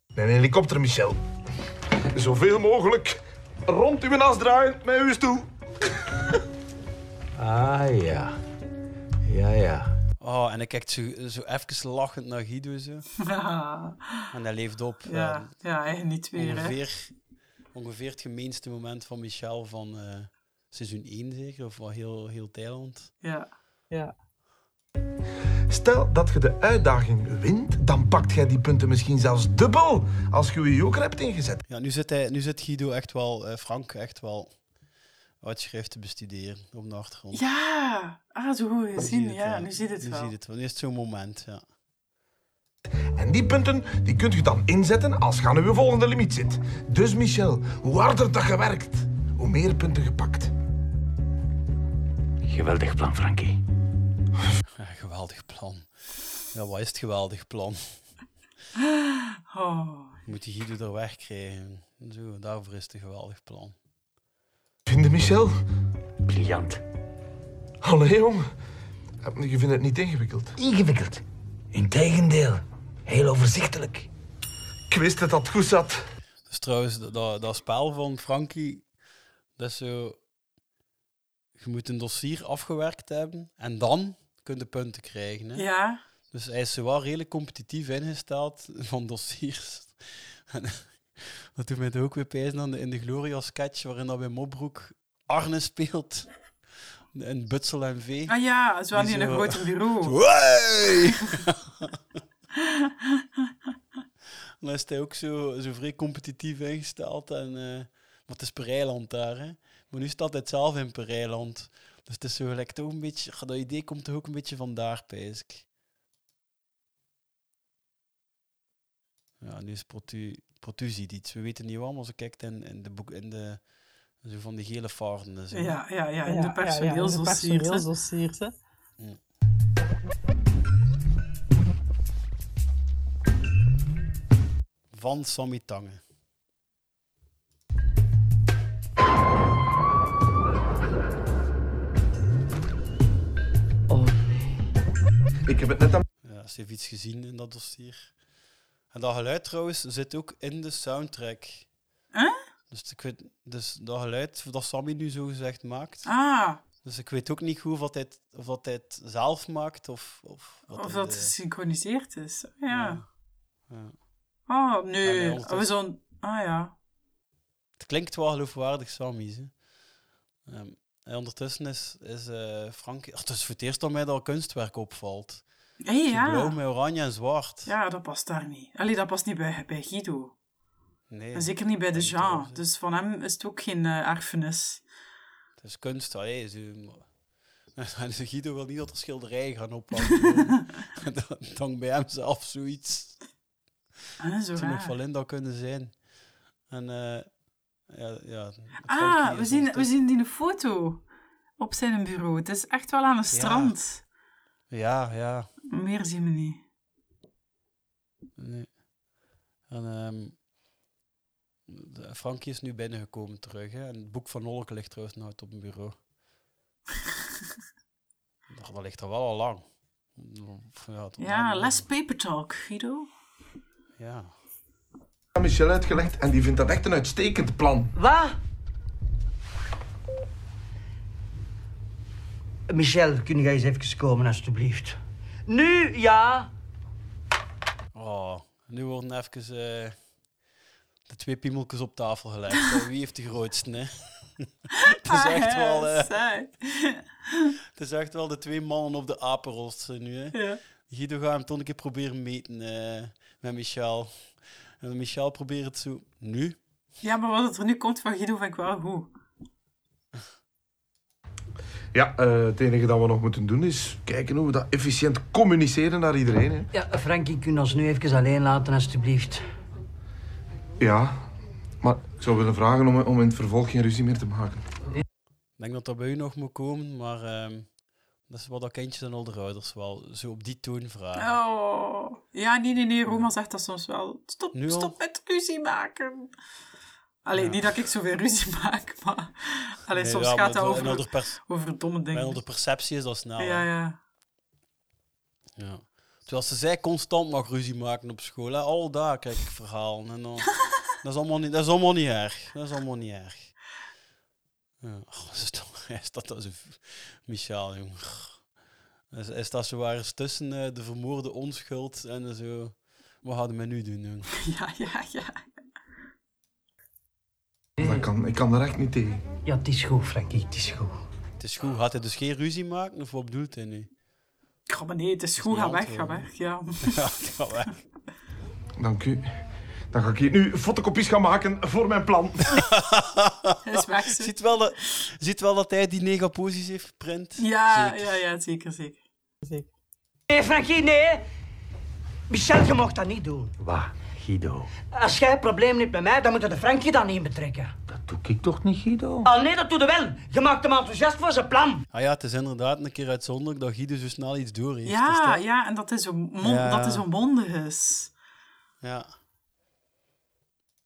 Speaker 11: Een helikopter, Michel. Zoveel mogelijk rond uw as draaiend met uw stoel.
Speaker 16: Ah ja. Ja, ja.
Speaker 4: Oh, en hij kijkt zo, zo even lachend naar Guido zo.
Speaker 5: ja,
Speaker 4: En hij leeft op. eh,
Speaker 5: ja, hij niet weer. hè.
Speaker 4: ongeveer, ongeveer het gemeenste moment van Michel van eh, seizoen 1 zeker, of wel heel, heel Thailand.
Speaker 5: Ja. ja.
Speaker 11: Stel dat je de uitdaging wint, dan pakt jij die punten misschien zelfs dubbel als je je joker hebt ingezet.
Speaker 4: Ja, nu zit, hij, nu zit Guido echt wel, eh, Frank echt wel uitschrift te bestuderen op de achtergrond.
Speaker 5: Ja, ah, zo goed
Speaker 4: Nu
Speaker 5: gezien.
Speaker 4: zie je
Speaker 5: Ja,
Speaker 4: wel.
Speaker 5: nu ziet het
Speaker 4: nu
Speaker 5: wel.
Speaker 4: Ziet het wel. Nu is het zo'n moment, ja.
Speaker 11: En die punten die kunt je dan inzetten als je aan je volgende limiet zit. Dus Michel, hoe harder dat je werkt, hoe meer punten gepakt.
Speaker 16: Geweldig plan, Frankie.
Speaker 4: Ja, geweldig plan. Ja, wat is het geweldig plan?
Speaker 5: Oh.
Speaker 4: Moet die Guido er weg krijgen. Zo, daarvoor is het een geweldig plan.
Speaker 11: Vinden Michel?
Speaker 16: Briljant.
Speaker 11: Allee, jong. Eh, Je vindt het niet ingewikkeld.
Speaker 16: Ingewikkeld. Integendeel. Heel overzichtelijk.
Speaker 11: Ik wist dat dat goed zat.
Speaker 4: Dus trouwens, dat, dat, dat spel van Frankie, dat is zo... Je moet een dossier afgewerkt hebben en dan kun je punten krijgen. Hè?
Speaker 5: Ja.
Speaker 4: Dus hij is zo wel redelijk competitief ingesteld van dossiers. En dat doet mij toch ook weer pijzen aan de In de Gloria sketch, waarin dat bij Mobroek Arne speelt. En Butsel en V.
Speaker 5: Ah ja, zo aan die een grote bureau.
Speaker 4: Hey! Dan is hij ook zo, zo vrij competitief ingesteld. En, eh maar het is Pereiland daar. Hè? Maar nu staat hij zelf in Pereiland. Dus het is zo gelijk toch een beetje... ah, Dat idee komt toch ook een beetje vandaar, pijs ik. Ja, nu is Protu, Protu ziet iets. We weten niet waar, maar ze kijkt in, in de boek... In de, zo van die gele vaarden. en zo.
Speaker 5: Ja, ja, ja, in
Speaker 20: Ja, ja, ja, in
Speaker 5: de
Speaker 20: de
Speaker 5: personeelsdossiers. hè.
Speaker 20: personeelsdossiers, hè.
Speaker 4: Van Sammy Tangen.
Speaker 11: Ik heb het net aan...
Speaker 4: Ja, ze heeft iets gezien in dat dossier. En dat geluid trouwens zit ook in de soundtrack. Dus, ik weet, dus dat geluid dat Sammy nu zo gezegd maakt.
Speaker 5: Ah.
Speaker 4: Dus ik weet ook niet goed of dat hij het, of dat hij het zelf maakt of, of wat
Speaker 5: Of
Speaker 4: in
Speaker 5: dat
Speaker 4: de-
Speaker 5: gesynchroniseerd is. Oh, Ja.
Speaker 4: ja.
Speaker 5: Oh,
Speaker 4: Ah,
Speaker 5: nee.
Speaker 4: nee,
Speaker 5: we
Speaker 4: ondertussen-
Speaker 5: zo'n... Ah ja.
Speaker 4: Het klinkt wel geloofwaardig, Sammy's. Hè? Ehm, en ondertussen is, is eh, Frank... Ah, het is voor het eerst dat mij dat kunstwerk opvalt.
Speaker 5: Hé, ja.
Speaker 4: Zo Blauw met oranje en zwart.
Speaker 5: Ja, dat past daar niet. Allee, dat past niet bij, bij Guido.
Speaker 4: Nee,
Speaker 5: En zeker niet bij de Jean. Dus van hem is het ook geen eh, erfenis.
Speaker 4: het is kunst. Allee, zo... En Guido wil niet dat er schilderijen gaan ophangen. dat hangt bij hem zelf zoiets.
Speaker 5: Ah, zo
Speaker 4: Het zou nog
Speaker 5: raar.
Speaker 4: van Linda kunnen zijn. En eh ja, ja,
Speaker 5: Ah, we zien, we zien die foto op zijn bureau. Het is echt wel aan een strand.
Speaker 4: ja, ja.
Speaker 5: Meer zien we niet.
Speaker 4: Nee. En, ehm, de- Frankie is nu binnengekomen terug. Hè. En het boek van Nolke ligt trouwens nog uit op mijn bureau. dat, dat ligt er wel al lang. Ja, tot
Speaker 5: Ja,
Speaker 4: lang.
Speaker 5: less paper talk, Guido.
Speaker 4: Ja.
Speaker 11: aan Michel uitgelegd en die vindt dat echt een uitstekend plan.
Speaker 9: Wat? Michel, kun jij eens even komen, alstublieft? Nu, ja.
Speaker 4: Oh, nu worden even eh, de twee piemeltjes op tafel gelegd. Wie heeft de grootste, hè? het,
Speaker 5: Ah,
Speaker 4: is echt wel, eh, het is echt wel de twee mannen op de apenrots eh, nu, hè?
Speaker 5: Ja.
Speaker 4: Guido gaat hem toch een keer proberen meten eh, met Michel. En Michel probeert het zo nu.
Speaker 5: Ja, maar wat er nu komt van Guido vind ik wel goed.
Speaker 11: Ja, eh, het enige dat we nog moeten doen is kijken hoe we dat efficiënt communiceren naar iedereen. Hè.
Speaker 12: Ja, Frankie, kun je ons nu even alleen laten, alstublieft.
Speaker 11: Ja, maar ik zou willen vragen om, om in het vervolg geen ruzie meer te maken.
Speaker 4: Ik denk dat dat bij u nog moet komen, maar ehm, dat is wat dat kindjes en ouderouders wel zo op die toon vragen.
Speaker 5: Oh. Ja, nee, nee, nee. Roma zegt dat soms wel. Stop,
Speaker 4: Nu al?
Speaker 5: stop met ruzie maken. Allee, niet dat ik zoveel ruzie maak, maar... Allee,
Speaker 4: Nee,
Speaker 5: soms
Speaker 4: ja,
Speaker 5: gaat
Speaker 4: maar
Speaker 5: dat
Speaker 4: in
Speaker 5: over...
Speaker 4: ouder pers-
Speaker 5: over domme dingen.
Speaker 4: In ouder perceptie is dat snel.
Speaker 5: Ja,
Speaker 4: hè.
Speaker 5: ja.
Speaker 4: Ja. Terwijl ze zij constant mag ruzie maken op school. Hè. Al daar kijk ik verhalen. En dan, dat, is allemaal niet, dat is allemaal niet erg. Dat is allemaal niet erg. Ja. Oh, is dat, is dat als een... Michel, jongen. Is, is dat zo waar eens tussen eh, de vermoorde onschuld en zo... Wat hadden we nu doen, jongen?
Speaker 5: Ja, ja, ja.
Speaker 11: Dat kan, ik kan daar echt niet tegen.
Speaker 12: Ja, het is goed, Frankie, het is goed.
Speaker 4: Het is goed. Gaat hij dus geen ruzie maken? Of wat bedoelt hij nu?
Speaker 5: Ja, maar nee, het is goed.
Speaker 4: niet
Speaker 5: Ga weg, ga
Speaker 4: antwoorden.
Speaker 5: weg. Ja.
Speaker 4: Ja, het gaat weg.
Speaker 11: Dank u. Dan ga ik hier nu fotocopies gaan maken voor mijn plan.
Speaker 5: is weg, zo.
Speaker 4: ziet, wel dat, ziet wel dat hij die negaposies heeft geprint.
Speaker 5: Ja,
Speaker 4: Zeker.
Speaker 5: ja, ja, zeker, zeker.
Speaker 9: Nee, Frankie, nee. Michel, je mag dat niet doen.
Speaker 16: Waar, Guido?
Speaker 9: Als jij een probleem hebt met mij, dan moet je de Frankie dan niet betrekken.
Speaker 16: Doe ik toch niet, Guido?
Speaker 9: Ah nee, dat doe je wel. Je maakt hem enthousiast voor zijn plan.
Speaker 4: Ah ja, het is inderdaad een keer uitzonderlijk dat Guido zo snel iets door heeft. Dus
Speaker 5: Ja,
Speaker 4: dat-
Speaker 5: ja, en dat is zo, mon-
Speaker 4: Ja.
Speaker 5: dat is dus. zo mondig is.
Speaker 4: Ja.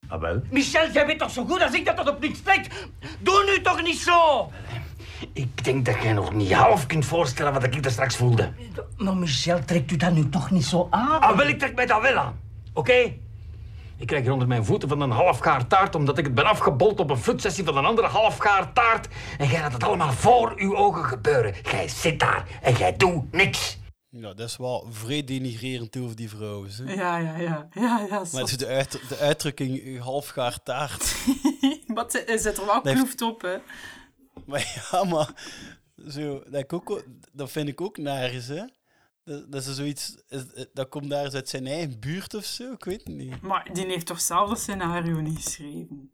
Speaker 16: Ah, wel.
Speaker 9: Michel, jij weet toch zo goed als ik dat dat op niks trekt? Doe nu toch niet zo!
Speaker 16: Ik denk dat jij nog niet half kunt voorstellen wat ik daar straks voelde.
Speaker 9: Maar Michel, trekt u dat nu toch niet zo aan?
Speaker 16: Ah, wel, ik trek mij dat wel aan. Oké? Ik krijg hier onder mijn voeten van een halfgaar taart omdat ik het ben afgebold op een flutsessie van een andere halfgaar taart. En jij laat het allemaal voor uw ogen gebeuren. Jij zit daar en jij doet niks.
Speaker 4: Ja, dat is wel vrij denigrerend tegenover die vrouwen. Hè?
Speaker 5: Ja, ja, ja. Ja, ja,
Speaker 4: Maar
Speaker 5: zo.
Speaker 4: zo de, uit, de uitdrukking eh, halfgaar taart.
Speaker 5: Maar het is- zit er wel
Speaker 4: Dat heeft-
Speaker 5: kloeft op, hè.
Speaker 4: maar ja, maar zo, dat, ik ook, wel- dat vind ik ook nergens, hè. Dat, dat is zoiets, is- eh, dat komt daar eens uit zijn eigen buurt of zo, ik weet het niet.
Speaker 5: Maar die heeft toch zelf dat scenario niet geschreven?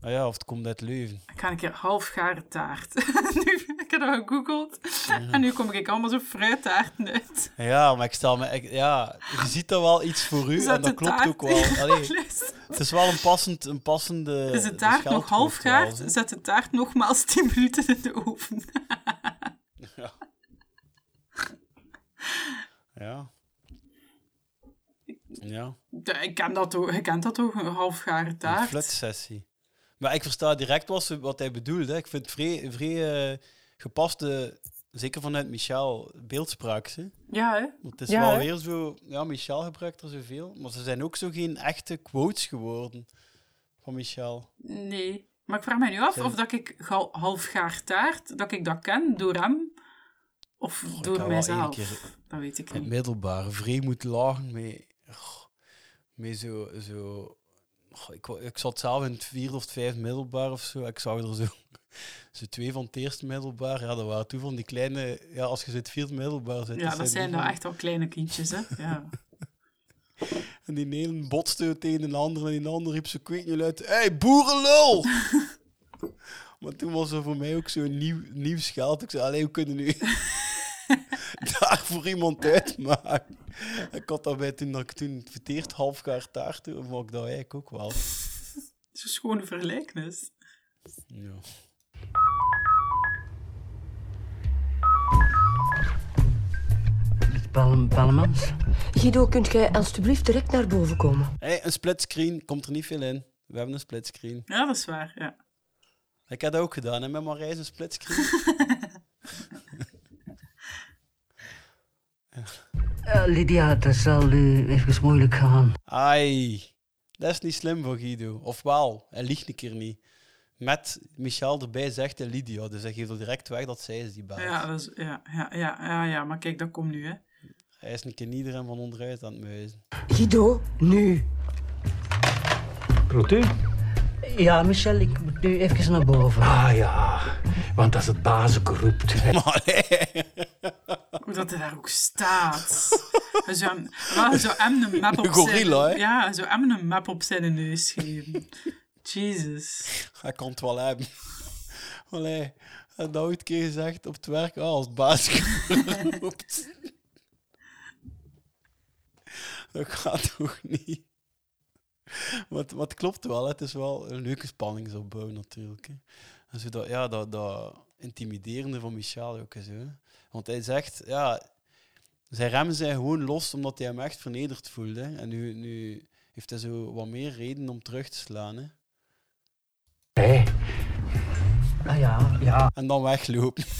Speaker 4: Ah ja, of het komt uit Leuven.
Speaker 5: Ik ga een keer halfgare taart. nu heb ik dat gegoogeld. En nu kom ik allemaal zo fruittaarten uit.
Speaker 4: Ja, maar ik stel me, ik- ja, je ziet er wel iets voor u
Speaker 5: Is
Speaker 4: en dat
Speaker 5: de
Speaker 4: klopt
Speaker 5: taart-
Speaker 4: ook wel. Allee, eh,
Speaker 5: Luister.
Speaker 4: het is wel een, passend, een passende.
Speaker 5: Is de taart nog
Speaker 4: scheldwoord
Speaker 5: halfgaar?
Speaker 4: wel, hè.
Speaker 5: Zet de taart nogmaals 10 minuten in de oven.
Speaker 4: Ja. Ja. Ja,
Speaker 5: Ja, Ik ken dat ook. Je kent dat ook, een halfgare
Speaker 4: een
Speaker 5: taart.
Speaker 4: flutsessie. Maar ik versta direct wat, ze- wat hij bedoelt. Hè. Ik vind het vrij, vrij eh, gepaste, zeker vanuit Michel, beeldspraak. Hè.
Speaker 5: Ja, hè?
Speaker 4: Want Het is
Speaker 5: Ja,
Speaker 4: wel
Speaker 5: hè?
Speaker 4: weer zo... Ja, Michel gebruikt er zoveel. Maar ze zijn ook zo geen echte quotes geworden van Michel.
Speaker 5: Nee. Maar ik vraag mij nu af
Speaker 4: Zijn-
Speaker 5: of dat ik gal- halfgaar taart, dat ik dat ken door hem of
Speaker 4: Oh, Ik
Speaker 5: door
Speaker 4: heb wel één
Speaker 5: mijzelf.
Speaker 4: keer
Speaker 5: Dat weet ik
Speaker 4: in het
Speaker 5: niet.
Speaker 4: middelbaar vrij moet lachen met, goh, met zo... zo goh, ik, wa- ik zat zelf in het vierde of het vijfde middelbaar of zo. Ik zag er zo, zo twee van het eerste middelbaar. Ja, dat waren toen van die kleine... Ja, als je zo in het vierde middelbaar zit...
Speaker 5: Ja, dat
Speaker 4: die
Speaker 5: zijn nou
Speaker 4: van-
Speaker 5: echt wel kleine kindjes, hè? Ja.
Speaker 4: En die ene botste tegen een ander en die ander riep zo kweet niet uit. Hé, hey, boerenlul! maar toen was er voor mij ook zo'n nieuw, nieuw scheld. Ik zei, allee, hoe kunnen nu daarvoor iemand uitmaken? Ik had daarbij toen dat ik toen verteerd halfgaar taart doe, vond ik dat eigenlijk ook wel.
Speaker 5: Het is een schone vergelijkenis.
Speaker 4: Ja.
Speaker 12: Bel- Belmans?
Speaker 14: Guido, kunt jij alstublieft direct naar boven komen?
Speaker 4: Hey, een splitscreen komt er niet veel in. We hebben een splitscreen.
Speaker 5: Ja, dat is waar. Ja.
Speaker 4: Ik had dat ook gedaan, hè, met Marijs een splitscreen.
Speaker 12: Eh, Lydia, dat zal u even moeilijk gaan.
Speaker 4: Ai, dat is niet slim voor Guido. Of wel, hij liegt een keer niet. Met Michel erbij zegt hij Lydia, dus hij geeft al direct weg dat zij is die baas.
Speaker 5: Ja, dat is, ja, ja, ja, ja, ja, maar kijk, dat komt nu, hè.
Speaker 4: Hij is een keer iedereen van onderuit aan het muizen.
Speaker 12: Guido, nu.
Speaker 15: Protu?
Speaker 12: Ja, Michel, ik moet nu even naar boven.
Speaker 15: Ah ja, want dat is het bazengeroept.
Speaker 5: Hoe dat hij daar ook staat. Hij zou hem, wel, hij zou hem een map op
Speaker 4: Een gorilla,
Speaker 5: zijn...
Speaker 4: hè?
Speaker 5: Ja, hij zou hem een map op zijn neus geven. Jesus.
Speaker 4: Hij kan het wel hebben. Allee, hij had dat ooit een keer gezegd op het werk, ah, als baas geroept. dat gaat toch niet? Maar het, maar het klopt wel, hè. het is wel een leuke spanningsopbouw natuurlijk. Hè. En zo dat, ja, dat, dat intimiderende van Michel ook eens. Hè. Want hij zegt, ja, zijn remmen zijn gewoon los omdat hij hem echt vernederd voelde. hè. En nu, nu heeft hij zo wat meer reden om terug te slaan. Hè.
Speaker 12: Ah ja, ja.
Speaker 4: En dan weglopen.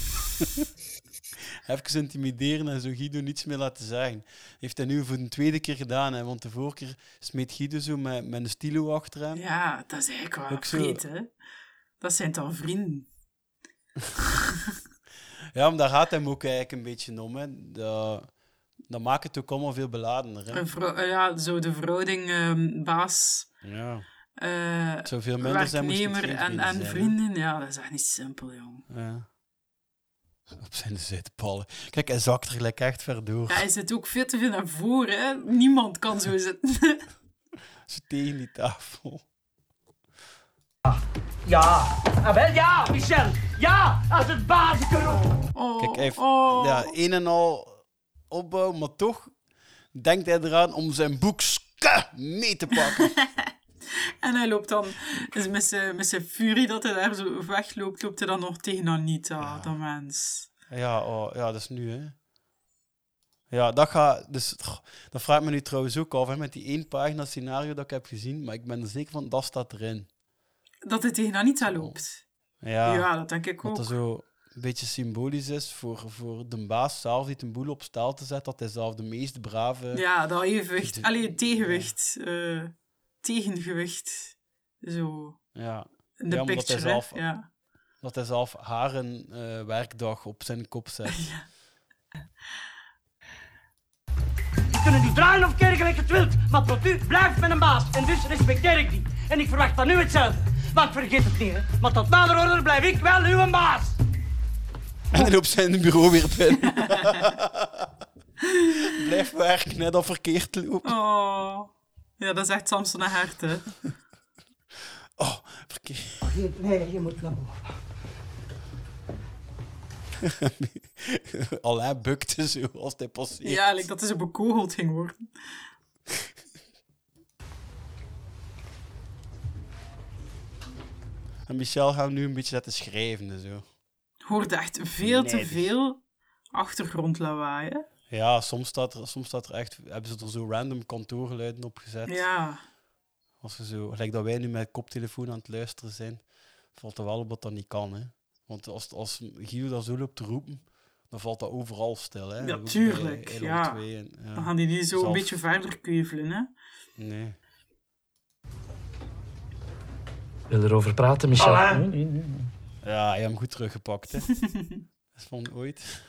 Speaker 4: Even intimideren en zo Guido niets meer laten zeggen. Heeft hij nu voor de tweede keer gedaan, hè? want de vorige keer smeet Guido zo met, met een stilo achter hem.
Speaker 5: Ja, dat is eigenlijk wel
Speaker 4: Ook zo.
Speaker 5: vreed, hè. Dat zijn dan vrienden.
Speaker 4: Ja, maar daar gaat hem ook eigenlijk een beetje om. Hè. Dat, dat maakt het ook allemaal veel beladener. Hè?
Speaker 5: Een vrou- eh, ja, zo de verhouding ehm, baas,
Speaker 4: Ja.
Speaker 5: eh,
Speaker 4: Het zou veel minder zijn, moest het
Speaker 5: werknemer
Speaker 4: geen vrienden
Speaker 5: en, en
Speaker 4: zijn, hè.
Speaker 5: vrienden. Ja, dat is echt niet simpel, jong.
Speaker 4: ja. Op zijn zitpallen. Kijk, hij zakt er gelijk echt ver door.
Speaker 5: Ja, hij zit ook veel te veel naar voren, hè. Niemand kan zo zitten.
Speaker 4: Zo tegen die tafel.
Speaker 12: Ja.
Speaker 13: Ah, wel, ja, Michel. Ja, als het bazengeroep.
Speaker 4: Kijk, hij heeft
Speaker 13: oh.
Speaker 4: ja, een en al opbouw, maar toch denkt hij eraan om zijn boekske mee te pakken.
Speaker 5: En hij loopt dan, dus met zijn, met zijn furie dat hij daar zo wegloopt, loopt hij dan nog tegen Anita, dat mens.
Speaker 4: ja, oh, ja, dat is nu, hè. Ja, dat gaat... Dus, goh, dat vraagt me nu trouwens ook af, hè, met die één pagina scenario dat ik heb gezien, maar ik ben er zeker van, dat staat erin.
Speaker 5: Dat hij tegen Anita loopt.
Speaker 4: Ja,
Speaker 5: Ja, dat denk ik
Speaker 4: Dat
Speaker 5: ook.
Speaker 4: dat zo een beetje symbolisch is voor, voor de baas zelf, die een boel op staal te zetten, dat hij zelf de meest brave...
Speaker 5: Ja, dat evenwicht.
Speaker 4: de-
Speaker 5: Allee, tegenwicht. eh, tegengewicht. Zo.
Speaker 4: Ja.
Speaker 5: In de
Speaker 4: ja, omdat
Speaker 5: picture,
Speaker 4: hij zelf,
Speaker 5: hè. Ja.
Speaker 4: dat hij zelf haar een eh, werkdag op zijn kop zet.
Speaker 13: Die kunnen die draaien of kerken gelijk het wilt, maar tot u blijft met een baas. En dus respecteer ik die. En ik verwacht van u hetzelfde. Want vergeet het niet, hè. Maar tot nader order blijf ik wel uw baas.
Speaker 4: En dan op zijn bureau weer binnen. Blijf werken, net al verkeerd loopt.
Speaker 5: Oh. Ja, dat is echt Samson en Hert, hè.
Speaker 9: Oh, je- nee, je moet naar boven.
Speaker 4: Alain bukte zo als hij passeert.
Speaker 5: Ja, like dat hij zo bekogeld ging worden.
Speaker 4: En Michel gaat hem nu een beetje laten schrijven en zo.
Speaker 5: Hoorde echt veel te
Speaker 4: Nijdig.
Speaker 5: veel achtergrondlawaai, hè.
Speaker 4: Ja, soms staat, er, soms staat er echt... Hebben ze er zo random kantoorgeluiden op gezet.
Speaker 5: Ja.
Speaker 4: Als ze zo... Gelijk dat wij nu met koptelefoon aan het luisteren zijn, valt er wel op dat dat niet kan, hè. Want als, als Guido dat zo loopt te roepen, dan valt dat overal stil, hè.
Speaker 5: Ja,
Speaker 4: Ook bij
Speaker 5: tuurlijk.
Speaker 4: Eiland
Speaker 5: Ja.
Speaker 4: 2 en- ja.
Speaker 5: Dan gaan die niet zo een
Speaker 4: Zelf-
Speaker 5: beetje verder keuvelen, hè.
Speaker 4: Nee.
Speaker 17: Wil erover praten, Michel?
Speaker 4: Alain. Ja, hij heeft hem goed teruggepakt. Hè. dat is van ooit.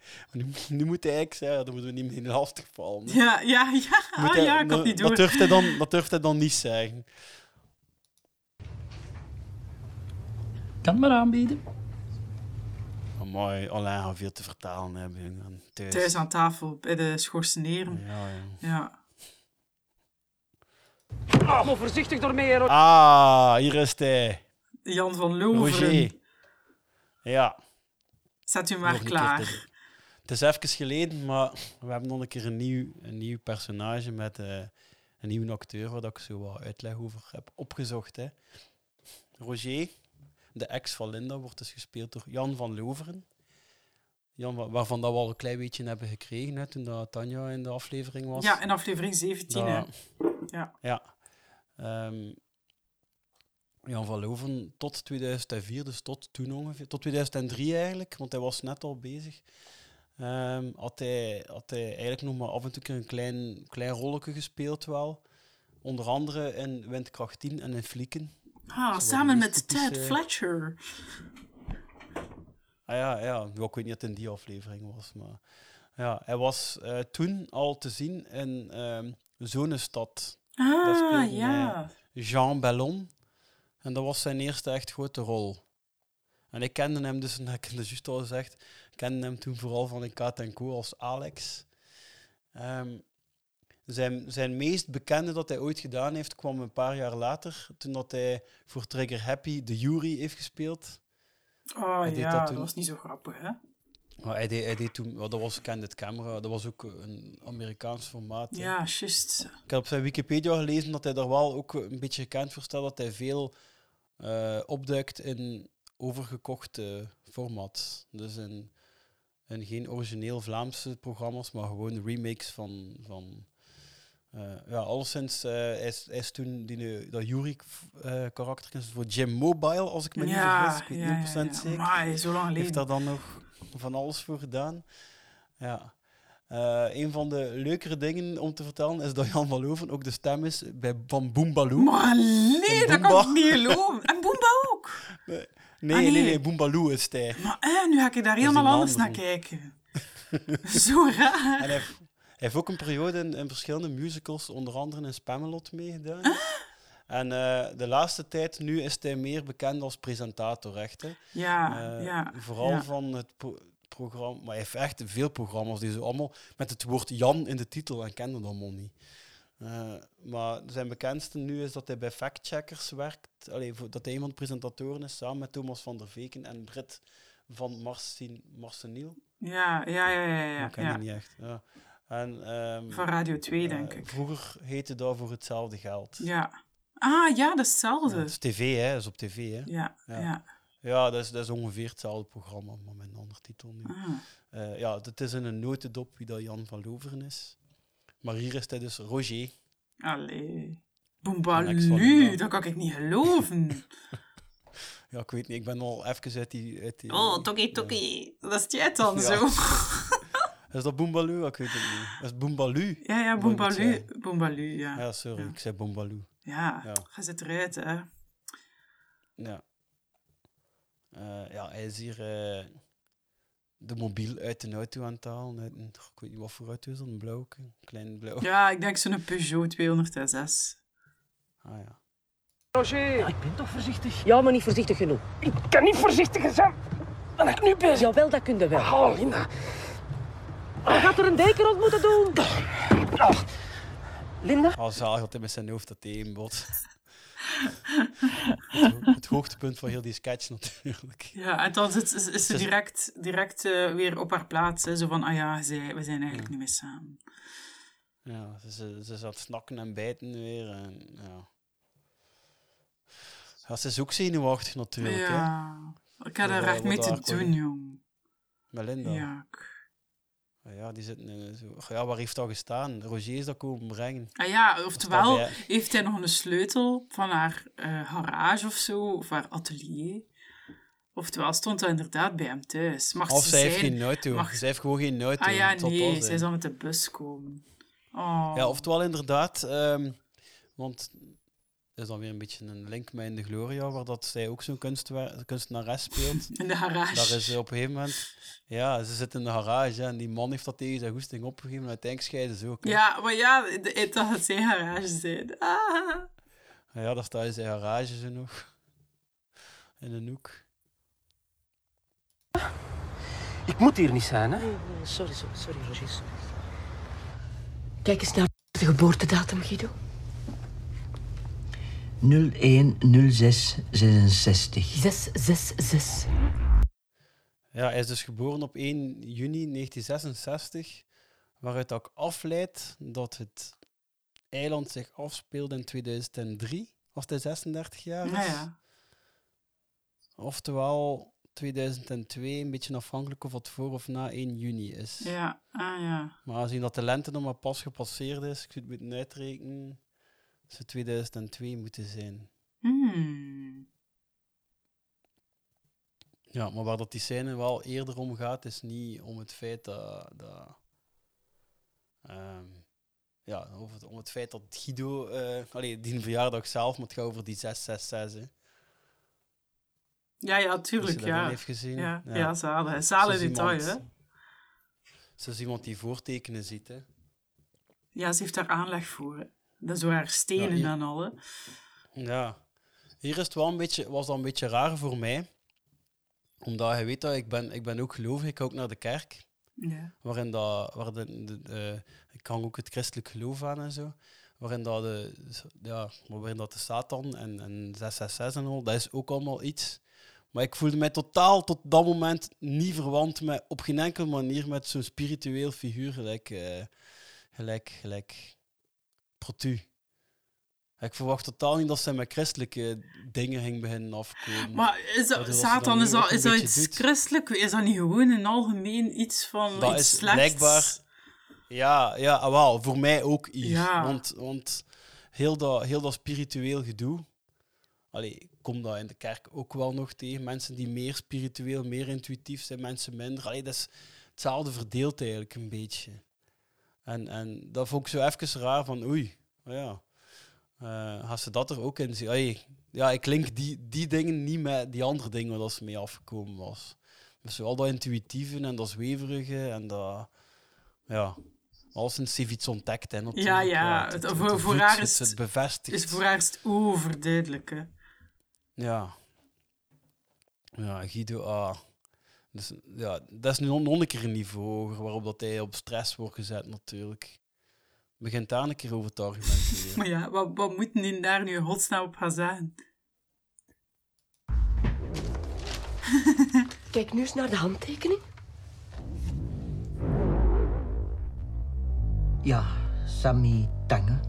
Speaker 4: Maar nu, nu moet hij eigenlijk zeggen, ja, dan moeten we niet meer in de lastig vallen. hè.
Speaker 5: Ja, ja, ja.
Speaker 4: Moet
Speaker 5: Ah,
Speaker 4: hij-
Speaker 5: ja, ik had
Speaker 4: dat-
Speaker 5: niet door.
Speaker 4: Dat durft hij dan, dat durft hij dan niet zeggen.
Speaker 17: Kan maar aanbieden.
Speaker 4: Mooi, Alain gaat veel te vertalen hebben. jongen, Thuis.
Speaker 5: Thuis aan tafel, bij de schorseneren.
Speaker 4: Ja, ja.
Speaker 5: Ja.
Speaker 13: Maar voorzichtig doormee, hè.
Speaker 4: Ah, hier is hij.
Speaker 5: Jan van
Speaker 4: Roger.
Speaker 5: Loveren,
Speaker 4: Ja.
Speaker 5: zet u
Speaker 4: Nog
Speaker 5: maar
Speaker 4: een keer
Speaker 5: klaar.
Speaker 4: te- Het is even geleden, maar we hebben nog een keer een nieuw, een nieuw personage met eh, een nieuwe acteur, waar ik zo wat uitleg over heb opgezocht. Hè. Roger, de ex van Linda, wordt dus gespeeld door Jan van Loveren. Jan, wa- waarvan dat we al een klein beetje hebben gekregen hè, toen dat Tanja in de aflevering was.
Speaker 5: Ja, in aflevering 17, hè.
Speaker 4: Dat-
Speaker 5: Ja.
Speaker 4: Ja. Ehm, Jan van Loven tot 2004, dus tot toen ongeveer, tot 2003 eigenlijk, want hij was net al bezig. Ehm, had, hij, had hij eigenlijk nog maar af en toe een keer een klein, klein rolletje gespeeld wel. Onder andere in Windkracht 10 en in Flieken. Zo
Speaker 5: Ah,
Speaker 4: wat
Speaker 5: samen
Speaker 4: meer
Speaker 5: met
Speaker 4: typische-
Speaker 5: Ted Fletcher.
Speaker 4: Ah ja, ja. Wel, ik weet niet of het in die aflevering was, maar... Ja, hij was eh, toen al te zien in ehm Zonestad.
Speaker 5: Ah,
Speaker 4: Daar speelde
Speaker 5: ja.
Speaker 4: hij Jean Bellon. En dat was zijn eerste echt grote rol. En ik kende hem dus, en dat heb ik dus juist al gezegd, ik kende hem toen vooral van in Kat en Co als Alex. Ehm, zijn, zijn meest bekende dat hij ooit gedaan heeft, kwam een paar jaar later, toen dat hij voor Trigger Happy de Jury heeft gespeeld.
Speaker 5: Oh
Speaker 4: Hij deed
Speaker 5: ja,
Speaker 4: dat
Speaker 5: dat,
Speaker 4: toen-
Speaker 5: was niet zo grappig, hè?
Speaker 4: Maar hij deed, hij deed toen, wel, dat was Candid Camera, dat was ook een Amerikaans formaat. hè.
Speaker 5: Ja, juist.
Speaker 4: Ik heb op zijn Wikipedia gelezen dat hij daar wel ook een beetje gekend voor staat, dat hij veel eh, opduikt in overgekochte eh, formats. Dus in, in geen origineel Vlaamse programma's, maar gewoon remakes van... van eh, ja, alleszins, eh, hij, is, hij is toen die, eh, dat Jury-karakter voor Jim Mobile, als ik me niet
Speaker 5: Ja,
Speaker 4: vergis. Ik weet
Speaker 5: ja,
Speaker 4: niet
Speaker 5: ja,
Speaker 4: 100%
Speaker 5: ja.
Speaker 4: zeker.
Speaker 5: Amai, zo lang
Speaker 4: Heeft
Speaker 5: geleden.
Speaker 4: daar dan nog van alles voor gedaan. Ja. Eh, een van de leukere dingen om te vertellen is dat Jan van Loven ook de stem is bij, van Boombaloo.
Speaker 5: Maar nee,
Speaker 4: In
Speaker 5: dat
Speaker 4: Boomba.
Speaker 5: kan ik niet geloven. En Boomba ook.
Speaker 4: Nee, nee,
Speaker 5: Ah,
Speaker 4: nee,
Speaker 5: nee.
Speaker 4: nee, Boombaloo is hij.
Speaker 5: Maar eh, nu ga ik daar
Speaker 4: is
Speaker 5: helemaal
Speaker 4: die
Speaker 5: anders naar
Speaker 4: man van-
Speaker 5: kijken. Zo raar.
Speaker 4: En hij, heeft, hij heeft ook een periode in, in verschillende musicals, onder andere in Spamelot, meegedaan.
Speaker 5: Ah.
Speaker 4: En eh, de laatste tijd, nu is hij meer bekend als presentator, echt. Hè?
Speaker 5: Ja,
Speaker 4: Eh,
Speaker 5: ja,
Speaker 4: Vooral
Speaker 5: ja.
Speaker 4: van het pro- programma. Maar hij heeft echt veel programma's die zo allemaal met het woord Jan in de titel en kende dat allemaal niet. Eh, maar zijn bekendste nu is dat hij bij factcheckers werkt. Allee, voor- dat hij een van de presentatoren is, samen met Thomas van der Veken en Brit van Marcin, Marceniel.
Speaker 5: Ja, ja, ja, ja, ja,
Speaker 4: Ik ken
Speaker 5: ja.
Speaker 4: die niet echt. Ja. En, ehm,
Speaker 5: Van Radio 2,
Speaker 4: eh,
Speaker 5: denk ik.
Speaker 4: Vroeger heette dat voor hetzelfde geld.
Speaker 5: Ja. Ah, ja, dat is hetzelfde.
Speaker 4: Dat is tv, hè? Dat is op tv, hè?
Speaker 5: Ja, ja.
Speaker 4: Ja, dat is, dat is ongeveer hetzelfde programma, maar met een andere titel nu.
Speaker 5: Ah.
Speaker 4: Eh, ja, het is in een notendop wie dat Jan van Loveren is. Maar hier is hij dus Roger.
Speaker 5: Allee.
Speaker 4: Alex van den
Speaker 5: Boombalu,
Speaker 4: Dam.
Speaker 5: dat kan ik niet geloven.
Speaker 4: Ja, ik weet niet, ik ben al even uit die... Uit die
Speaker 5: Oh, tokkie tokkie. Dat is jij dan
Speaker 4: Ja.
Speaker 5: zo.
Speaker 4: Is dat Boombaloo? Ik weet het niet. Dat is Boombaloo.
Speaker 5: Ja, ja,
Speaker 4: Moet ik het
Speaker 5: Boombaloo.
Speaker 4: zeggen.
Speaker 5: Boombaloo, ja.
Speaker 4: Ja, sorry, ik zei Boombaloo.
Speaker 5: Ja,
Speaker 4: Ja.
Speaker 5: ga zit eruit, hè.
Speaker 4: Ja. Eh, ja, hij is hier eh, de mobiel uit de auto aan het halen. Uit een, ik weet niet wat voor auto is dat, een blauw, een klein blauw.
Speaker 5: Ja, ik denk zo'n Peugeot 206.
Speaker 4: Ah ja.
Speaker 20: Roger! ik ben toch voorzichtig? Ja, maar niet voorzichtig genoeg. Ik kan niet voorzichtiger zijn dan ik nu ben. Jawel, dat kun je wel. Oh, Linda. Je gaat er een deken rond moeten doen. Oh. Linda?
Speaker 4: Al zalig dat hij met zijn hoofd dat tegenbod. het, ho- het hoogtepunt van heel die sketch natuurlijk.
Speaker 5: Ja, en dan zit, is, is ze
Speaker 4: Het is-
Speaker 5: direct, direct eh, weer op haar plaats. Hè. Zo van, ah ja, ze, we zijn eigenlijk niet meer samen.
Speaker 4: Ja, ze, ze, ze zat snakken en bijten weer. En, ja. ja, ze is ook zenuwachtig natuurlijk. hè.
Speaker 5: Ja. Ik had
Speaker 4: Voor,
Speaker 5: er
Speaker 4: eh,
Speaker 5: echt mee
Speaker 4: wat
Speaker 5: te
Speaker 4: haar
Speaker 5: doen,
Speaker 4: collega-
Speaker 5: jong.
Speaker 4: Melinda.
Speaker 5: Ja.
Speaker 4: Ah Ja, die zitten in, zo. Ach Ja, waar heeft dat gestaan? Roger is dat komen brengen.
Speaker 5: Ah ja, oftewel
Speaker 4: bij-
Speaker 5: heeft hij nog een sleutel van haar eh, garage of zo, of haar atelier. Oftewel stond dat inderdaad bij hem thuis. Mag
Speaker 4: of
Speaker 5: ze
Speaker 4: zij heeft
Speaker 5: zijn-
Speaker 4: geen auto.
Speaker 5: mag-
Speaker 4: Zij heeft gewoon geen auto.
Speaker 5: Ah ja,
Speaker 4: Het zal het
Speaker 5: nee,
Speaker 4: wel
Speaker 5: zij
Speaker 4: zijn.
Speaker 5: zal met de bus komen. Oh.
Speaker 4: Ja, oftewel inderdaad, ehm, want dat is dan weer een beetje een link met In de Gloria, waar dat zij ook zo'n kunstwer- kunstenares speelt.
Speaker 5: In de garage.
Speaker 4: Daar is ze op een gegeven moment... Ja, ze zit in de garage hè, en die man heeft dat tegen zijn goesting opgegeven en uiteindelijk scheiden ze ook. hè.
Speaker 5: Ja, maar ja, de- het dat het zijn garage zijn. Ah.
Speaker 4: Ja, daar staat in zijn garage zo nog. In een hoek.
Speaker 20: Ik moet hier niet zijn, hè?
Speaker 19: Sorry, sorry, sorry, Roger.
Speaker 20: Kijk eens naar
Speaker 19: De geboortedatum, Guido.
Speaker 8: 010666.
Speaker 19: 666.
Speaker 4: Ja, hij is dus geboren op 1 juni 1966, waaruit ook afleidt dat het eiland zich afspeelde in
Speaker 5: Ah
Speaker 4: 2003, als hij 36 jaar is.
Speaker 5: Ja, ja.
Speaker 4: Oftewel, 2002, een beetje afhankelijk of het voor of na 1 juni is.
Speaker 5: Ja, ah ja.
Speaker 4: Maar aangezien dat de lente nog maar pas gepasseerd is, ik zou het moeten uitrekenen, zou het 2002 moeten zijn.
Speaker 5: Hmm.
Speaker 4: Ja, maar waar dat die scène wel eerder om gaat, is niet om het feit dat. dat ehm, ja, over het- om het feit dat Guido. eh allee, die verjaardag zelf, maar het gaat over die 666. Hè.
Speaker 5: Ja, ja,
Speaker 4: Als
Speaker 5: tuurlijk,
Speaker 4: je dat wel
Speaker 5: ja.
Speaker 4: heeft gezien.
Speaker 5: Ja, ja. zalig. hè. Zalig
Speaker 4: Ze is
Speaker 5: detail, hè.
Speaker 4: iemand- Ze is iemand die voortekenen ziet, hè.
Speaker 5: Ja, ze heeft daar aanleg voor. hè. Dat is door haar stenen
Speaker 4: Ja, ja.
Speaker 5: en al, hè.
Speaker 4: Ja. Hier is het wel een beetje, was dat een beetje raar voor mij. Omdat je weet dat ik ben, ik ben ook gelovig, ik ga ook naar de kerk.
Speaker 5: Ja.
Speaker 4: Waarin dat, waar de, de- eh, ik hang ook het christelijk geloof aan en zo. Waarin dat de, ja, waarin dat de Satan en, en 666 en al, dat is ook allemaal iets. Maar ik voelde mij totaal tot dat moment niet verwant met, op geen enkele manier met zo'n spiritueel figuur gelijk, eh, gelijk, gelijk Protu. Ik verwacht totaal niet dat zij met christelijke dingen ging beginnen afkomen.
Speaker 5: Maar is dat,
Speaker 4: Waardoor ze
Speaker 5: Satan,
Speaker 4: nu
Speaker 5: is
Speaker 4: ook
Speaker 5: dat,
Speaker 4: een
Speaker 5: is dat
Speaker 4: beetje
Speaker 5: iets
Speaker 4: doet.
Speaker 5: christelijk? Is dat niet gewoon een algemeen iets van
Speaker 4: Dat
Speaker 5: iets
Speaker 4: is
Speaker 5: slechts?
Speaker 4: blijkbaar. Ja, ja ah, wel, voor mij ook hier.
Speaker 5: Ja.
Speaker 4: Want, want heel, dat, heel dat spiritueel gedoe. Allee, ik kom dat in de kerk ook wel nog tegen. Mensen die meer spiritueel, meer intuïtief zijn, mensen minder. Allee, dat is hetzelfde verdeeld eigenlijk een beetje. En, en dat vond ik zo even raar van oei, maar Oh ja. eh gaan ze dat er ook in zien? Allee, ja, ik link die, die dingen niet met die andere dingen waar ze mee afgekomen was. Dus al dat intuïtieve en dat zweverige en dat... Ja, alles in zich iets ontdekt. Hè, natuurlijk.
Speaker 5: Ja, ja.
Speaker 4: het-
Speaker 5: Het,
Speaker 4: het-
Speaker 5: voor,
Speaker 4: het
Speaker 5: voor
Speaker 4: voedt,
Speaker 5: haar
Speaker 4: het-
Speaker 5: is
Speaker 4: het bevestigt.
Speaker 5: Is voor haar is het overduidelijk, hè.
Speaker 4: Ja. Ja, Guido A. Dus, ja, dat is nu nog nog een keer een niveau hoger waarop dat hij op stress wordt gezet, natuurlijk. Begint daar een keer over te argumenteren.
Speaker 5: Maar ja, wat, wat moet die daar nu in godsnaam op gaan zeggen?
Speaker 14: Kijk nu eens naar de handtekening.
Speaker 9: Ja, Sammy Tange.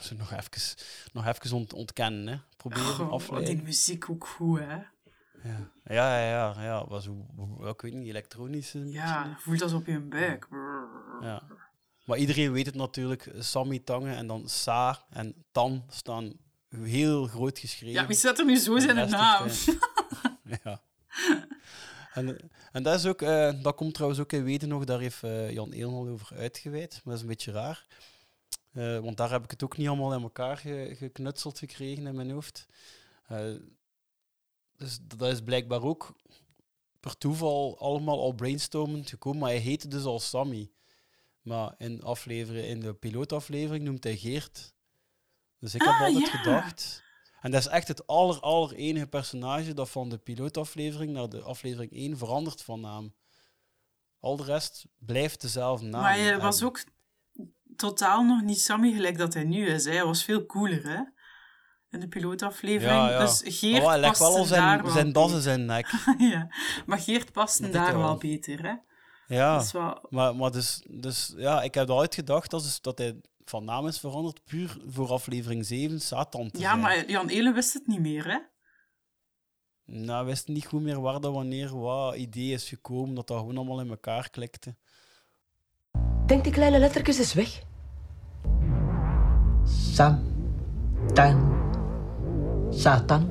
Speaker 4: Ze nog even, nog even ont- ontkennen, hè. Proberen
Speaker 5: Goh,
Speaker 4: afleiden.
Speaker 5: die muziek ook goed, hè.
Speaker 4: Ja, ja, ja. ja. Was, ik weet niet, elektronisch. eh,
Speaker 5: Ja,
Speaker 4: misschien?
Speaker 5: dat voelt als op je buik.
Speaker 4: Ja. Maar iedereen weet het natuurlijk. Sammy Tangen en dan Sa en Tan staan heel groot geschreven.
Speaker 5: Ja, wie zet er nu zo zijn
Speaker 4: En de
Speaker 5: naam?
Speaker 4: rest is klein. ja. En, en dat, is ook, eh, dat komt trouwens ook in Weten nog, daar heeft eh, Jan Eelnal over uitgeweid. Maar dat is een beetje raar. Eh, want daar heb ik het ook niet allemaal in elkaar ge- geknutseld gekregen in mijn hoofd. Eh, dus dat is blijkbaar ook per toeval allemaal al brainstormend gekomen. Maar hij heette dus al Sammy. Maar in, aflevering, in de pilootaflevering noemt hij Geert. Dus ik
Speaker 5: Ah,
Speaker 4: heb altijd
Speaker 5: ja.
Speaker 4: gedacht. En dat is echt het aller, aller enige personage dat van de pilootaflevering naar de aflevering 1 verandert van naam. Al de rest blijft dezelfde naam.
Speaker 5: maar hij was
Speaker 4: hebben.
Speaker 5: ook totaal nog niet Sammy gelijk dat hij nu is. Hè. Hij was veel cooler, hè. In de pilootaflevering.
Speaker 4: Ja, ja.
Speaker 5: Dus Geert
Speaker 4: Maar hij legt
Speaker 5: paste
Speaker 4: wel al
Speaker 5: daar
Speaker 4: zijn,
Speaker 5: wel
Speaker 4: zijn
Speaker 5: bij.
Speaker 4: das in zijn nek.
Speaker 5: ja. Maar Geert paste
Speaker 4: Dat
Speaker 5: daar
Speaker 4: deed hij
Speaker 5: wel
Speaker 4: wel. Ah.
Speaker 5: beter, hè.
Speaker 4: Ja,
Speaker 5: Dat is wel-
Speaker 4: maar, maar dus, dus ja, ik heb eruit gedacht dat, is, dat hij van naam is veranderd puur voor aflevering 7 Satan te
Speaker 5: Ja,
Speaker 4: zijn.
Speaker 5: maar Jan Elen wist het niet meer, hè.
Speaker 4: Nou, hij wist niet goed meer waar dat wanneer wat idee is gekomen, dat dat gewoon allemaal in elkaar klikte.
Speaker 14: Denk die kleine lettertjes eens weg.
Speaker 9: Sam Tang. Satan.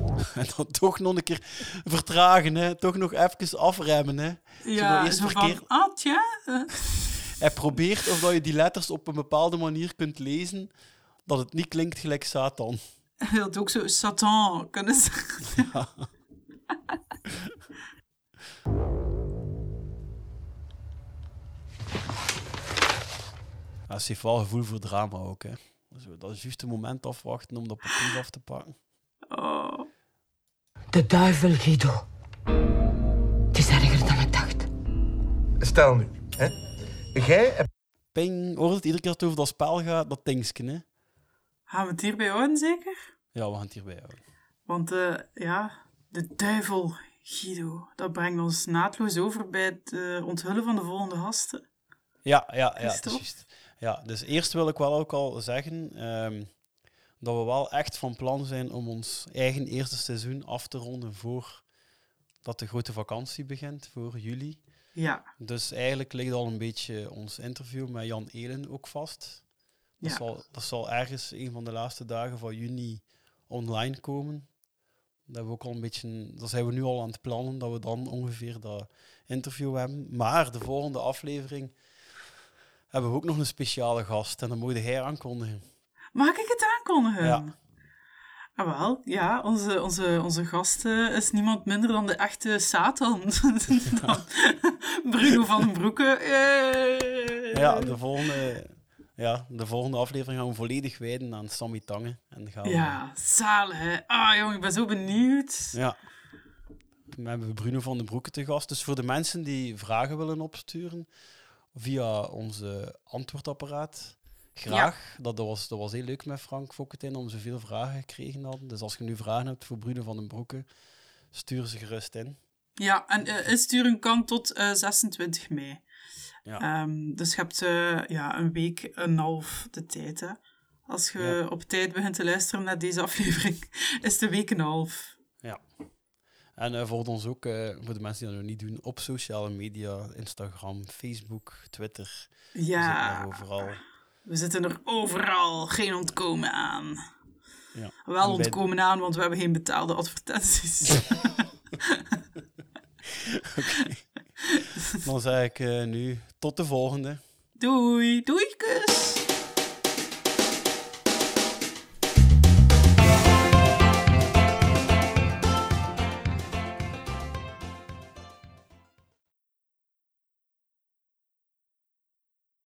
Speaker 4: En dan toch nog een keer vertragen, hè? toch nog even afremmen. Hè? Zodat
Speaker 5: Ja,
Speaker 4: eerst
Speaker 5: zo
Speaker 4: verkeerd-
Speaker 5: van, ah, tja. eh.
Speaker 4: Hij probeert of dat je die letters op een bepaalde manier kunt lezen, dat het niet klinkt gelijk Satan.
Speaker 5: Hij wilde ook zo Satan kunnen zeggen.
Speaker 4: Ja, ze heeft wel gevoel voor drama ook. Hè? Zo, dat is juist het moment afwachten om dat papier af te pakken.
Speaker 5: Oh.
Speaker 9: De duivel, Guido.
Speaker 16: Het is erger dan ik dacht. Stel nu, hè? Jij hebt
Speaker 4: Ping, hoort het iedere keer als het over dat spel gaat, dat tingsken, hè?
Speaker 5: Gaan we het hierbij houden, zeker?
Speaker 4: Ja, we gaan het hierbij houden.
Speaker 5: Want eh, ja, de duivel, Guido, dat brengt ons naadloos over bij het eh, onthullen van de volgende gasten.
Speaker 4: Ja, ja, ja.
Speaker 5: Christophe?
Speaker 4: het is juist. ja. Dus eerst wil ik wel ook al zeggen ehm, dat we wel echt van plan zijn om ons eigen eerste seizoen af te ronden voor dat de grote vakantie begint voor juli.
Speaker 5: Ja.
Speaker 4: Dus eigenlijk ligt al een beetje ons interview met Jan Elen ook vast. Dat,
Speaker 5: Ja.
Speaker 4: zal, dat zal ergens een van de laatste dagen van juni online komen. Dat, hebben we ook al een beetje, dat zijn we nu al aan het plannen, dat we dan ongeveer dat interview hebben. Maar de volgende aflevering hebben we ook nog een speciale gast. En dat moet jij aankondigen.
Speaker 5: Mag ik het aankondigen?
Speaker 4: Ja.
Speaker 5: Ah, wel, ja, onze, onze, onze gast eh, is niemand minder dan de echte Satan. dan Bruno van den Broeke. Eh.
Speaker 4: Ja, de volgende, ja, de volgende aflevering gaan we volledig wijden aan Sammy Tangen. En dan gaan we-
Speaker 5: Ja, zalig, hè. Ah, jong, ik ben zo benieuwd.
Speaker 4: Ja. We hebben Bruno van den Broeke te gast. Dus voor de mensen die vragen willen opsturen via onze antwoordapparaat, graag. Dat, dat, was, dat was heel leuk met Frank Fokketijn, om zoveel vragen gekregen hadden. Dus als je nu vragen hebt voor Bruno van den Broeke, stuur ze gerust in.
Speaker 5: Ja, en eh, insturen kan tot eh, 26 mei.
Speaker 4: Ja.
Speaker 5: Ehm, dus je hebt eh, ja, een week en een half de tijd. Hè. Als je
Speaker 4: Ja.
Speaker 5: op tijd begint te luisteren naar deze aflevering, is de week en een half.
Speaker 4: Ja. En eh volg ons ook, eh, voor de mensen die dat nog niet doen, op sociale media, Instagram, Facebook, Twitter. We
Speaker 5: Ja.
Speaker 4: zitten daar overal.
Speaker 5: We zitten er overal, geen ontkomen aan.
Speaker 4: Ja.
Speaker 5: Wel
Speaker 4: En bij-
Speaker 5: ontkomen aan, want we hebben geen betaalde advertenties.
Speaker 4: Dan zeg ik eh, nu tot de volgende.
Speaker 5: doei, doei, kus!